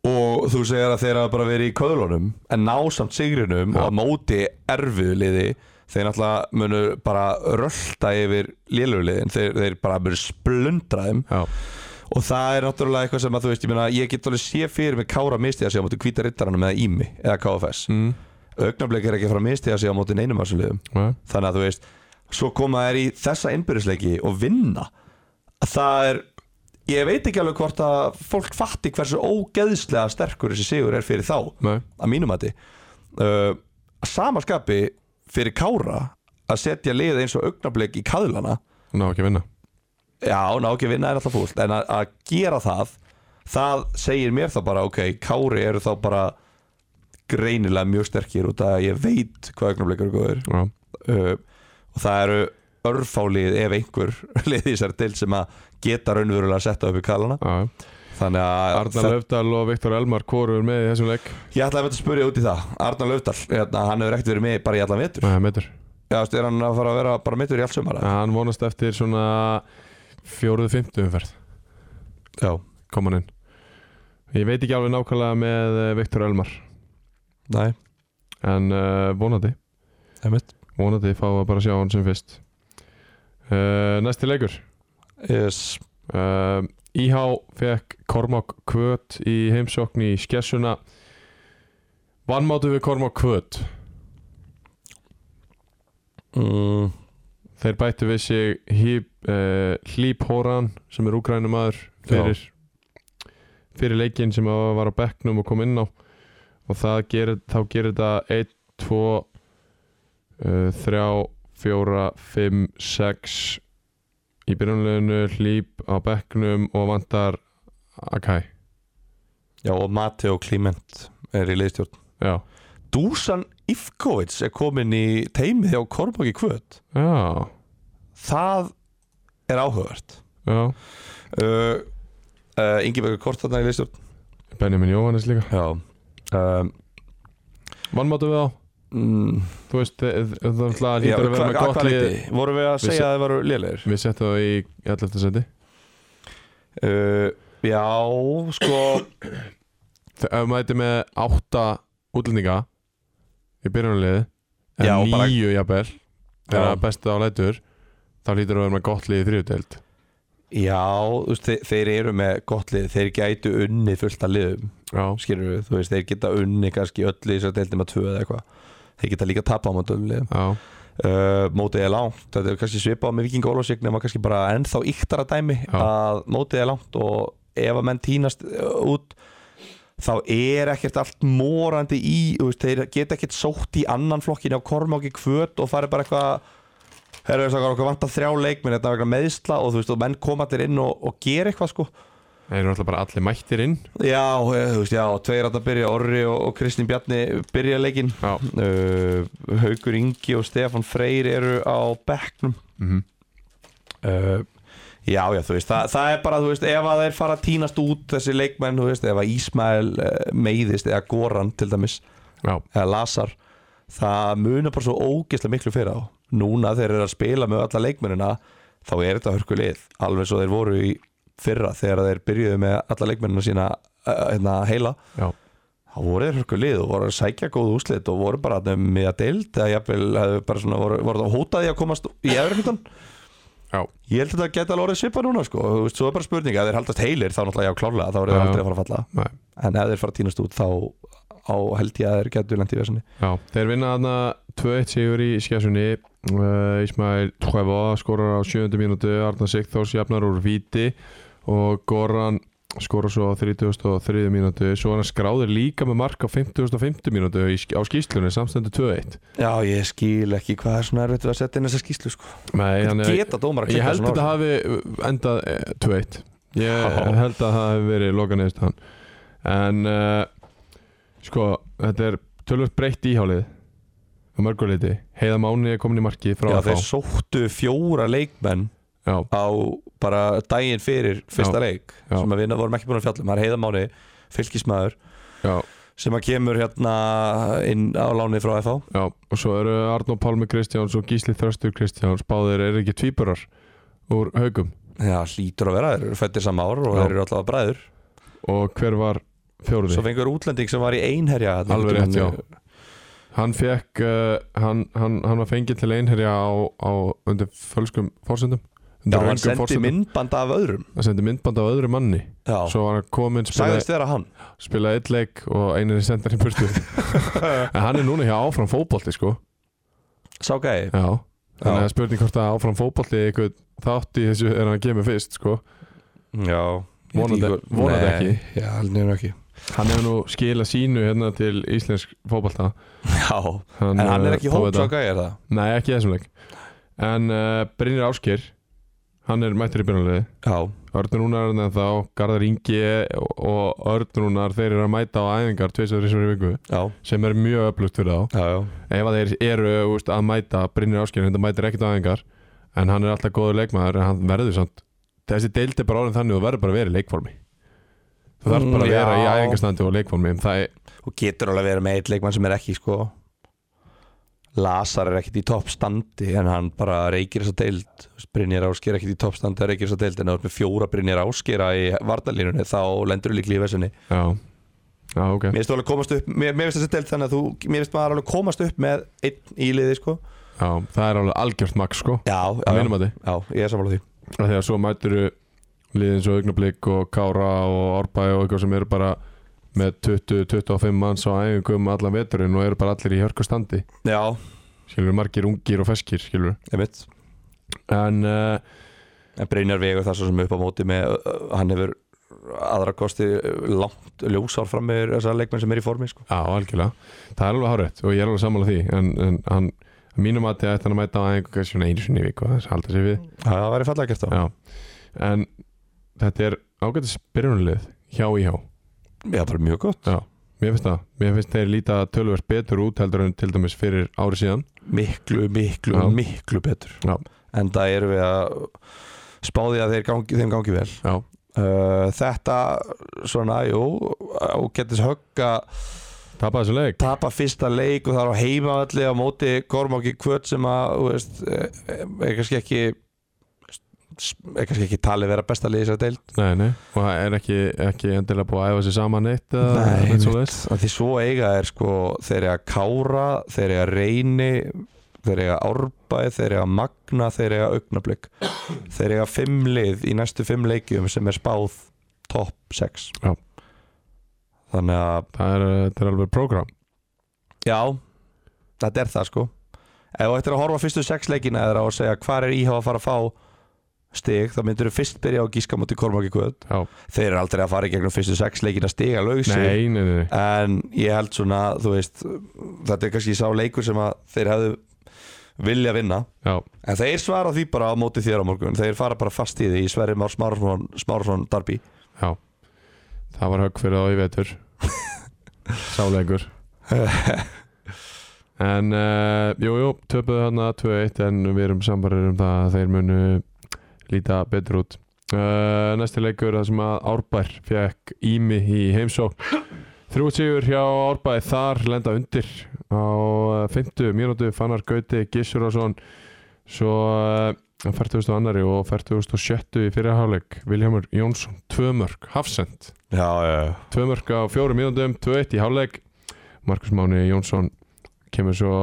Og þú segir að þeir hafa bara verið í köðlunum En ná samt sigrinum Já. og að móti erfiðu liði Þeir náttúrulega munu bara rölda yfir lélugliðin Þeir, þeir bara munu splundra þeim já, og það er náttúrulega eitthvað sem að þú veist ég, meina, ég get alveg sé fyrir mig Kára mistiða sig á móti hvíta rittaranum eða Ími eða KFS mm. augnablik er ekki að fara að mistiða sig á móti neinum af þessum liðum já. þannig að þú veist svo koma þær í þessa innbyrðisleiki og vinna að það er ég veit ekki alveg hvort að fólk fatti hversu ógeðslega sterkur þessi sigur er fyrir þá Nei. að mínum mati uh, að sama skapi fyrir Kára að setja lið eins og augnablik í kaðlana ná ekki að vinna Já, ná ekki að vinna er alltaf fúlt En að, að gera það Það segir mér þá bara, ok, Kári eru þá bara greinilega mjög sterkir út af að ég veit hvað augnablikar eru góður já. uh, og það eru örfálið ef einhver liði í sér til sem að geta raunverulega að setja upp í kalana Já, já. þannig að Arnar það- Löfdal og Viktor Elmar hvorur með í þessum leik ég ætlaði að spyrja út í það Arnar Löfdal, hérna, hann hefur ekkert verið með bara í allan vetur Nei, metur. Já, veistu, er hann að fara að vera bara mittur í allt sumara hann vonast eftir svona fjóruðu fymtu umferð Já, kom hann inn ég veit ekki alveg nákvæmlega með eh, Viktor Elmar nei, en uh, vonandi einmitt vonandi fá að bara sjá hann sem fyrst uh, næsti leikur yes. uh, IH fekk Kormák Kvöt í heimsókn í skessuna vannmátu við Kormák Kvöt mm. Þeir bættu við sig Hýb, uh, Hlýb Horan sem er úgrænumæður fyrir, fyrir leikinn sem að var á bekknum og kom inn á og það gerir, þá gerir þetta 1, 2 uh, 3, 4 5, 6 í byrjunleginu Hlýb á bekknum og vantar Akai Já, og Mateo Kliment er í liðstjórn Já, Dusan Ivkovic er komin í teimið hjá Kormáki Kvöt já, það er áhugavert já uh, uh, Ingebergur Kort þarna í liðstjórn Benjamin Jóhannes líka já um, Vannmáttu við á? mm, Þú veist, þe- þe- það er alltaf að hlýta já, að vera hva- með að gott hvað lið leyti? Vorum við að Við segja að þið varu lélegir? Við settum það í 11. seti Uh, já, sko Þegar við mætum með 8 útlendinga í byrjunarliði Já, og en bara- 9 jafnvel þegar Já. það besta á lætur þá hlýtur að vera með gott lið í þriðuteld Já, þú veist, þeir, þeir eru með gott lið Þeir gætu unni fullt að liðum Já, skilur við, þú veist, þeir geta unni kannski öll í þess að deildum að tvö eða eitthvað þeir geta líka tapa á mótum liðum já, uh, mótið er langt, þetta er kannski svipað með Viking Ólafsvík nema kannski bara ennþá yktara dæmi Já. að mótið er langt og ef að menn týnast uh, út þá er ekkert allt morandi í, þú veist, þeir geta ekkert sótt í annan flokkinu á kormáki kvöt og farið bara eitthvað herru, þess að okkur vantar þrjá leikminn þetta vegna meðsla og þú veist, og menn koma allir inn og, og gera eitthvað sko þeir eru alltaf bara allir mættir inn Já, eh, þú veist, já, tveir að byrja Orri og, og Kristín Bjarni byrja leikinn Já, uh, Haukur Ingi og Stefan Freyr eru á bekknum mhm uh, Já, já, þú veist, það, það er bara, þú veist, ef að þeir fara að tínast út þessi leikmenn, þú veist, ef að Ísmael uh, meiðist eða Goran til dæmis Já, eða Lazar það munar bara svo ógeðslega miklu fyrir á núna þegar þeir eru að spila með alla leikmennina þá er þetta hörku lið alveg svo þeir voru í fyrra þegar þeir byrjuðu með alla leikmennina sína uh, hérna, heila já, þá voru þeir hörku lið og voru að sækja góð úslit og voru bara þarna með að deild eða jafnvel hefðu bara svona voru, voru að hóta því að komast í efri hlutan já, ég held að þetta geta alveg orðið svipa núna sko Þú veist, svo er bara spurning að þeir haldast heilir þá náttúrulega já klárlega þá voru þeir Já. aldrei að fara að falla Nei. en ef þeir fara að tínast út þá á held ég að þeir getur lent í vesinni já Þeir vinna þarna 2-1 sigur í skessunni uh, Ismail Tvæfa skorar á 7. mínútu Arna Sigþórs jafnar úr víti og Goran skorar svo á 33. mínútu svo er hann skráður líka með mark á 50.50 mínútu í, sk- á skýslunni samstendur 2-1 Já, ég skil ekki hvað er svona erfitt við að setja inn þessa skýslu sko. Nei, Hvernig hann er- Geta dómar að Ég klikka held svona þetta á hafi endað eh, 2-1 Ég Já. held að það hafi verið loka neðist hann En uh, sko, þetta er tölvöld breytt íhálið á mörguleiti Heiða Máni er komin í markið frá Já, að þeir fá sóttu fjóra leikmenn Já, á bara daginn fyrir fyrsta leik Já. sem að við vorum ekki búin að fjalla um, það er heiðamáni fylgismæður já, sem að kemur hérna inn á láni frá FH já Og svo eru Arnó Pálmi Kristjáns og Gísli Þröstur Kristjáns Báðir eru ekki tvíburar úr haugum Já, hlýtur að vera, þeir eru fættir saman ár og Já. þeir eru alltaf bræður Og hver var Svo fjóruði? fengur útlending sem var í einherja þarna Alveg einhvern rétt, já tímann. Hann fekk, uh, hann, hann, hann var fengið til einherja á, á undir fölskum fórsendum Undir Já, hann röngum sendi forsendum. myndband af öðrum Það sendi myndband af öðru manni Já, Svo var hann kominn, spilaði sagðist vera hann spila eitt leik og einir sendar í burtu En hann er núna hjá áfram fótbolti sko Sá gæði Já Þannig að það Já. er spurning hvort að áfram fótbolti eitthvað þátt í þessu er hann kemur fyrst sko Já ég veit Vonandi- hvað- vonandi Nei, ekki. Já, alveg ekki Hann hefur nú skilað sínu hérna til íslensk fótbolta eh, Já, En hann er ekki hópsaka er það Nei, ekki í þessum leik En uh, Brynir Áskir Hann er mættur í byrjunarliði Já, Örnrúnar en þá Garðar Ingi og Örnrúnar þeir eru að mæta á æfingar tvisar þessar í viku já, sem er mjög öflugt fyrir þá já, já. ef að þeir eru úst, að mæta Brynir Áskjörn, þetta mætir ekkert aðengar en hann er alltaf góður leikmaður en hann verður samt þessi deild er bara orðin þannig og verður bara að vera í leikformi þú þarf bara að Mm, vera í já. æfingarstandi og leikformi það er, Og getur alveg verið með eitt leikmann sem er ekki sko Lazar er ekkit í toppstandi En hann bara reykir þess að deild Brynjar Ásker er ekkit í toppstandi Það reykir þess að deild En ef þú ert með fjóra Brynjar Áskera í vardalínunni Þá lendur þú líklega í vesinni já, já, ok Mér finnst þú alveg komast upp Mér, mér finnst þessi deild þannig að þú Mér finnst maður alveg komast upp með einn í liði sko já, það er alveg algjört max sko Já, já, að já, minnum að því, já ég er sammála því Af því að svo mætur liðin svo augnablík og Kára og Orbæ og eitthvað sem eru bara með 20-25 manns á æfingum allan veturinn og eru bara allir í hörkustandi Já, skilur margir ungir og feskir skilur ég mitt en uh, En Brynjar vegur það svo sem upp á móti með uh, hann hefur aðra kosti uh, langt ljósár fram með þessa leikmenn sem er í formi sko. Já, algjörlega. Það er alveg hárætt og ég er alveg sammála því en, en hann, að mínum að þetta hann að mæta á einhver svona einu sinni í viku þess að halda sér við. Það væri fallega gert á Já. En þetta er ágætis byrjunarlið hjá í hjá. Já, bara mjög gott Já. Mér finnst það. Mér finnst þeir líta tölverst betur út heldur en til dæmis fyrir ári síðan. Miklu, miklu, Já. miklu betur Já. En það eru við að spáði að þeir gangi, þeim gangi vel Já. uh, Þetta svona, jú ágetis högga Tapa þessu leik tapa fyrsta leik og það er á heimavalli á móti Kormáki Kvöt sem að þú veist, eh, er kannski ekki er kannski ekki talið vera besta liðis að deild Nei, nei Og það er ekki, ekki endilega búið að æfa sér saman neitt eða Nei, neitt einmitt. svoleiðis. að því svo eiga er sko þeir eiga Kára, þeir eiga Reyni þeir eiga Árbæð, þeir eiga Magna, þeir eiga Augnablík þeir eiga fimm lið í næstu fimm leikjum sem er spáð topp 6 Já. þannig að Það er, þetta er alveg program Já, þetta er það sko Ef þú ættir að horfa á fyrstu sex leikina eða og segja hvað er íhá að fara að fá stig, þá myndur þú fyrst byrja á gíska múti Kormáki Kvöld Já. Þeir eru aldrei að fara í gegnum fyrstu sex leikina stiga lausi Nei, nei, nei, nei. En ég held svona, þú veist Þetta er kannski sá leikur sem að þeir hefðu vilja vinna Já, En þeir svara því bara á móti þér á morgun Þeir fara bara fast í því í Sverri Már Smárasson, Smárasson Darby já Það var högg fyrir þá í vetur Sáleikur En, uh, jú, jú, töpuðu hérna 2-1 En við erum sambarðir um það að þeir munu líta betur út uh, Næsti leikur það sem að Árbær fekk Ími í heimsók Þrjú sigur hjá Árbæði þar lenda undir á eh, 50 mínútu Fannar Gauti Gissurason svo eh, 40. annari og 40. í fyrirháleik Viljámur Jónsson, tvö mörg, hafsend Já, já, tvö mörg á fjórum mínútum, 2-1 í háleik Markus Máni Jónsson kemur svo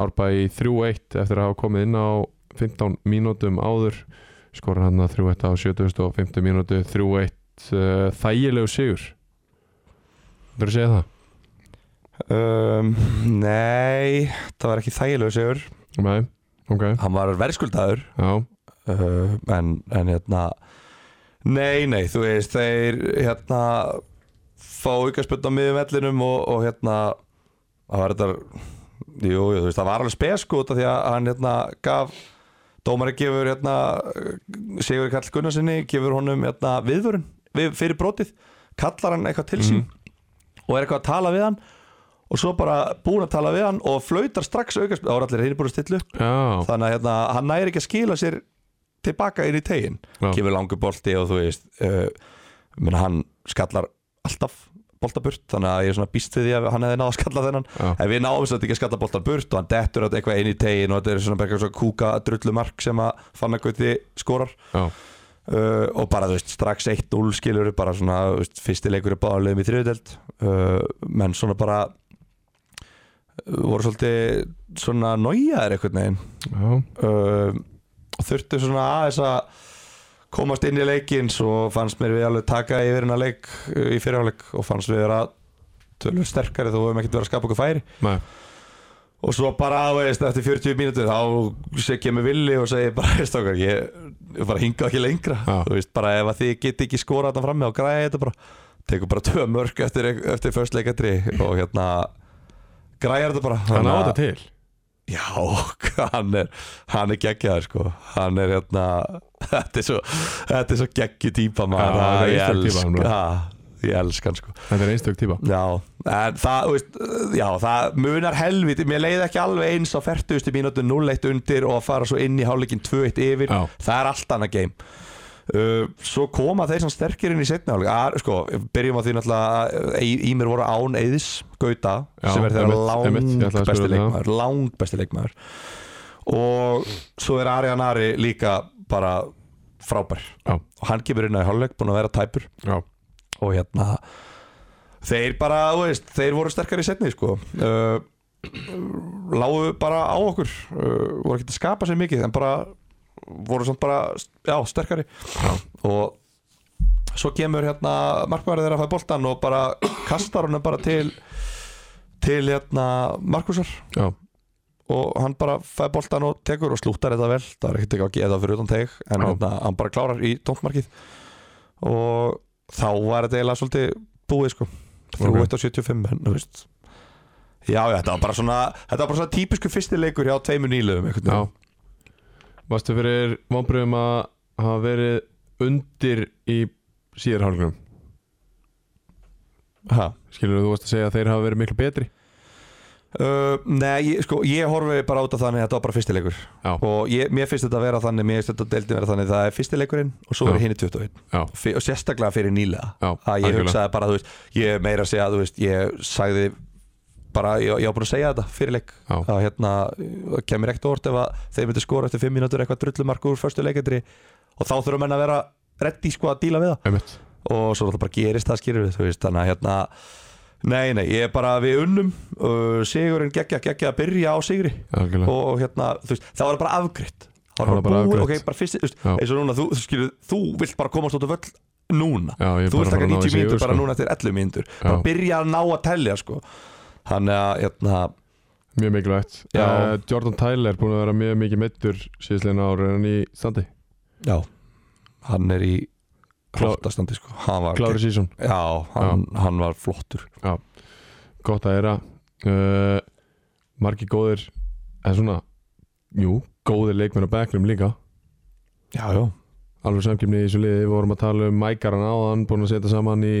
árbæði í 3-1 eftir að hafa komið inn á 15 mínútum áður skora hann að 3-1 á 70. og 50 mínútu 3-1 eh, þægilegu sigur Þú að segja það? um, Nei, það var ekki þægilegu sigur Nei, ok, Hann var verðskuldaður já, uh, en, en hérna nei, nei, þú veist þeir hérna fá auka spönda miðum vellinum og, og hérna það var þetta jú, jú, þú veist, það var alveg spes sko út af því að hann hérna gaf dómari gefur hérna Sigur Karl Gunnarsinni, gefur honum hérna viðvörun við, fyrir brotið kallar hann eitthvað til sín og er eitthvað að tala við hann og svo bara búin að tala við hann og flautar strax auka spönda, þá er allir hinn búin að stillu já, þannig að hérna, hann næri ekki að skila sér tilbaka inn í tegin Já. kemur langur bolti og þú veist uh, menn, hann skallar alltaf boltaburt, þannig að ég er svona býst við því að hann hefði náð að skalla þennan Já. en við náðum svolítið ekki að skalla boltaburt og hann dettur þetta eitthvað inn í tegin og þetta er svona bara svona kúka drullumark sem að fann að gauti skorar já, uh, og bara þú veist strax 1-0 skilur bara svona þú veist, fyrsti leikur er bara leiðum í þriðudeld uh, menn svona bara eh, voru svolítið svona nójaðir einhvern veginn já, uh, þurftu svona aðeins að komast inn í leikinn svo fannst mér við alveg taka yfir hennar leik uh, í fyrirháleik og fannst við vera tölvöld sterkari þó við höfum ekkert verið að skapa okkur færi nei, og svo bara, þú veist, eftir 40 mínútur þá sé kemur villi og segir bara, veist okkar, ég, ég bara hinga ekki lengra Já. þú veist, bara ef að þið geti ekki skora þarna frammi og græði þetta bara tekur bara tvö mörg eftir, eftir först leikatri og hérna græði þetta bara hann á Þannig að- þetta til Já, hann er hann er geggjaður sko hann er hérna þetta er svo, þetta er svo geggju típa maður Já, þetta er einstök típa, hann bara. Æ, ég, elsk, ja, ég elsk hann sko Þetta er einstök típa Já, en það, þú veist, já, það munar helviti, mér leiði ekki alveg eins á 40. mínútu 0-1 undir og að fara svo inn í hálfleikin 2-1 yfir, Já. það er allt annað game uh, Svo koma þeir sem sterkir inn í setna hálfleik, Að- sko, byrjum á því náttúrulega að í, í mér voru án Eðis Gauta, Já, sem er þeirra einmitt, einmitt, ég ætlaði að spyrja lang besti um það. leikmaður lang besti leikmaður og svo er Arian Ari líka bara frábær Já. og hann kemur inn á í hálfleik, búin að vera tæpur Já, og hérna þeir bara, þú veist, þeir voru sterkari í setni sko uh, lágu bara á okkur uh, voru ekki að skapa sér mikið en bara voru samt bara, já, sterkari og svo kemur hérna markmaður þeirra að fæða boltan og bara kastar honum bara til til hérna Markusar já, og hann bara fæði boltan og tekur og slúttar þetta vel, það er ekkert ekki að geða fyrir utan teg en Já. hérna, hann bara klárar í tóntmarkið og þá var þetta eiginlega svolítið búið sko 3.75 en þú veist já, já, þetta var bara svona þetta var bara svona típisku fyrsti leikur hjá tveimur nýlöfum einhvern já veginn. Varstu fyrir vonbröðum að hafa verið undir í síðar hálfum Ha. Skilur þú varst að segja að þeir hafa verið miklu betri Uh, nei, ég, sko, ég horfi bara út af þannig að þetta var bara fyrsti leikur Já. og ég, mér finnst þetta að vera þannig mér finnst þetta deildin vera þannig það er fyrsti leikurinn og svo Já. er hinn í 21 Já, Fyr- og sérstaklega fyrir nýlega Já, að ég algjörlega. hugsaði bara, þú veist, ég meira að segja þú veist, ég sagði bara, ég, ég var búin að segja þetta fyrirleik Já. að hérna, það kemur ekkert orð ef að þeir myndir skora eftir 5 mínútur eitthvað drullumark úr förstu leikendri og þá þurfum menn að vera reddi sko að díla við það einmitt og svo það bara gerist það skýrir við þú veist, þannig að hérna nei, nei, ég er bara við unnum uh, sigurinn geggja, geggja að byrja á sigri Algjörlega. og og hérna, þú veist, það var bara afgriðt það Það var var bara bara búið, ok, afgreitt. bara fyrst þú veist, Já. eins og núna, þú, þú skilur, þú vilt bara komast út af völl núna Já, ég er þú bara vilt taka bara að ná í 90 sigur, mínútur bara sko. núna eftir 11 mínútur bara byrja að ná að tellja, sko þannig að, hérna, Mjög mikilvægt Já. Eh, Jordan Tyler er búin að vera mjög mikið meittur síðastlegin ára en hann í standi já hann er í Klá- flottastandi, sko hann var, Klári sísón, já, hann, hann var flottur gott að era uh, Margi góðir en svona, jú, góðir leikmenn á bekknum líka já, já, alveg samkjöfni í þessu liði, við vorum að tala um mækaran áðan, búin að setja saman í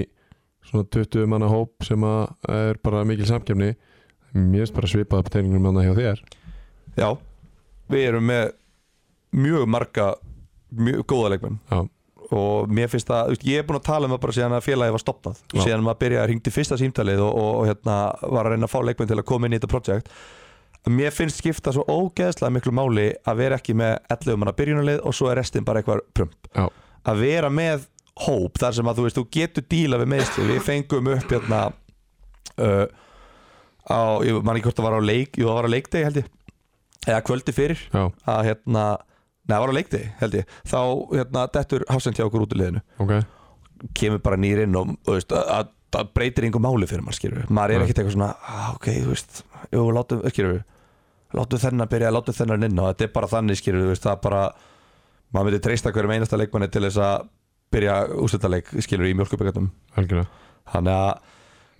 svona 20 manna hóp sem að er bara mikil samkjöfni mér finnst bara svipað upp tegningum manna hjá þér já við erum með mjög marga mjög góða leikmenn Já, og mér finnst það, þú veist, ég er búin að tala um það bara síðan að félagi var stopnað Já. síðan maður byrjaði að ringdi fyrsta símtalið og, og, og hérna, var að reyna að fá leikmenn til að koma inn í þetta projekt mér finnst skipta svo ógeðslega miklu máli að vera ekki með 11 manna byrjunarlið og svo er restin bara eitthvað prump Já. að vera með hóp þar sem að þú veist, þú getur díla við meðsli við fengum upp hérna uh, á, ég man ekki hvort það var á leik jú, það var á leikdegi held ég eða kvöldi fyrir já, að hérna Nei, það var á leikti, held ég Þá, hérna, dettur Hafsend hjá okkur út í liðinu ok Kemur bara nýr inn og, þú veist, að- að það breytir einhver máli fyrir maður, skilur við Maður er Nei. ekkert eitthvað svona, "Ah, ok, þú veist Jú, látum, skilur við Látum þennan byrja, látum þennan inn og þetta er bara þannig, skilur við, þú veist, það er bara Maður myndi treysta hverjum einasta leikmanni til þess að byrja úrstættaleik, skilur við, í mjölkuböggatum algjörlega Þannig að,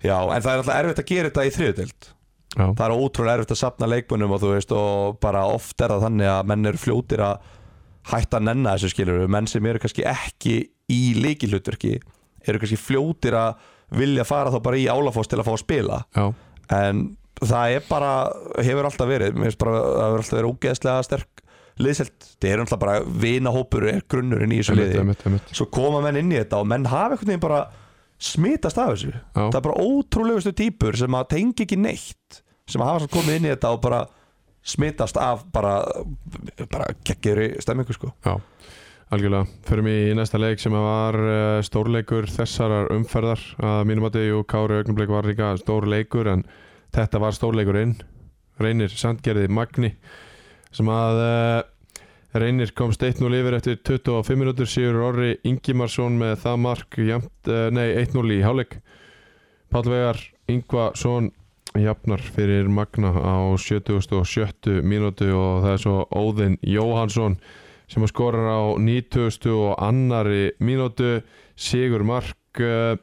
já, en það er alltaf erfitt að gera þetta í þriðutild Já, það er ótrúlega erfitt að sapna leikmönnum og þú veist og bara oft er það þannig að menn eru fljótir að hætta að nenna þessu skilur menn sem eru kannski ekki í leikilhuturki eru kannski fljótir að vilja fara þá bara í álafoss til að fá að spila já, en það er bara hefur alltaf verið, mér finnst bara að það hefur alltaf verið ógeðslega sterk liðselt það er alltaf bara vinahópur er grunnurinn í þessu emitt, liði emitt, emitt svo koma menn inn í þetta og menn hafa einhvern veginn bara smitast af þessu það er bara ótrúlegustu típur sem að tengi ekki neitt sem hafa svo komið inn í þetta og bara smitast af bara, bara geggjur stemmingu sko Já, algjörlega. Förum í næsta leik sem að var eh, stórleikur þessarar umferðar að mínum að og Kári Ögnublik var líka stórleikur en þetta var stórleikurinn. Reynir Sandgerði Magni sem að uh, Reynir kom steitt 0 yfir eftir 25 minútur síður Orri Ingimarsson með það mark jamt, uh, nei 1-0 í hálfleik Páll Vegar Ingvarsson jafnar fyrir Magna á 77 mínútu og það er svo Óðinn Jóhansson sem að skorar á 90 og annari mínútu Sigur Mark uh,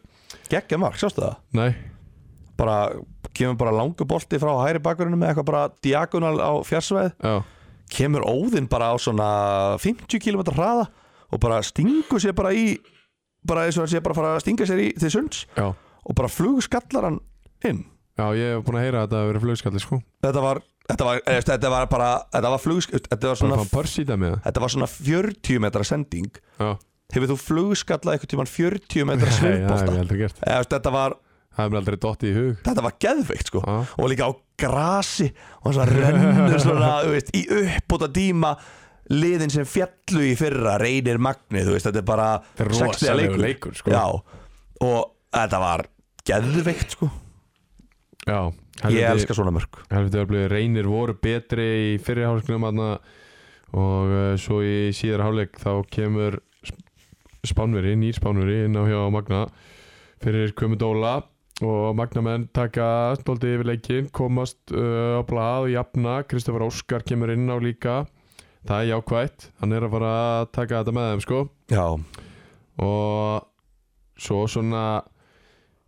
geggja mark, sástu það? nei, bara kemur bara langu bolti frá hæri bakurinu með eitthvað bara diagonal á fjarsveið já, kemur óðinn bara á svona 50 km hraða og bara stingur sér bara í bara eins og hann sé bara að fara að stinga sér í til sunds já og bara flugskallar hann inn já, ég hef búin að heyra að þetta hefur verið flugskalli sko þetta var, þetta var, eh, þetta var bara þetta var flugskall, þetta var bara svona fann pörsýta með það Þetta var svona 40 metra sending já, Hefur þú flugskallað einhvern tímann 40 metra Nei, það hef sviðbólta? ég aldrei gert Þetta var, það hef mér aldrei dotti í hug þetta var geðveikt sko já, Og líka á grasi Og svona rennur svona, þú veist, í uppbúta díma Liðin sem fjallu í fyrra Reynir Magni, þú veist, þetta er bara Þetta er sextiða rosalegur leikur, sko. Já, og þetta var geðveikt sko já Ég elska svona mörg helviti öflugir reynir voru betri í fyrri hálfleiknum aðna og uh, svo í síðara hálfleik þá kemur sp- spánveri, nýr spánveri inn á hjá Magna fyrir Kumudóla og Magnamenn taka stoltið yfir leikinn, komast uh, á blað, jafna, Kristoffer Óskar kemur inn á líka, það er jákvætt hann er að fara að taka þetta með þeim sko Já, og svo svona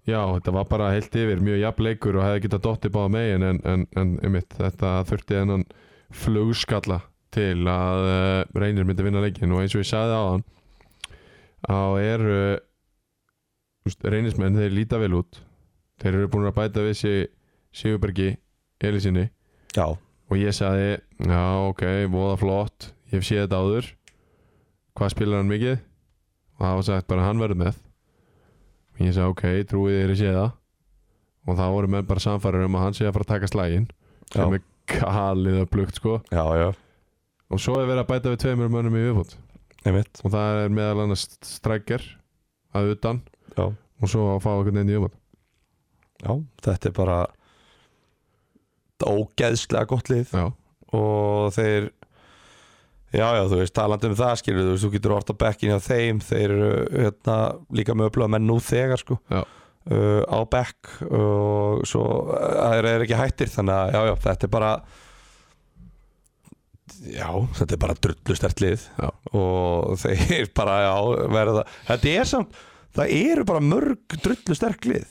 já, þetta var bara heilt yfir mjög jafn leikur og hefði getað dottið báða megin en, en, en einmitt, þetta þurfti hennan flugskalla til að uh, reynir myndi vinna leikin og eins og ég sagði á hann á er uh, reynismenn, þeir líta vel út þeir eru búin að bæta við sig Sigurbergi Elisinni já, og ég sagði, já ok, voða flott ég hef séð þetta áður hvað spilar hann mikið og það var sagt bara hann verður með og ég sagði ok, trúið þér að sé það og þá voru menn bara samfærir um að hann sé að fara að taka slægin Já. sem er galið að plugt sko já, já, og svo er verið að bæta við tveimur mönnum í viðbútt einmitt og það er meðal annars strækjar að utan já. og svo að fá einhvern veginn í viðbútt já, þetta er bara ógeðslega gott lið Já, og þeir já, já, þú veist, talandi um það skilur þú veist, þú getur orta bekkin hjá þeim þeir eru hérna, líka með öfluga menn nú þegar sko Já. Uh, á bekk og svo uh, þeir eru ekki hættir þannig að já, já, þetta er bara já, þetta er bara drullustert lið Já. og þeir bara, já, verða þetta er samt, það eru bara mörg drullusterk lið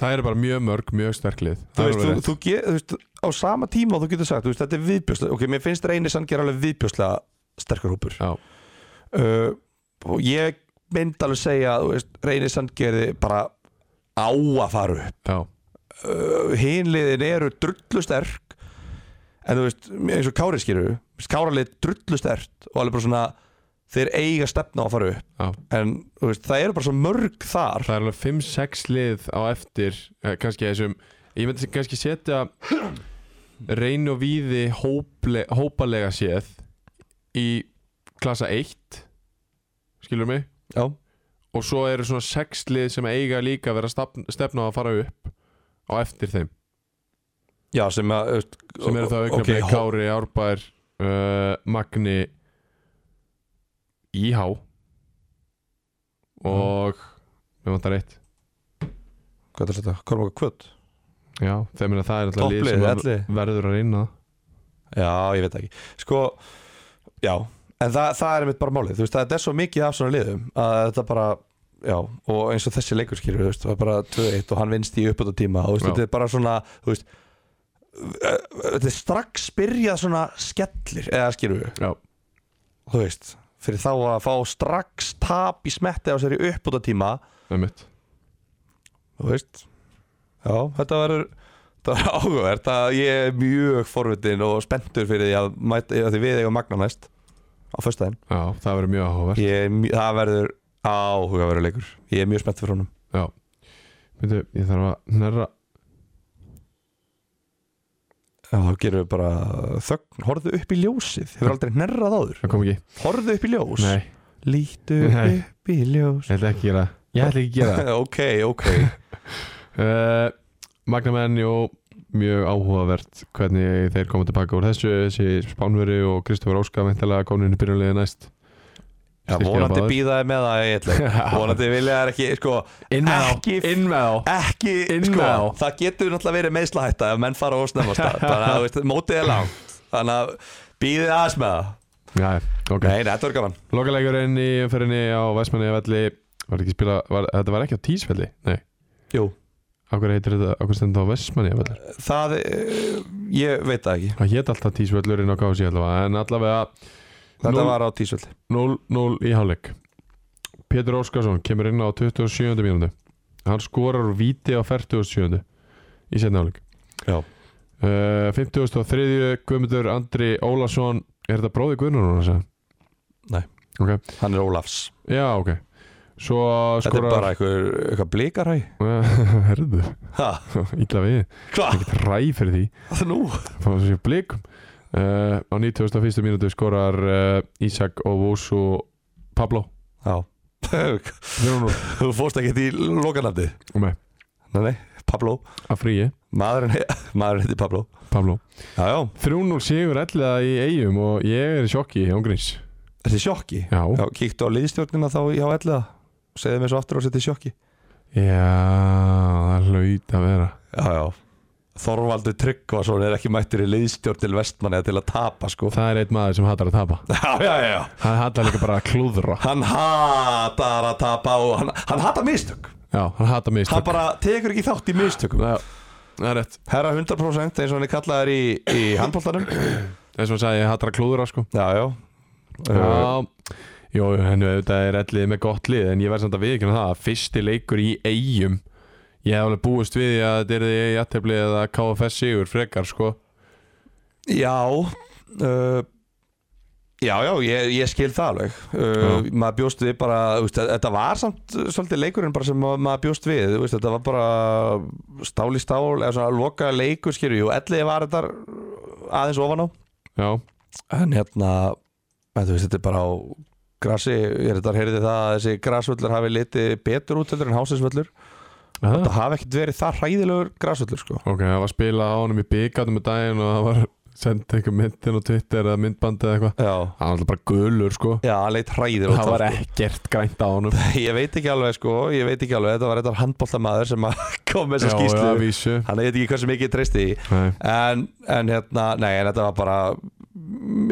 það eru bara mjög mörg, mjög sterk lið þú Það er veist, alveg þú, rétt. þú, get, þú veist, á sama tíma og þú getur sagt, þú veist, þetta er viðbjörslega ok, mér finnst reynir sanngera alveg viðbjörslega sterkur hópur Já, uh, og ég myndi alveg segja að, þú veist, reynir sanngeri bara á að fara upp já, uh, hinliðin eru drullu sterk en þú veist, eins og Kári skýrur Káralið drullu sterkt og alveg bara svona þeir eiga stefna á að fara upp já en þú veist, það eru bara svo mörg þar Það er alveg 5-6 lið á eftir eh, kannski þessum ég myndi kannski setja reyn og víði hóple, hópalega séð í klassa 1 skilur mig já, og svo eru svona 6 lið sem eiga líka að vera stafn- stefna á að fara upp á eftir þeim já sem að þú veist, sem eru þá ok, augnablik hó- Kári, Árbær uh, Magni Íhá og Mm. við vantar eitt hvað er þetta, Kormáka Kvöld Já, þegar minna það er alltaf lið Topplið, sem að- elli verður að reyna það. Já, ég veit það ekki Sko, já En það, það er mitt bara málið, þú veist, það er svo mikið af svona liðum að þetta bara, já og eins og þessi leikur skilur, þú veist, það er bara 2-1 og hann vinst í uppötu tíma og þú veist, Já. þetta er bara svona, þú veist ö- ö- þetta er strax byrjað svona skellir, eða skilur við, Já, þú veist fyrir þá að fá strax tap í smetti á sér í uppötu tíma, einmitt þú veist já, þetta verður þetta verður áhugavert að ég er mjög forvitin og spenntur fyrir því að, mæta, að því við eigum magna næst á föstudaginn Já, það verður mjög áhugavert Ég er mj- það verður áhugaverður leikur ég er mjög spennt fyrir honum Já Myndu, ég þarf að nærra Já, þá gerum við bara þögn, horfðu upp í ljósið hefur aldrei nerrað áður, Það kom ekki horfðu upp í ljós Nei, lítu Nei. upp í ljós ég ætla ekki að gera það. Ég ætla ekki að gera ok, ok það uh, Magnamenn, jú Mjög áhugavert hvernig þeir koma tilbaka úr þessu Þessi Spánveri og Kristofur Óska Væntalega komin inn í byrjunlega næst Já, Styrkja vonandi báðir. býðaði með það í einn leik. vonandi vilja þær ekki, sko Inn með þá, Inn með þá ekki, Inn sko, með þá. það getur náttúrulega verið meðslahætta ef menn fara ósnefn á stað bara, þú veist, mótið er langt þannig að býðið aðeins með það Já, ok Nei, nei, þetta verður gaman Lokalegurinn í umferðinni á Væsmanni velli Var ekki spila, var, þetta var ekki á Tísvelli Nei, Jú, akkur heitir þetta, akkur stendur það á Væsmanni velli það, eh, ég veit það ekki Það hétt alltaf tísvöllurinn á kási allavega En allavega Þetta Nú- var á tísvöldi 0-0 í hálfleik Pétur Óskarsson kemur inn á 27. mínútu Hann skorar úr víti á 47. Í setna hálfleik Já. uh, 53. Guðmundur Andri Ólason Er þetta bróði Guðnur hún? Nei. Ok. Hann er Ólafs Já, ok Svo Þetta er skorar bara eitthvað, eitthvað blikarhæ Herðu, Ha, illa við hvað? Ræ fyrir því Það nú? fá þessi blikum uh, á 91. mínútu skorar uh, Ísak og Vósu Pablo Já Nei, Þú fórst ekki í lokanandi Nei, nei, Pablo að fríi Maðurinn, maðurinn heiti Pablo Pablo Já, já, 3-0 sigur elliða í eigum og ég er í sjokki án gríns þetta er sjokki Já, Já, kíktu á liðstjórnina þá í H11 Segðu mér svo aftur og setja í sjokki já það hlaut að vera Já, já Þorvaldur Tryggvason er ekki mættur í liðstjórn til vestmanni til að tapa sko Það er einn maður sem hatar að tapa Já, já, já Hann hatar líka bara að klúðra Hann hatar að tapa og hann, hann hatar mistök Já, hann hatar Hann mistök bara tekur ekki þátt í mistökum Já, Það er rétt Herra 100% eins og hann er kallaðar í, í handbóltanum Þess að sagði ég hatar að klúðra sko Já, já Uh, Já Jó, henni auðvitað er ellið með gott lið en ég verð samt að viðkynna það að fyrsti leikur í eigum ég hef alveg búist við því að þetta er því jættefli eða KFS sigur frekar sko já uh, Já, já, ég, ég skil það alveg uh, Maður bjóst við bara, þú veist, að- þetta var samt uh, svolítið leikurinn bara sem ma- maður bjóst við þú veist, Þetta var bara stál í stál eða svona loka leikur skilur Jú, elliði var þetta aðeins ofan á Já, En hérna, en þú veist, þetta er bara á grassi Ég er þetta heyrði það að þessi grassvöllur hafi litið betur út heldur en hásinsvöllur Aha. Það hafi ekkert verið það hræðilegur grassvöllur sko ok, það var spilað á honum í byggatum í daginn og það var sendt einhver myndin á Twitter eða myndbandi eða eitthvað Já, Það var alltaf bara gulur sko já, hann leitt hræðilegur Það var sko. ekkert grænt á honum Ég veit ekki alveg sko, ég veit ekki alveg Þetta var þetta handbóltamaður sem að kom með þessa skýslu Já, já, vísu Þannig að ég veit ekki hversu mikið ég treysti því Nei, en, en hérna, nei, en þetta var bara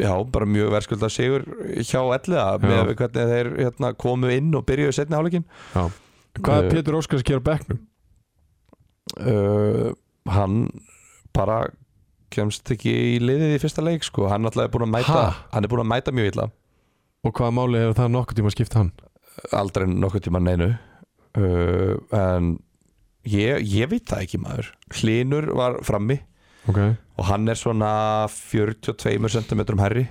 já, bara mjög verðskulda sigur hjá elliða með við hvernig þeir hérna, komu inn og byrjuðu setni hálfleikin já Hvað Eh, er Pétur Óskars að gera á bekknum? uh, hann bara kemst ekki í liðið í fyrsta leik sko, hann alltaf er búin að mæta Ha? hann er búin að mæta mjög illa, Og hvaða máli hefur það nokkuð tíma að skipta hann? aldrei nokkuð tíma neinu uh, en ég, ég veit það ekki maður Hlynur var frammi Ok, og hann er svona 42 cm herri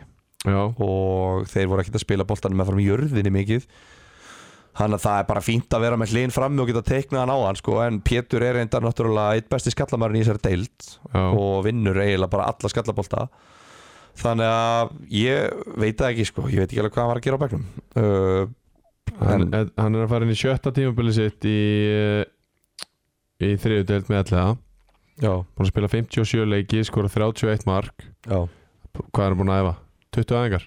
já og þeir voru ekkert að spila boltanum með fram í jörðinni mikið þannig að það er bara fínt að vera með hlinn frammi og geta teiknað hann á hann sko. en Pétur er reyndar náttúrulega eitt besti skallamarinn í þessari deild Já, og vinnur eiginlega bara alla skallabolta þannig að ég veit það ekki sko. ég veit ekki alveg hvað hann var að gera á begnum uh, hann, en- en, hann er að fara inn í sjötta tímabili sitt í eh, í þriðu deild með allega já, búin að spila 57 leiki, skora 31 mark já. hvað er hann búin að æfa? 20 aðingar,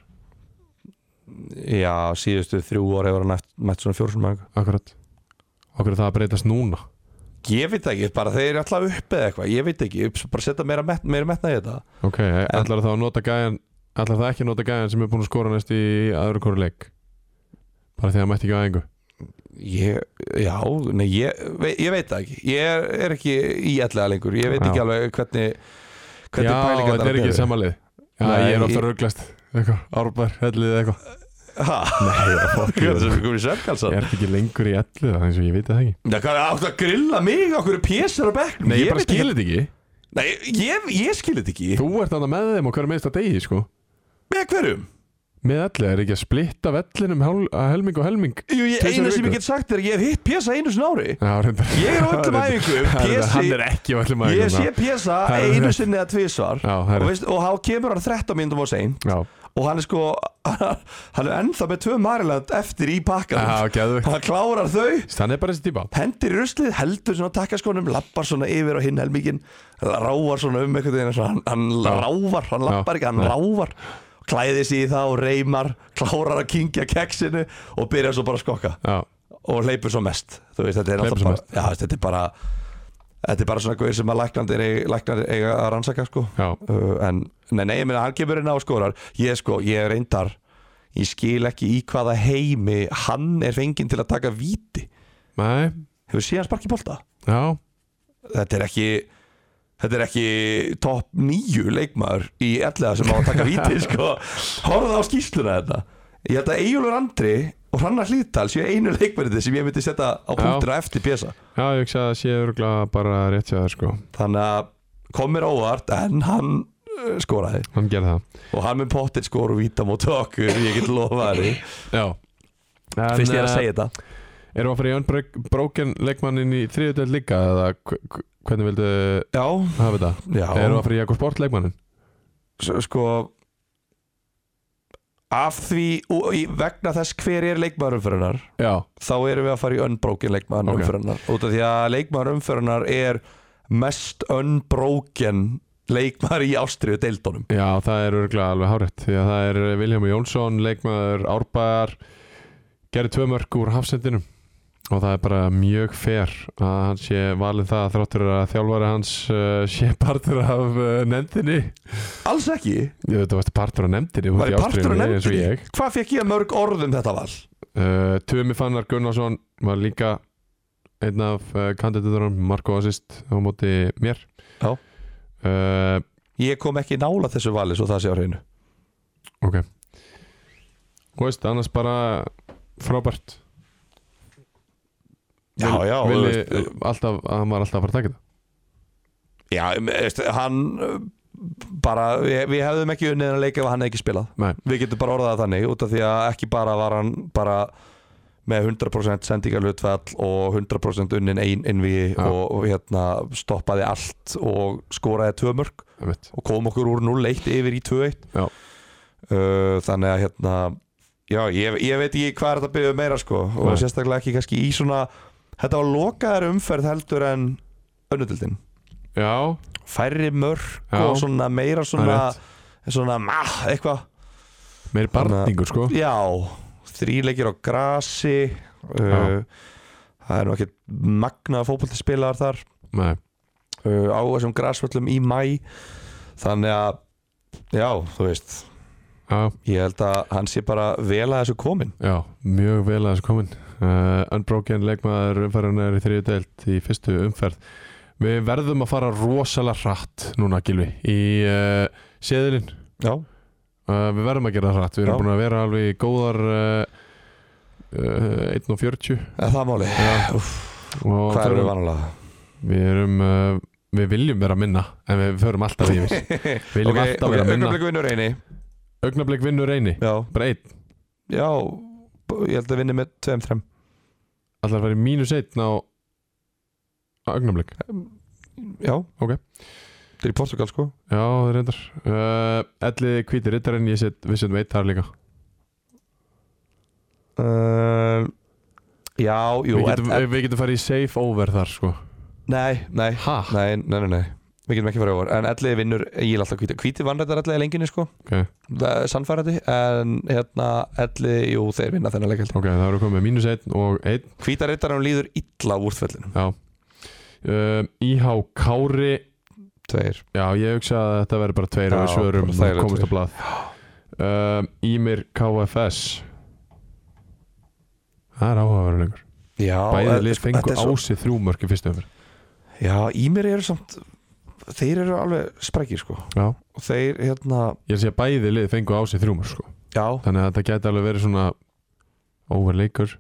já, síðustu þrjú ára hefur hann mætt- mætt svona fjórsum akkurat okkur er það að breytast núna ég veit það ekki, bara þeir eru alltaf upp eða eitthvað ég veit ekki, bara setja meira, met, meira metna í þetta ok, ætlar það að nota gæjan ætlar það ekki að nota gæjan sem er búin að skora næst í aðra hverju leik bara því að hann mætti ekki á aðingu Ég, já, nei, ég, ve- ég veit það ekki Ég er, er ekki í ellega lengur Ég veit Já. ekki alveg hvernig já, Hvernig pælingar þetta er ekki samanlið já, Nei, ég er ofta ég- rugglast eitthvað, árbær, hellið eða eitthvað Nei, já, fuck you. Hvernig sem við komum í ég Svefgalsan er ekki lengur í ellið, það er eins og ég veit það ekki Það hvað áttu að grilla mig Okkur er pésar á bekk nei, ég, bara skilir þetta ekki, Nei, ég, ég skil þetta ekki þú ert annað með þeim og hverju meðist að degi, sko Með hverjum? með með ellið, er ekki að splitta vellinum hál- að helming og helming Jú, ég, Tvisvar í eina sem viku. ég get sagt er að Ég hef hitt pésa einu sinni á ári Já, reyndar Ég er á öllum Það reyndar- æfingum, Það reyndar- Pési- Hann er ekki á öllum Ég æfingum sé pésa Það er einu rétt. sinni eða tvisvar Já, það er og, rétt. veist, og þá kemur hann 13 myndum á sein Já, og hann er sko hann er ennþá með tvö Mariland eftir í pakkanum já, gæðvögt hann klárar þau Hann er bara þessi típa hendir í ruslið, heldur svona takkaskonum lappar svona yfir á hinn helmingin rávar svona um einhvern veginn svona, hann, hann Já. rávar, hann lappar Já, ekki, hann nei. rávar klæðir sig í það og reymar klárar að kingja keksinu og byrjar svo bara að skokka Já, og hleypur svo mest þú veist, þetta er Hleypur alltaf svo bara, mest. já, veist, þetta er bara þetta er bara svona guður sem að læknandir læknar eiga að rannsaka sko já, uh, en nei, nei, ég meina hann kemur inn á og skórar ég sko, ég reyndar ég skil ekki í hvaða heimi hann er fenginn til að taka víti nei, hefur séð hann sparki bolta já þetta er ekki þetta er ekki topp nýju leikmaður í ellega sem á að taka víti sko. horfða á skýsluna þetta ég held að Egilur Andri og Hrannar Hlítal séu einu leikmennið sem ég myndi setja á punktina eftir pjesa Já, ég hugsa að sé örgulega bara rétt sér sko þannig að komir óvart en hann uh, skoraði Hann gerði það og hann með pottir skor og víta mót okkur ég get lofað því Já en, fyrst ég er að eh, segja þetta Erum við að fara í unbroken leikmannin í þriðutöld líka eða hv- hv- hvernig vildu já, hafa þetta? Erum við að fara í Jakob Sport leikmannin? S- sko af því og í- vegna þess hver er leikmaður umfyrirnar Já, þá erum við að fara í unbroken leikmaður Ok. okay. umfyrirnar út af því að leikmaður umfyrirnar er mest unbroken leikmaður í ástriðu deildunum já, það er örgulega alveg hárætt því að það er Viljámi Jónsson, leikmaður Árbæðar gerði tvö mörg úr hafsendinum og það er bara mjög fair að hann sé valin það þráttur að þjálfari hans uh, sé partur af uh, nefndinni alls ekki, ég veit að varst partur af nefndinni þú ert var í ég partur ástríðunni að eins og nefndi ég hvað fekk ég mörg orð um þetta val uh, Tumi Fannar Gunnarsson var líka einn af uh, kandidatunum Marko Assist á móti mér Já. uh, ég kom ekki nála þessu vali svo það sé á hreinu ok og veist, annars bara frábært já, já, og þú Vili, veist, uh, alltaf, hann var alltaf að fara að taka þetta já, em, veist, hann eh, bara, við, við hefðum ekki unnið að leika ef hann hefði ekki spilað Nei. við getum bara orðað það þannig út af því að ekki bara var hann bara með 100% sendingalutfall og 100% unnin ein innví Já. og, og hérna stoppaði allt og skoraði tvö mörg einmitt. og kom okkur úr 0-1 yfir í 2-1 Já. uh, þannig að hérna já, ég, ég veit ekki hvað er þetta að byrja um meira sko og Nei. sérstaklega ekki kannski í svona þetta var lokaðar umferð heldur en önnudildin, Já, færri mörg Já. og svona meira það svona er rétt. svona mah, eitthvað Meiri barningur sko já, þríleikir á grasi uh, Já. það er nú ekki magnaða fótbolti spilaðar þar Nei, uh, á þessum grasvöllum í mæ þannig að já, þú veist, já, ég held að hann sé bara vel að þessu komin já, mjög vel að þessu komin uh, Unbroken leikmaður umferðunar í þriðu deilt í fyrstu umferð Við verðum að fara rosalega hratt núna Gilvi í uh, séðilinn já, uh, Við verðum að gera það hratt, við erum Já. búin að vera alveg í góðar uh, uh, 1 og 40 er það máli Já. og hvað eru förum- vanlega? Við erum uh, Við viljum vera minna En við förum alltaf yfir Viljum ok, alltaf ok, vera minna augnablik vinnur eini Augnablik vinnur eini já, Bara einn já, b- ég held að vinni með tveim, þrem Allar verið mínus einn á á Augnablik já, Ok. þetta er í Portugal sko Já, það reyndar uh, Elliði hvíti rittarinn Ég set, við setjum eitt þar líka uh, já, jú við, er, getum, er, við getum farið í safe over þar sko nei, nei Ha? Nei, nei, nei, nei Við getum ekki farið over En elliði vinnur Ég er alltaf hvíti Hvíti vannrættar elliði lenginni sko Ok, Það er Sannfærandi En hérna elliði Jú, þeir vinna þennan leik held ég. ok, það eru komið mínus einn og einn Hvítariddarann líður illa úr úrþvellinu Já uh, IH Kári Tveir Já, ég hugsa að þetta verður bara tveir Já, og við svörum bara þægilegt komist á blað uh, Ímir KFS Það er áhugaverðulegur Já Bæði en- lið fengu þetta er svo- ásið þrjú mörg í fyrstu öfri Já, í mér eru samt Þeir eru alveg sprækir sko Já Og þeir hérna Ég er að segja að bæði lið fengu ásið þrjú mörg sko Já Þannig að þetta gæti alveg verið svona overleikur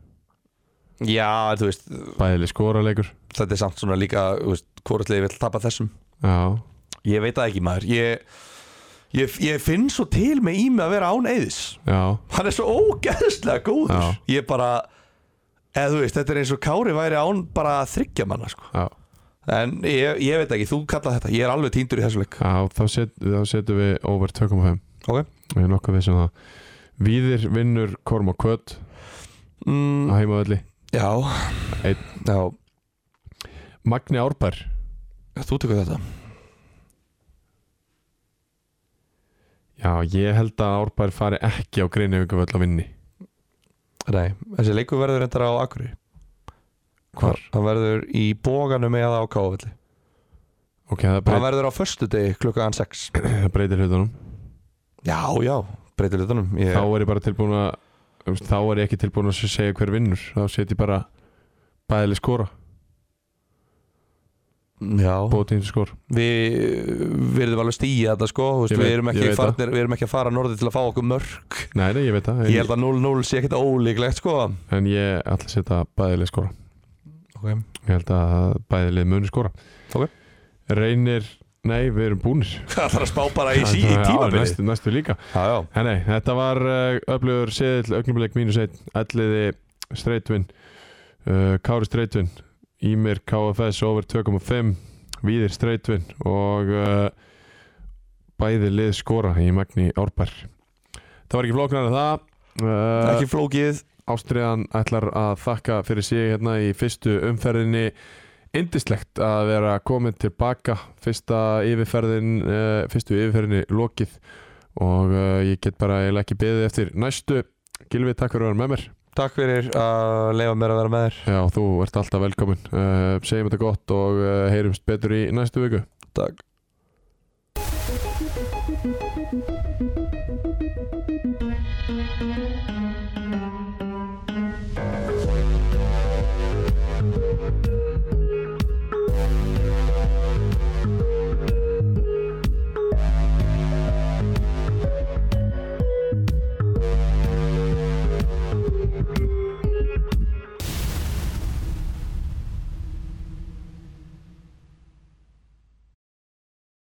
Já, þú veist Bæði lið skorarleikur Þetta er samt svona líka Þú veist Hvort liði vill tapa þessum Já Ég veit það ekki maður Ég Ég, ég finn svo til með ími að vera án eiðis Já hann er svo ógeðslega góður Já. ég bara eða þú veist, þetta er eins og Kári væri án bara þryggja manna sko. Já en ég, ég veit ekki, þú kalla þetta ég er alveg týndur í þessu leik Já, þá, set, þá setjum við over 2.5 Ok. Ég er nokkuð vissum það Víðir vinnur Korm og Kvöt á mm, heimavalli já. Einn. já, Magni Árbær þú tekur þetta Já, ég held að Árbær fari ekki á Greinjöfingavöll að vinni Nei, þessi leikur verður reyndar á Akureyri Hvar? hann verður í bóganum eða á Kávalli Ok, það hann breytir, verður á förstu degi klukkaðan 6 það breytir hlutunum já, já, breytir litunum ég, Þá er ég bara tilbúin að þú veist, Þá er ég ekki tilbúin að segja hver vinnur Þá set ég bara bæðileg skora já. Bótiðin skor við við erum alveg stíða þetta sko þú veist, Ég við, veit- erum ég ekki veit það. farnir, við erum ekki að fara norðið til að fá okkur mörg Nei, nei, ég veit það En Ég ég, held að 0-0 sé ekkert ólíklegt sko en ég ætla að setja bæðileg skora okay. Ég held að bæðileg muni skora Ok. Reynir, nei, við erum búnir Það þarf að spá bara í, sí, í Já, tímabilið næstu, næstu líka Já, já, Nei, nei, þetta var uh, öflugur seðil augnumleik mínus 1, elliði streitvin, uh, Kári streitvin Ímir KFS over 2.5, Víðir streitvin og uh, bæði lið skora í Magni Árbær Það var ekki flóknar en það uh, ekki flókið Ástriðan ætlar að þakka fyrir sig hérna í fyrstu umferðinni indislegt að vera komin tilbaka fyrsta yfirferðin uh, fyrstu yfirferðinni lokið og uh, ég get bara eiginlega ekki beðið eftir næstu Gilvi, takk fyrir að vera með mér Takk fyrir að leifa mér að vera með þér Eh, Já, þú ert alltaf velkomin uh, segjum þetta gott og uh, heyrumst betur eh, í næstu viku Takk